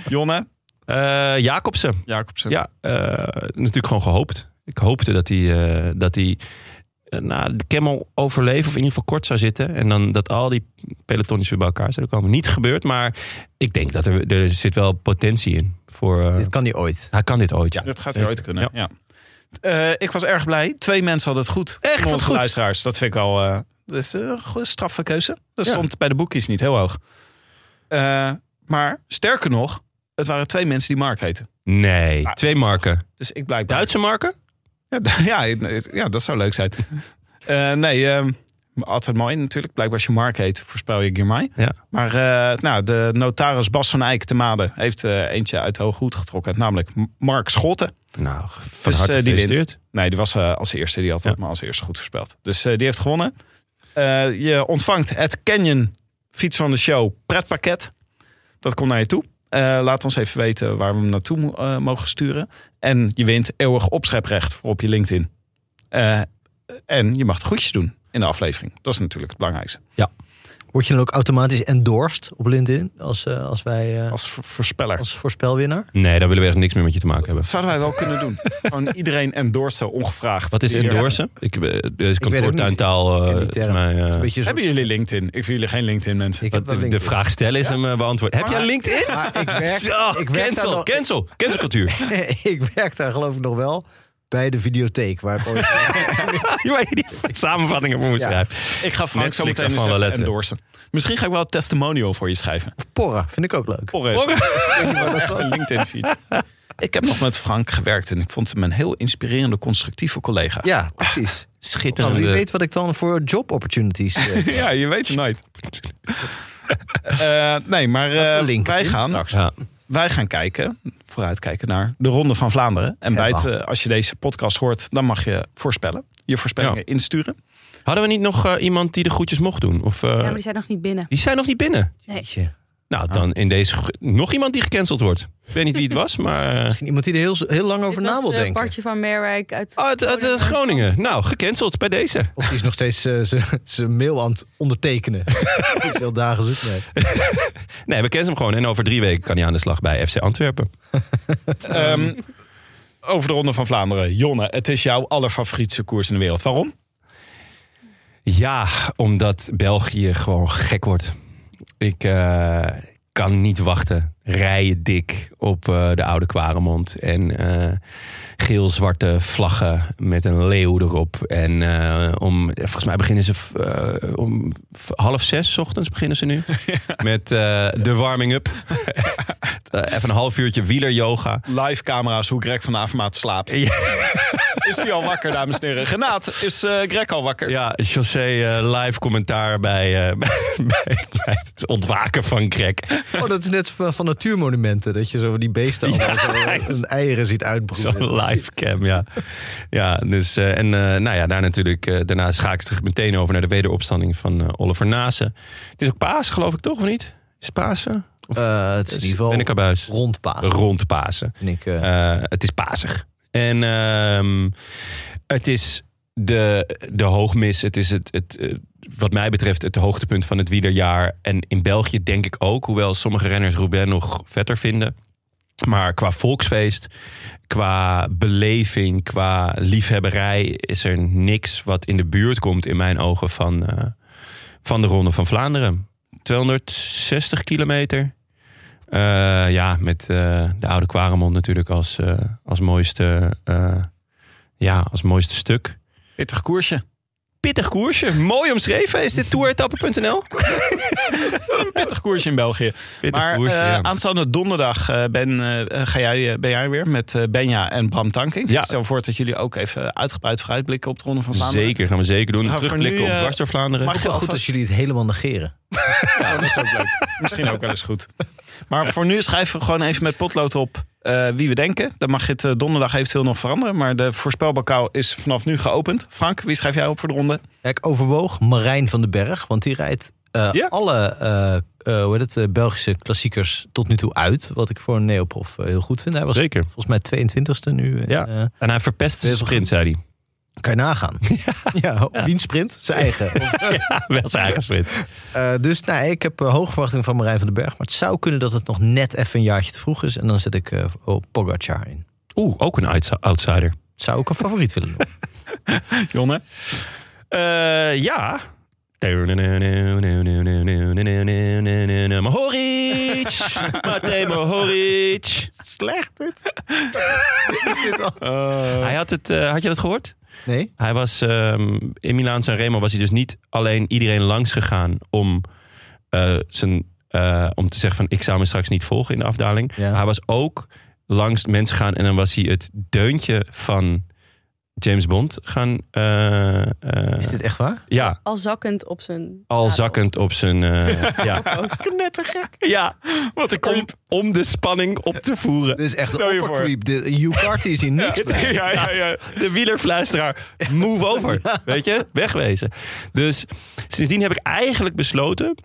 D: Jonne.
E: Eh, Jacobsen.
D: Jacobsen.
E: Ja, eh, natuurlijk gewoon gehoopt. Ik hoopte dat hij, eh, dat hij eh, na de Camel overleven of in ieder geval kort zou zitten. En dan dat al die pelotonnetjes weer bij elkaar zouden komen. Niet gebeurd, maar ik denk dat er, er zit wel potentie in. Voor, eh,
A: Dit kan niet ooit.
E: hij kan dit ooit, ja.
D: Dat gaat hij ooit kunnen. Ja. Eh, ik was erg blij. Twee mensen hadden het goed.
E: Echt,
D: Van
E: wat
D: onze
E: goed.
D: luisteraars. Dat vind ik al. eh dat is een goede straffe keuze. Dat
E: Ja.
D: stond bij de boekjes niet heel hoog. Eh, maar sterker nog, het waren twee mensen die Mark heten.
E: Nee,
D: Ah,
E: twee
D: dat is
E: marken.
D: Dus ik blijkbaar.
E: Duitse marken?
D: Ja, d- ja, het- ja, dat zou leuk zijn. Eh, nee, ehm, altijd mooi natuurlijk. Blijkbaar als je Mark heet, voorspel je Girmay.
E: Ja.
D: Maar eh, nou, de notaris Bas van Eyck te Maden heeft eh, eentje uit de hoge hoed getrokken. Namelijk M- Mark Schotten.
E: Nou, van
D: Dus,
E: harte
D: eh, die wint.
E: gefeliciteerd.
D: Nee, die was eh, als eerste. Die had het
E: Ja.
D: maar als eerste goed voorspeld. Dus eh, die heeft gewonnen. Eh, je ontvangt het Canyon Fiets van de Show pretpakket. Dat komt naar je toe. Eh, laat ons even weten waar we hem naartoe mo- eh, mogen sturen. En je wint eeuwig opscheprecht voor op je LinkedIn. Eh, en je mag de groetjes doen in de aflevering. Dat is natuurlijk het belangrijkste.
A: Word je dan ook automatisch endorsed op LinkedIn als, eh, als wij eh,
D: Als v- voorspeller.
A: als voorspelwinnaar?
E: Nee, daar willen we echt niks meer met je te maken hebben.
D: Dat zouden wij wel kunnen doen. Gewoon iedereen endorsen, ongevraagd.
E: Wat is
D: Hier.
E: endorsen? Ik, eh, dit is
A: ook niet.
E: kantoortuintaal. eh,
A: ken die
E: volgens
A: term.
E: mij, eh,
A: Is een beetje zo-
D: Hebben jullie LinkedIn? Ik vind jullie geen LinkedIn mensen.
A: Ik heb
E: wat
A: wel
E: de, de
A: LinkedIn.
E: vraag stellen is hem eh, beantwoorden. Heb
A: Maar-
E: jij LinkedIn?
A: Maar ik werk,
E: Zo,
A: ik, werk daar
E: cancel,
A: nog,
E: cancel, cancelcultuur.
A: ik werk daar geloof ik nog wel bij de videotheek. Waar ik ooit-
E: Waar je die samenvattingen voor moet
A: Ja.
E: schrijven.
D: Ik ga Frank zo
E: Netflix
D: meteen eens
E: afvallen
D: even
E: letteren.
D: endorsen. Misschien ga ik wel een testimonial voor je schrijven.
A: Porra, vind ik ook leuk.
D: Porres. Dat is echt een LinkedIn feed. Ik heb nog met Frank gewerkt en ik vond hem een heel inspirerende, constructieve collega.
A: Ja, precies. Nou,
E: Schitterende.
A: wie weet wat ik dan voor job opportunities... eh,
D: Ja, je weet het nooit. Eh, nee, maar eh,
A: Laten we linken
D: wij,
A: in
D: gaan,
A: straks.
E: Ja.
D: wij gaan kijken, vooruitkijken naar de Ronde van Vlaanderen. En bij het,
A: Helemaal.
D: eh, als je deze podcast hoort, dan mag je voorspellen. Je voorspellingen
E: Ja.
D: insturen.
E: Hadden we niet nog eh, iemand die de groetjes mocht doen? Of, eh,
F: Ja, maar die zijn nog niet binnen.
E: die zijn nog niet binnen.
A: Jeetje. Ah.
E: Nou, dan in deze... gro- Nog iemand die gecanceld wordt. Ik weet niet wie het was, maar... eh,
A: Misschien iemand die er heel, heel lang over
F: Dit
A: na
F: was,
A: wil
F: eh,
A: denken.
F: Bartje van Meerwijk uit,
E: Oh, uit, uit, eh, Groningen. Nou, gecanceld bij deze.
A: Of die is nog steeds zijn mail aan het ondertekenen. die is al dagen zoet mee.
E: Nee, we kennen hem gewoon. En over drie weken kan hij aan de slag bij FC Antwerpen.
D: Ehm, over de Ronde van Vlaanderen. Jonne, het is jouw allerfavoriete koers in de wereld. Waarom?
E: Ja, omdat België gewoon gek wordt. Ik eh, kan niet wachten. Rijen dik op eh, de oude Kwaremond. En eh, geel-zwarte vlaggen met een leeuw erop. En eh, om, volgens mij beginnen ze eh, om v- half zes 's ochtends beginnen ze nu. Met eh, de warming-up. Eh, Even een half uurtje wieler-yoga.
D: Live camera's, hoe Greg van Avermaat slaapt. Is hij al wakker, dames en heren? Genaat, is eh, Greg al wakker?
E: Ja, José eh, live commentaar bij, eh, bij, bij, bij het ontwaken van Greg.
A: Oh, dat is net van, van natuurmonumenten. Dat je zo die beesten allemaal zo hun eieren ziet uitbroeden.
E: Zo'n live cam, ja. ja dus, eh, en eh, nou ja, daar natuurlijk, eh, daarna schaak ik meteen over naar de wederopstanding van eh, Oliver Nase. Het is ook Paas, geloof ik toch, of niet? Is het Pasen? Of
A: Eh, het is in
E: is-
A: ieder geval
E: ben ik abuis?
A: rond paas.
E: Rond Pasen.
A: En ik, eh,
E: Eh, het is Pasig. En ehm, het is de, de hoogmis. Het is het, het, eh, wat mij betreft het hoogtepunt van het wielerjaar. En in België denk ik ook. Hoewel sommige renners Roubaix nog vetter vinden. Maar qua volksfeest, qua beleving, qua liefhebberij... is er niks wat in de buurt komt in mijn ogen van, eh, van de Ronde van Vlaanderen. 260 kilometer. Eh, ja, met eh, de oude Quaremond natuurlijk als, eh, als, mooiste, eh, ja, als mooiste stuk.
D: Pittig koersje.
E: Pittig koersje, mooi omschreven. Is dit touretappen.nl?
D: Pittig koersje in België.
E: Pittig
D: maar
E: koersje,
D: eh,
E: ja.
D: aanstaande donderdag eh, ben, eh, ga jij, eh, ben jij weer met eh, Benja en Bram Tankink.
E: Ja.
D: Ik stel voor dat jullie ook even uitgebreid vooruitblikken op de Ronde van Vlaanderen.
E: Zeker, gaan we zeker doen.
D: Nou, voor
E: Terugblikken
D: nu,
E: op
D: eh,
E: dwars door Vlaanderen.
D: mag
A: ook wel goed als jullie het helemaal negeren.
D: Ja, dat is ook leuk. Misschien ook wel eens goed. Maar voor nu schrijven we gewoon even met potlood op eh, wie we denken. Dan mag je het eh, donderdag eventueel nog veranderen. Maar de voorspelbokaal is vanaf nu geopend. Frank, wie schrijf jij op voor de ronde?
A: Ja, ik overwoog Marijn van den Berg, want die rijdt eh,
D: Ja.
A: alle eh, eh, hoe heet het, eh, Belgische klassiekers tot nu toe uit. Wat ik voor een neoprof eh, heel goed vind. Hij was
E: Zeker.
A: volgens mij 22e nu. En,
E: Ja.
A: eh,
E: En hij verpestte zijn sprint, zei hij.
A: kan je nagaan. Ja, ja. wiens sprint? Zijn eigen.
E: Ja, wel zijn eigen sprint.
A: Eh, dus nou, ik heb eh, hoge verwachtingen van Marijn van den Berg. Maar het zou kunnen dat het nog net even een jaartje te vroeg is. En dan zet ik eh, oh, Pogacar in.
E: Oeh, ook een uitsa- outsider.
A: Zou ik een favoriet willen noemen.
D: Jonne?
E: Eh, ja. Mohoric! Matej Mohoric!
A: Slecht dit. is dit al?
E: Hij had, het, eh, had je dat gehoord?
A: Oh. Nee?
E: Hij was ehm, in Milaan Sanremo was hij dus niet alleen iedereen langs gegaan om, eh, zijn, eh, om te zeggen van ik zou me straks niet volgen in de afdaling.
A: Ja.
E: Hij was ook langs mensen gaan en dan was hij het deuntje van James Bond gaan. eh, eh,
A: Is dit echt waar?
E: ja,
F: al zakkend op zijn...
E: al
F: zadel.
E: zakkend op zijn. eh, ja.
F: Post.
E: ja, wat een om, om de spanning op te voeren.
A: Dit is echt
E: Stel
A: een
E: je voor.
A: oppercreep. De- Hugh Carty is hier niks bij.
E: Ja, ja, ja. De wielerfluisteraar. Move over. Weet je? Wegwezen. Dus sindsdien heb ik eigenlijk besloten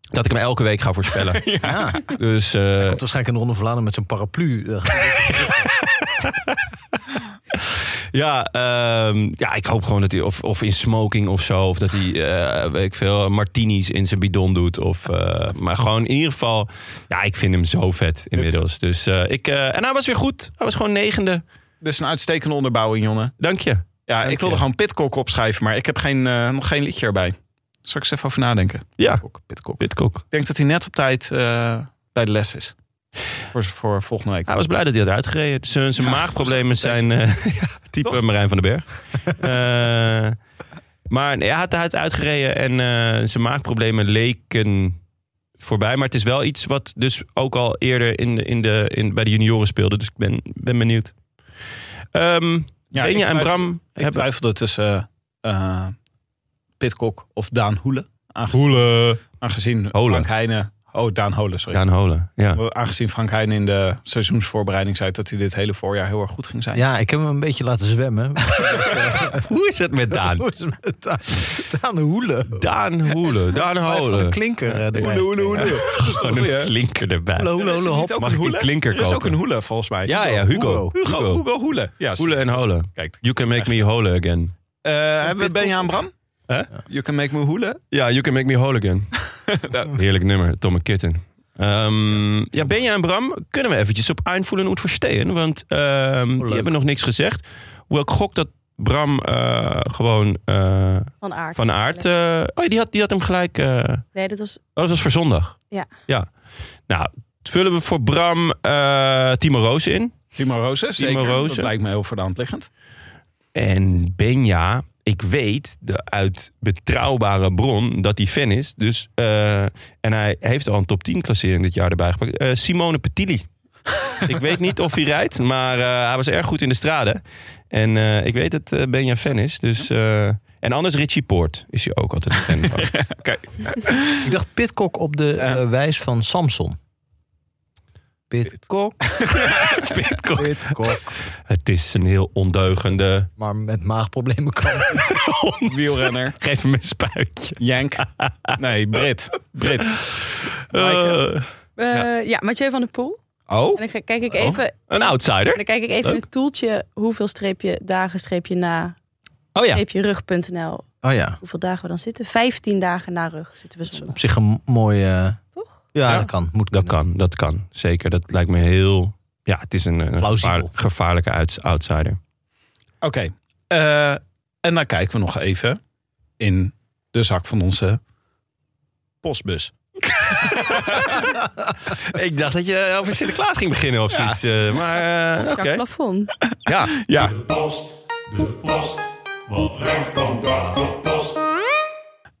E: dat ik hem elke week ga voorspellen.
A: Ja. Komt
E: Dus eh,
A: waarschijnlijk een ronde van Vlaanderen met zo'n paraplu. Eh,
E: ja, ehm, ja, ik hoop gewoon dat hij of, of in smoking of zo... of dat hij, eh, weet ik veel, martinis in zijn bidon doet. Of, eh, maar gewoon in ieder geval... Ja, ik vind hem zo vet inmiddels. Dus eh, ik... eh, en hij was weer goed. Hij was gewoon negende.
D: Dus een uitstekende onderbouwing, Jonne.
E: Dank je.
D: Ja,
E: Dank
D: ik wilde
E: je.
D: gewoon Pitcock opschrijven, maar ik heb geen, eh, nog geen liedje erbij. Zal ik eens even over nadenken?
E: Ja,
D: Pitcock, Pitcock.
E: Pitcock.
D: Ik denk dat hij net op tijd eh, bij de les is. Voor, voor volgende week.
E: Hij was blij dat hij had uitgereden. Zijn, zijn
D: Ja,
E: maagproblemen zijn eh, ja, type
D: Toch?
E: Marijn van den Berg. Eh, maar nee, hij had, hij had uitgereden en eh, zijn maagproblemen leken voorbij. Maar het is wel iets wat dus ook al eerder in de, in de, in, bij de junioren speelde. Dus ik ben, ben benieuwd. Ehm
D: Ja, ik
E: Benja en
D: twijfel-
E: Bram
D: Ik
E: hebben...
D: twijfelde tussen eh eh, Pitcock of Daan Hoele. Aangezien,
E: Hoelen.
D: aangezien
E: Hoele.
D: Frank Heijnen... Oh, Daan Hoele, sorry.
E: Daan Holen, ja.
D: Aangezien Frank Heijn in de seizoensvoorbereiding zei dat hij dit hele voorjaar heel erg goed ging zijn.
A: Ja, ik heb hem een beetje laten zwemmen.
E: Hoe is het met Daan?
A: Hoe is het met Daan? Daan Hoelen.
E: Daan Hoelen, Daan
A: Hij heeft gewoon
E: Hoelen.
A: een klinker. eh, erbij.
E: Gewoon een klinker
A: Hoele,
E: erbij.
A: hoele,
D: Is er
A: hop.
D: niet ook
E: Mag ik een
D: Hoele?
E: klinker
D: Er is ook
E: kopen?
D: een Hoele, volgens mij.
E: Ja, ja, Hugo.
D: Hugo, Hugo, Hoele. Ja,
E: Hoelen en Holen.
D: Kijk,
E: You can make me holen again.
D: eh, hebben we Benja en Bram?
E: Hè?
D: You can make me Hoele.
E: Ja, You Can Make Me Whole Again. Heerlijk nummer, Tom Kitten. Ehm ja, Benja en Bram, kunnen we eventjes op aanvoelen hoe het verstehen? Want ehm, die hebben nog niks gezegd. Hoewel ik gok dat Bram eh, gewoon eh,
F: Van aard.
E: van aard... eh, oh ja, die had, die had hem gelijk... eh, oh,
F: Nee, dat was...
E: dat was voor zondag.
F: Ja.
E: ja. Nou, vullen we voor Bram eh Timo Roos in.
D: Timo Rozen, zeker.
E: Rozen.
D: Dat lijkt me heel voor de hand liggend.
E: En Benja, ik weet de- uit betrouwbare bron dat hij fan is. Dus, eh, en hij heeft al een top 10 klassering dit jaar erbij gepakt. Eh, Simone Petilli. ik weet niet of hij rijdt, maar eh, hij was erg goed in de straden. En eh, ik weet dat eh, Benja fan is. Dus, eh, en anders Richie Poort is hij ook altijd fan van.
A: Ik dacht Pitcock op de eh, wijs van Samson. Pitcock.
E: Pitcock.
A: Pitcock.
E: Het is een heel ondeugende...
A: Maar met maagproblemen kan.
D: Wielrenner.
E: Geef hem een spuitje.
D: Jank. Nee, Brit. Brit. Maaike.
F: eh, ja, Mathieu van der Poel.
E: Oh,
F: En dan ga- kijk ik even,
E: een outsider.
F: dan kijk ik even in het toeltje hoeveel streepje dagen, streepje na,
E: Oh ja.
F: streepje rug.nl.
A: Oh ja,
F: Hoeveel dagen we dan zitten? 15 dagen na rug zitten we zondag.
A: op zich een mooie...
F: Toch?
A: Ja,
E: Ja.
A: dat kan. Moet
E: Dat
A: kunnen.
E: kan, dat kan. Zeker, dat lijkt me heel... Ja, het is een, een
A: Plausibel.
E: gevaar- gevaarlijke uits- outsider.
D: Oké. eh, en dan kijken we nog even in de zak van onze postbus.
E: Ik dacht dat je over Sinterklaas ging beginnen of zoiets. eh, maar
F: Jacques Plafond.
E: Ja.
D: Ja,
G: De post, de post. Wat brengt vandaag de post?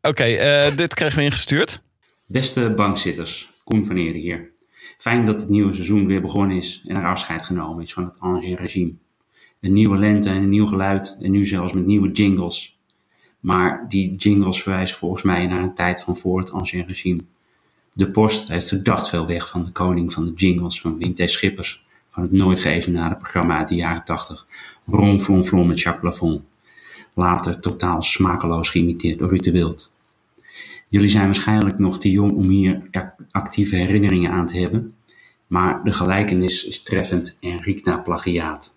D: oké. eh, dit kregen we ingestuurd.
H: Beste bankzitters, Koen van Eeren hier. Fijn dat het nieuwe seizoen weer begonnen is en er afscheid genomen is van het ancien regime. Een nieuwe lente en een nieuw geluid en nu zelfs met nieuwe jingles. Maar die jingles verwijzen volgens mij naar een tijd van voor het ancien regime. De post heeft verdacht veel weg van de koning van de jingles van Wim T. Schippers. Van het nooit geëvenaarde programma uit de jaren 80. Ron Flon Flon met Jacques Plafond. Later totaal smakeloos geïmiteerd door Ruud de Wild. Jullie zijn waarschijnlijk nog te jong om hier ac- actieve herinneringen aan te hebben. Maar de gelijkenis is treffend en riekt naar plagiaat.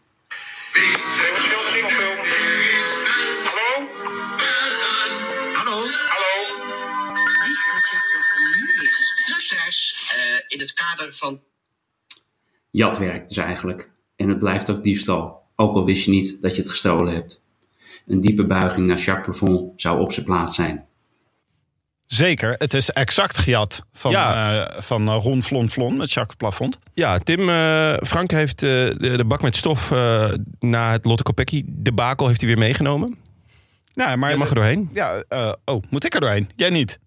G: Hallo?
I: Hallo,
G: Hallo?
I: wie gaat Jack Plafond nu weer eens bij? Luisteraars, eh, in het kader van...
H: Jatwerk dus eigenlijk. En het blijft ook diefstal, ook al wist je niet dat je het gestolen hebt. Een diepe buiging naar Jacques Plafond zou op zijn plaats zijn.
D: Zeker. Het is exact gejat van,
E: Ja.
D: eh, van eh, Ron Flon Flon met Jacques Plafond.
E: Ja, Tim, eh, Frank heeft eh, de, de bak met stof eh, na het Lotte Kopecky debakel heeft hij weer meegenomen.
D: Nou, maar
E: Jij mag er doorheen.
D: ja, eh, oh, moet ik er doorheen? Jij niet.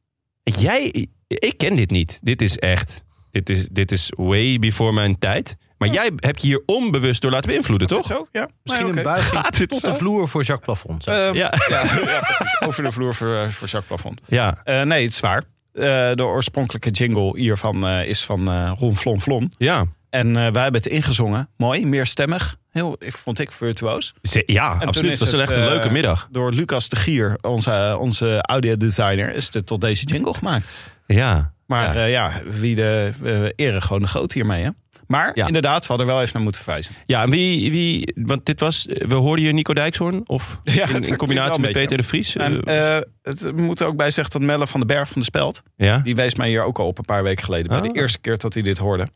E: Jij, ik ken dit niet. Dit is echt, dit is, dit is way before mijn tijd. Maar jij hebt je hier onbewust door laten beïnvloeden, toch?
D: Zo? Ja.
A: Misschien
D: Nee,
A: een
D: oké.
A: buiging
E: Gaat dit
A: tot
E: zo? Ehm,
A: de vloer voor Jacques Plafond. zeg.
D: Eh,
E: Ja.
D: ja, ja, precies. Over de vloer voor, eh, voor Jacques Plafond.
E: Ja.
D: Eh, nee, het is waar. Eh, de oorspronkelijke jingle hiervan eh, is van eh Ron Flon Flon.
E: Ja.
D: En eh, wij hebben het ingezongen. Mooi, meerstemmig. Heel, ik vond ik virtuoos.
E: Ze- Ja,
D: toen
E: absoluut.
D: is
E: Het was
D: het,
E: echt een
D: eh,
E: leuke middag.
D: Door Lucas de Gier, onze, eh, onze audiodesigner, is dit tot deze jingle gemaakt.
E: Ja.
D: Maar
E: Ja.
D: ja, ja wie de we eren gewoon de groot hiermee. Hè? Maar
E: Ja.
D: inderdaad, we hadden er wel even naar moeten verwijzen.
E: Ja, en wie, wie, want dit was, we hoorden hier Nico Dijkshoorn, of
D: Ja, het
E: in,
D: klinkt
E: in combinatie
D: wel
E: met
D: een
E: Peter
D: beetje.
E: de Vries.
D: En
E: eh,
D: eh, het we moeten ook bij zeggen dat Melle van den Berg van de Speld,
E: ja,
D: die wees mij hier ook al op een paar weken geleden. Bij
E: Ah.
D: de eerste keer dat hij dit hoorde.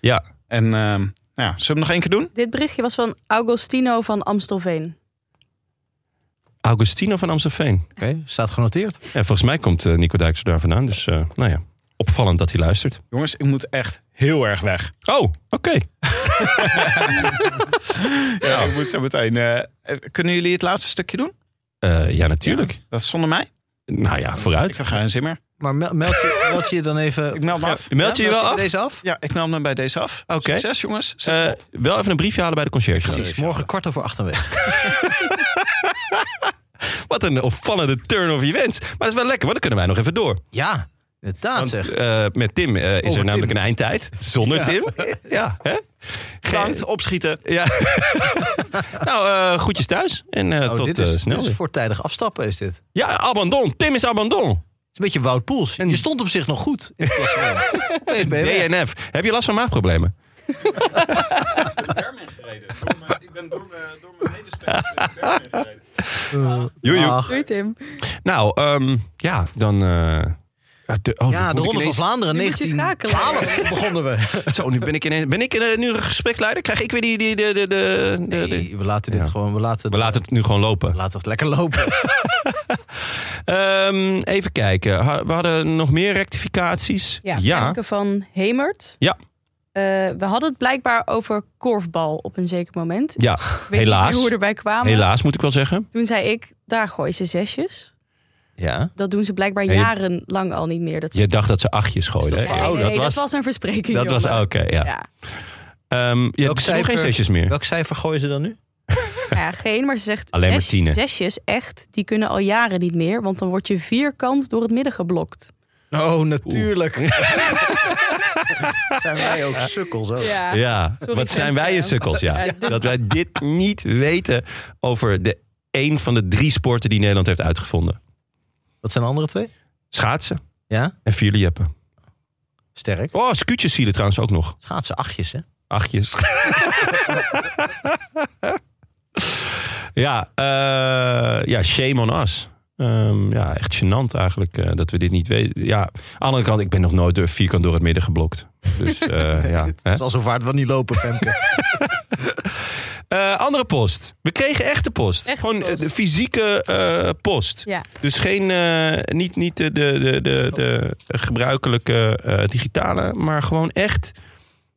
E: ja.
D: En ehm, nou ja, zullen we hem nog één keer doen?
F: Dit berichtje was van Augustino van Amstelveen.
E: Augustino van Amstelveen.
A: Oké, staat genoteerd.
E: Ja, volgens mij komt eh, Nico Dijkshoorn daar vandaan, dus eh, nou ja, opvallend dat hij luistert.
D: Jongens, ik moet echt heel erg weg.
E: Oh, oké.
D: Ja, ik moet zo meteen. eh, eh, kunnen jullie het laatste stukje doen?
E: Eh, ja, natuurlijk.
D: Dat is zonder mij.
E: Nou ja,
D: Ik
E: vooruit.
D: heb geen zin meer.
A: Maar mel- meld je, meld je je dan even...
D: Ik meld me
A: Ja,
D: af.
E: Meld je je wel
A: bij
E: af?
A: Deze af?
D: Ja, ik nam hem bij deze af.
E: Oké.
D: Succes jongens. Zet
E: Eh,
D: hem op.
E: wel even een briefje halen bij de conciërge.
A: Precies, morgen kwart over acht aanwezig.
E: Wat een opvallende turn of events. Maar dat is wel lekker, want dan kunnen wij nog even door.
A: Ja, inderdaad
E: Want,
A: zeg.
E: eh, met Tim eh, is
A: Over
E: er namelijk
A: Tim.
E: een eindtijd. Zonder Tim. Ja. hè?
D: Bedankt, opschieten.
E: ja. nou, eh groetjes thuis. En eh,
A: Oh,
E: tot
A: dit,
E: eh,
A: is,
E: snel.
A: dit is
E: weer.
A: voortijdig afstappen is dit. Het
E: Ja, abandon. Tim is abandon.
A: is een beetje Wout Poels. Je stond op zich nog goed in het klassement. Opeens ben je weg.
E: DNF. Heb je last van maagproblemen?
D: Ik ben Erm door mijn medespelers gereden.
E: Joe, joe.
A: Ach.
F: Doei Tim.
E: Nou, ehm, ja, dan... eh, de, oh,
A: Ja,
E: moet
A: de
E: ik
A: Ronde van
E: ineens-
A: Vlaanderen
F: Nu moet je
A: 19...
F: schakelen.
A: begonnen we.
E: Zo, nu ben ik, ineens, ben ik eh, nu een gespreksleider? Krijg ik weer die... die, die, die, de- de- de-
A: Nee, we laten dit
E: Ja.
A: gewoon... We laten,
E: We laten het nu gewoon lopen.
A: we laten het lekker lopen.
E: Ehm, even kijken. Ha- We hadden nog meer rectificaties.
F: Ja,
E: ja.
F: Femke van Hemert.
E: Ja.
F: Eh, we hadden het blijkbaar over korfbal op een zeker moment. Ik
E: Ja,
F: weet
E: helaas.
F: niet hoe we erbij kwamen.
E: helaas moet ik wel zeggen.
F: Toen zei ik, daar gooien ze zesjes.
E: Ja.
F: Dat doen ze blijkbaar
E: Ja, je-
F: jarenlang al niet meer. Dat ze
E: Je dacht dat ze achtjes gooiden.
F: dat,
E: hè?
F: nee,
E: Oh,
F: nee,
E: dat was...
F: een verspreking.
E: dat was-
F: jongen.
E: oké, ja.
F: Ja.
E: Ehm, je
A: Welk
E: hebt nog geen
A: cijfer-
E: zesjes meer.
A: Welk cijfer gooien ze dan nu?
F: Nou ja, geen, maar ze zegt
E: Alleen maar
F: zes-
E: tienen.
F: zesjes, echt, die kunnen al jaren niet meer. Want dan word je vierkant door het midden geblokt.
A: Oh, natuurlijk. Zijn wij ook sukkels ook.
F: Ja,
E: Ja,
F: Sorry,
E: wat zijn
F: Femke.
E: wij een sukkels, ja.
F: Ja, dus-
E: Dat wij dit niet weten over de één van de drie sporten die Nederland heeft uitgevonden.
A: Wat zijn de andere twee?
E: Schaatsen
A: Ja,
E: en vierlieppen.
A: sterk.
E: Oh, scootjes zie je trouwens ook nog.
A: Schaatsen achtjes, hè?
E: Achtjes. ja, eh, ja, shame on us. Ehm, ja, echt gênant eigenlijk eh, dat we dit niet weten. Ja, aan de andere kant, ik ben nog nooit door vierkant door het midden geblokt. Dus eh, ja. hè.
A: Het is al zo vaart wat niet lopen, Femke.
E: Eh, andere post. We kregen echte post.
F: Echte
E: Gewoon eh,
F: post.
E: de fysieke eh, post.
F: Ja.
E: Dus geen, eh, niet, niet de, de, de, de, de gebruikelijke eh, digitale, maar gewoon echt.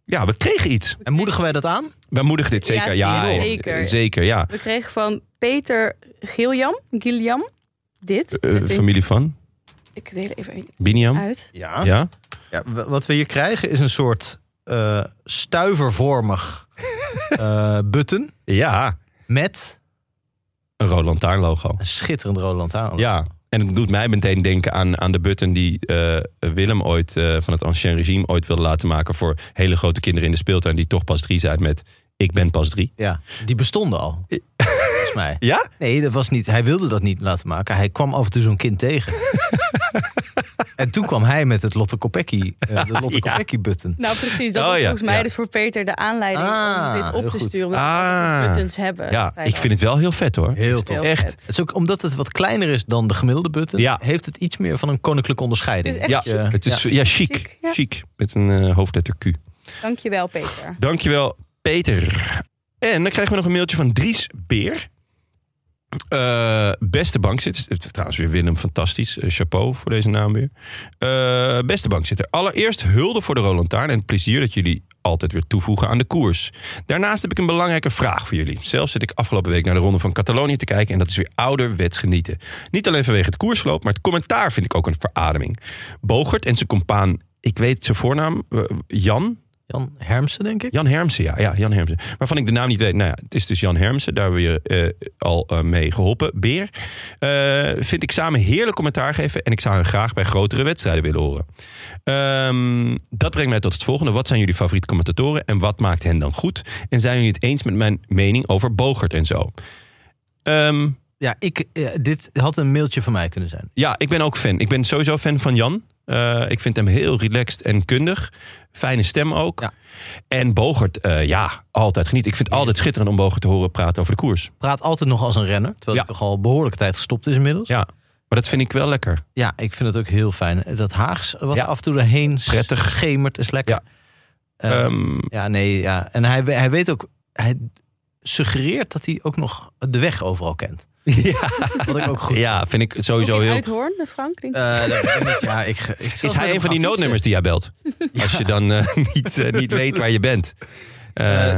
E: Ja, we kregen iets.
A: En moedigen wij dat aan?
E: We moedigen dit
F: Ja,
E: zeker. Ja,
F: ja,
E: eh,
F: zeker.
E: Zeker, ja.
F: We kregen van Peter Giljam, Giljam dit.
E: Eh,
F: Met een-
E: familie Hm? van
F: Ik deel even
E: Biniam.
F: uit.
A: Ja.
E: Ja.
A: Ja, w- wat we hier krijgen is een soort eh, stuivervormig eh, button
E: Ja,
A: met
E: een Roland lantaarn logo.
A: een schitterend rode lantaarn.
E: Ja, en het doet mij meteen denken aan, aan de button die eh, Willem ooit eh, van het Ancien Regime ooit wilde laten maken voor hele grote kinderen in de speeltuin die toch pas drie zijn met ik ben pas drie.
A: Ja, die bestonden al. Volgens mij.
E: Ja?
A: Nee, dat was niet, hij wilde dat niet laten maken. Hij kwam af en toe zo'n kind tegen. en toen kwam hij met het Lotte Kopecky, eh, de Lotte
E: Ja.
A: Kopecky button.
F: Nou precies, dat
E: Oh,
F: was
E: ja,
F: volgens mij
E: ja.
F: dus voor Peter de aanleiding
A: Ah,
F: om dit op
A: heel
F: te
A: goed.
F: sturen. Omdat
E: Ah.
F: we altijd buttons hebben.
E: Ja, ik vind het wel heel vet hoor.
A: Heel tof.
F: Heel
E: Echt.
F: vet.
A: Het is ook omdat het wat kleiner is dan de gemiddelde button,
E: Ja.
A: heeft het iets meer van een koninklijke onderscheiding.
F: Het is
E: Ja,
F: echt
A: chic.
E: het is ja, chic.
F: Chic, ja.
E: Chic, met een eh, hoofdletter Q.
F: Dankjewel Peter.
E: Dankjewel, Peter. En dan krijgen we nog een mailtje van Dries Beer. Eh, beste bankzitter. eh, Trouwens, weer Willem, fantastisch. Eh, chapeau voor deze naam weer. Eh, beste bankzitter. Allereerst hulde voor de Roland Taarn en het plezier dat jullie altijd weer toevoegen aan de koers. Daarnaast heb ik een belangrijke vraag voor jullie. Zelf zit ik afgelopen week naar de Ronde van Catalonië te kijken... en dat is weer ouderwets genieten. Niet alleen vanwege het koersloop, maar het commentaar vind ik ook een verademing. Bogert en zijn compaan, ik weet zijn voornaam, eh, Jan...
A: Jan Hermsen, denk ik.
E: Jan Hermsen, ja. ja Jan Hermsen. Waarvan ik de naam niet weet. Nou ja, het is dus Jan Hermsen. Daar hebben we je eh, al eh, mee geholpen. Beer. Eh, vind ik samen heerlijk commentaar geven. En ik zou hem graag bij grotere wedstrijden willen horen. Ehm, dat brengt mij tot het volgende. Wat zijn jullie favoriete commentatoren? En wat maakt hen dan goed? En zijn jullie het eens met mijn mening over Bogert en zo? Ehm,
A: Ja, ik, eh, dit had een mailtje van mij kunnen zijn.
E: ja, ik ben ook fan. Ik ben sowieso fan van Jan. Eh, ik vind hem heel relaxed en kundig. Fijne stem ook.
A: Ja.
E: En Bogert, eh, ja, altijd geniet. Ik vind het altijd schitterend om Bogert te horen praten over de koers.
A: praat altijd nog als een renner. Terwijl
E: Ja.
A: hij toch al behoorlijke tijd gestopt is inmiddels. Ja,
E: Ja, maar dat vind ik wel lekker.
A: ik vind het ook heel fijn. Dat Haags wat
E: Ja.
A: af en toe erheen
E: Prettig.
A: schemert is lekker.
E: Ja.
A: Eh,
E: Ehm,
A: ja, nee, ja. En hij, we- hij weet ook... Hij suggereert dat hij ook nog de weg overal kent.
E: ja.
A: Wat ik ook goed
E: ja, vind ik sowieso
F: Ook in
E: heel...
F: Uithoorn, de Frank. denk ik.
A: Eh, dat weet ik niet. ja, ik, ik zal eens met
E: Is hij
A: hem
E: een van die
A: gaan
E: noodnummers
A: fietsen.
E: die jij belt? Als je dan eh, niet, eh, niet weet waar je bent. Eh,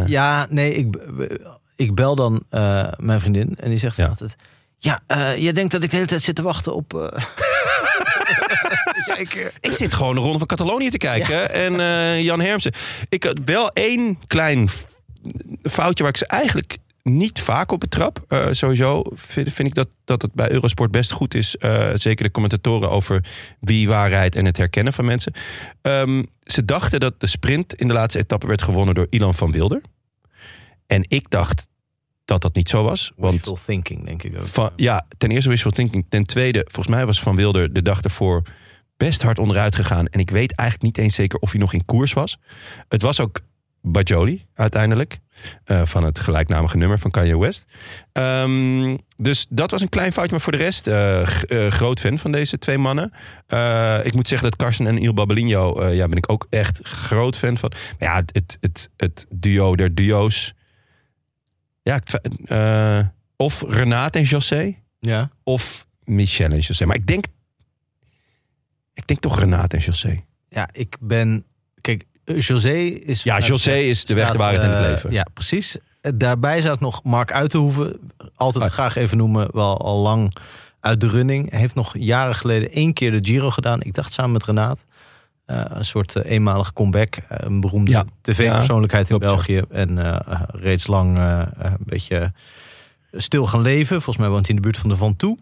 A: Eh, ja, nee, ik, be- ik bel dan eh, mijn vriendin en die zegt
E: Ja.
A: altijd... Ja, eh, jij denkt dat ik de hele tijd zit te wachten op... eh, kijken.
E: Ik zit gewoon de Ronde van Catalonië te kijken. En eh, Jan Hermsen. Ik had wel één klein f- foutje waar ik ze eigenlijk niet vaak op betrap. Eh, sowieso vind, vind ik dat, dat het bij Eurosport best goed is. eh, zeker de commentatoren over wie waarheid en het herkennen van mensen. Ehm, ze dachten dat de sprint in de laatste etappe werd gewonnen door Ilan van Wilder. En ik dacht dat dat niet zo was. Want
A: Wishful thinking, denk ik ook.
E: van, ja, ten eerste wishful thinking. Ten tweede, volgens mij was Van Wilder de dag ervoor best hard onderuit gegaan. En ik weet eigenlijk niet eens zeker of hij nog in koers was. Het was ook Bajoli uiteindelijk. eh, van het gelijknamige nummer van Kanye West. Ehm, dus dat was een klein foutje. Maar voor de rest, eh, g- eh, groot fan van deze twee mannen. Eh, ik moet zeggen dat Carson en Il Babelinho, eh, ja, ben ik ook echt groot fan van. Maar ja, het, het, het duo der duo's. Ja, ik twi- eh, of Renate en José.
A: Ja.
E: Of Michel en José. Maar ik denk, ik denk toch Renate en José.
A: Ja, ik ben. Kijk, eh, José is.
E: Ja,
A: wat
E: José
A: mij betreft
E: is de weg, de
A: staat,
E: waarheid en het
A: eh,
E: leven.
A: Ja, precies. Eh, Daarbij zou ik nog Mark Uitenhoeven altijd graag even noemen. Wel al lang uit de running. Hij heeft nog jaren geleden één keer de Giro gedaan. Ik dacht samen met Renaat. Eh, een soort eh, eenmalig comeback. Eh, een beroemde
E: Ja.
A: tv-persoonlijkheid in
E: Ja, klopt,
A: België. En eh, eh, reeds lang eh, eh, een beetje stil gaan leven. Volgens mij woont hij in de buurt van de Van Toe.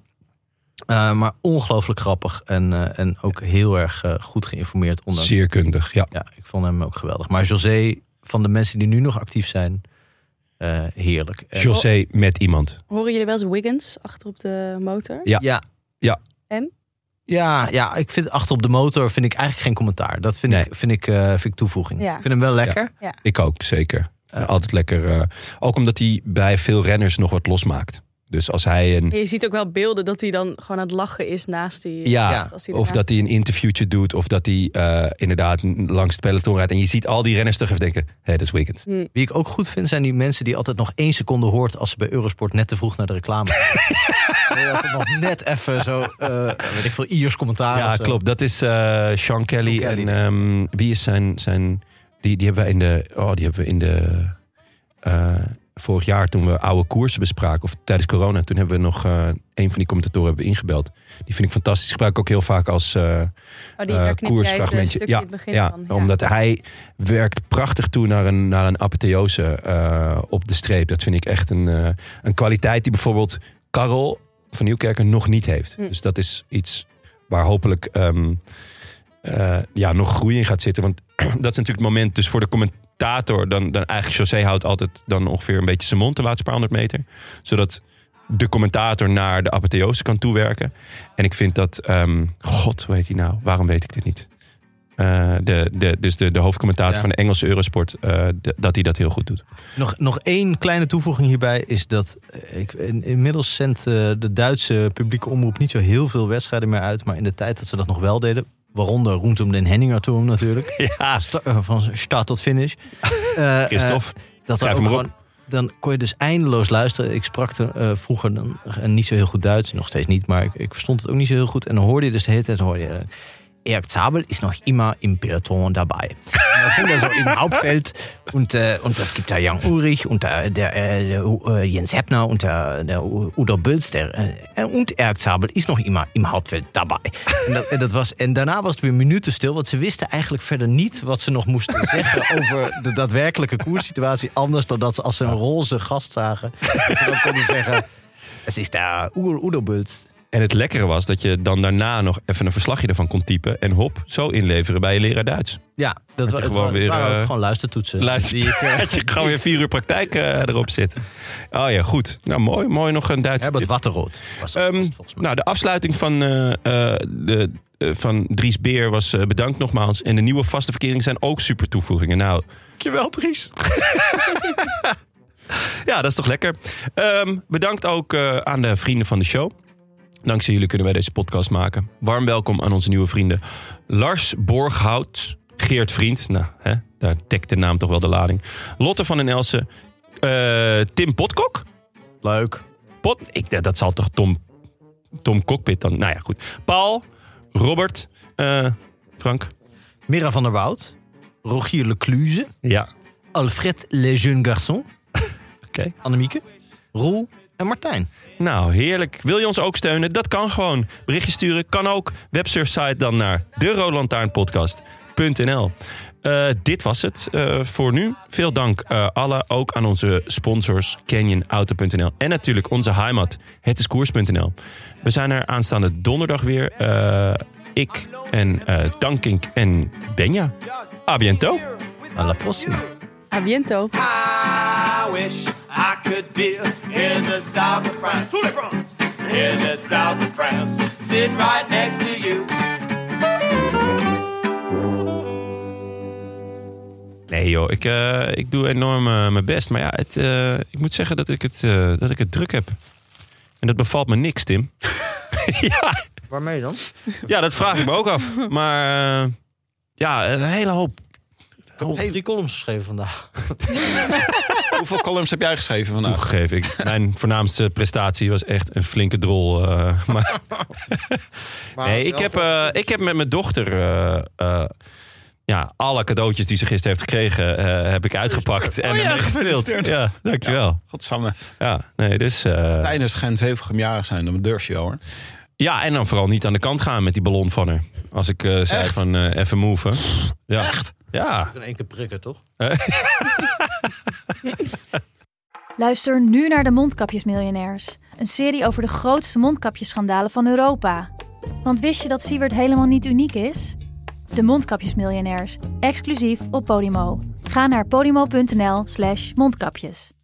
A: Eh, maar ongelooflijk grappig en, eh, en ook heel erg eh, goed geïnformeerd. Ondanks
E: Zeer kundig, ja.
A: ja, ik vond hem ook geweldig. Maar José, van de mensen die nu nog actief zijn, eh, heerlijk. En-
E: José met iemand.
F: Horen jullie wel eens Wiggins achter op de motor?
E: Ja.
A: ja.
E: Ja.
F: En?
A: Ja, ja, ik vind achter op de motor vind ik eigenlijk geen commentaar. Dat vind ik, vind ik, eh, vind ik toevoeging.
F: Ja.
A: Ik vind hem wel lekker.
F: Ja.
E: Ik ook, zeker. Ik vind Altijd lekker. eh, ook omdat hij bij veel renners nog wat losmaakt. Dus als hij een.
F: En je ziet ook wel beelden dat hij dan gewoon aan het lachen is naast die.
E: Ja,
F: naast- als hij
E: of
F: ernaast-
E: dat hij een interviewtje doet. Of dat hij eh, inderdaad langs het peloton rijdt. En je ziet al die renners toch even denken: hé, dat is weekend.
A: Wie ik ook goed vind, zijn die mensen die altijd nog één seconde hoort als ze bij Eurosport net te vroeg naar de reclame. gaan. Nee, dat het nog net even zo, eh, weet ik veel, Iers commentaar.
E: Ja,
A: of zo.
E: klopt. Dat is eh, Sean Kelly.
A: Kelly,
E: en ehm, wie is zijn. zijn die, die hebben we in de. Oh, die hebben we in de. eh, vorig jaar toen we oude koersen bespraken. Of tijdens corona. Toen hebben we nog. eh, een van die commentatoren hebben we ingebeld. Die vind ik fantastisch. Die gebruik ik ook heel vaak als. eh,
F: Oh, die, daar
E: eh,
F: knip jij even een stukje in het begin
E: ja,
F: van, ja.
E: omdat hij werkt prachtig toe naar een, naar een apotheose eh, op de streep. Dat vind ik echt een, eh, een kwaliteit die bijvoorbeeld Karel van Nieuwkerken nog niet heeft.
F: Hm.
E: Dus dat is iets waar hopelijk ehm, eh, ja, nog groei in gaat zitten. Want dat is natuurlijk het moment dus voor de commentator. Dan, dan eigenlijk José houdt altijd dan ongeveer een beetje zijn mond de laatste paar honderd meter. Zodat de commentator naar de apotheose kan toewerken. En ik vind dat... ehm, God, hoe heet hij nou? Waarom weet ik dit niet? Eh, de, de, dus de, de hoofdcommentator
A: Ja.
E: van de Engelse Eurosport, eh, d- dat hij dat heel goed doet.
A: Nog, nog één kleine toevoeging hierbij is dat eh, ik, in- inmiddels zendt eh, de Duitse publieke omroep niet zo heel veel wedstrijden meer uit. Maar in de tijd dat ze dat nog wel deden, waaronder Roentum den Henninger toen natuurlijk.
E: Ja,
A: Sta- eh, van start tot finish. Eh, eh,
E: Christophe,
A: dat er
E: schrijf
A: ook
E: hem maar op.
A: gewoon, dan kon je dus eindeloos luisteren. Ik sprak er, eh, vroeger dan, en niet zo heel goed Duits, nog steeds niet, maar ik, ik verstond het ook niet zo heel goed. En dan hoorde je dus de hele tijd, hoorde je, eh, Erik Zabel is nog immer im Peloton dabei. Und dann sind wir so im Hauptfeld und, äh, und das gibt da Jan Ulrich und da, der, äh, der äh, Jens Heppner und der, der U- Udo Bülz der, äh, und Erik Zabel ist noch immer im Hauptfeld dabei. En, dat, en, dat was, en daarna was het weer minuten stil, want ze wisten eigenlijk verder niet wat ze nog moesten zeggen over de daadwerkelijke koerssituatie. Anders dan dat ze als ze een roze gast zagen, dat ze dan konden zeggen: Het is daar Oer- Udo Bülz.
E: En het lekkere was dat je dan daarna nog even een verslagje ervan kon typen. En hop, zo inleveren bij je leraar Duits.
A: Ja, dat
E: je
A: wa- het
E: gewoon
A: wa- het
E: weer,
A: waren ook
E: eh,
A: gewoon luistertoetsen.
E: Luister,
A: Die ik, eh,
E: dat je gewoon weer vier uur praktijk eh, erop zit. Oh ja, goed. Nou, mooi. Mooi nog een Duitse
A: Herbert
E: tip.
A: Watterood was, dat-
E: Ehm,
A: was het volgens mij.
E: nou, de afsluiting van, eh, eh, de, eh, van Dries Beer was eh, bedankt nogmaals. En de nieuwe vaste verkeringen zijn ook super toevoegingen. Nou,
A: Dankjewel, Dries.
E: Ja, dat is toch lekker. Ehm, bedankt ook eh, aan de vrienden van de show. Dankzij jullie kunnen wij deze podcast maken. Warm welkom aan onze nieuwe vrienden. Lars Borghout, Geert Vriend. Nou, hè, daar dekt de naam toch wel de lading. Lotte van den Elsen. eh, Tim Potkok. nou.
A: Leuk.
E: Pot, ik, dat zal toch Tom, Tom Cockpit dan... Nou ja, goed. Paul, Robert, eh, Frank.
A: Mira van der Woud. Rogier Lecluze.
E: Ja,
A: Alfred Le Jeune Garçon.
E: oké.
A: Annemieke. Roel en Martijn.
E: Nou, heerlijk. Wil je ons ook steunen? Dat kan gewoon. Berichtje sturen kan ook. Websurfsite dan naar de Eh, dit was het eh, voor nu. Veel dank eh, alle, ook aan onze sponsors CanyonAuto.nl en natuurlijk onze heimat, hetiskoers.nl. We zijn er aanstaande donderdag weer. Eh, ik en eh Dankink en Benja. A biento. A la próxima.
J: Aviento.
K: I wish I could be in the south of France. In the south of France, sitting right next to you.
E: Nee joh, ik, eh, ik doe enorm eh, mijn best. Maar ja, het, eh, ik moet zeggen dat ik, het, eh, dat ik het druk heb. En dat bevalt me niks, Tim. ja.
L: Waarmee dan?
E: ja, dat vraag ik me ook af. Maar eh, ja, een hele hoop.
A: Hey, drie columns geschreven vandaag.
E: Hoeveel columns heb jij geschreven vandaag?
D: Nou,
E: Toegegeven, ik, mijn voornaamste prestatie was echt een flinke drol. eh, maar nee, ik heb, eh, ik heb met mijn dochter eh, eh, ja, alle cadeautjes die ze gisteren heeft gekregen, eh, heb ik uitgepakt en
D: Oh ja,
E: ermee gespeeld.
D: gefeliciteerd.
E: Ja, dankjewel.
D: Godsamme.
E: Ja, nee, dus...
D: Tijdens Gent-Wevelgem jarig zijn, dan durf je wel hoor.
E: Ja, en dan vooral niet aan de kant gaan met die ballon van haar. Als ik eh, zei
A: Echt?
E: van eh, even move. hè. Ja. Echt? Ja.
A: Een één keer prikken, toch?
F: Luister nu naar de Mondkapjesmiljonairs. Een serie over de grootste mondkapjesschandalen van Europa. Want wist je dat Siewert helemaal niet uniek is? De Mondkapjesmiljonairs. Exclusief op Podimo. Ga naar podimo.nl slash mondkapjes.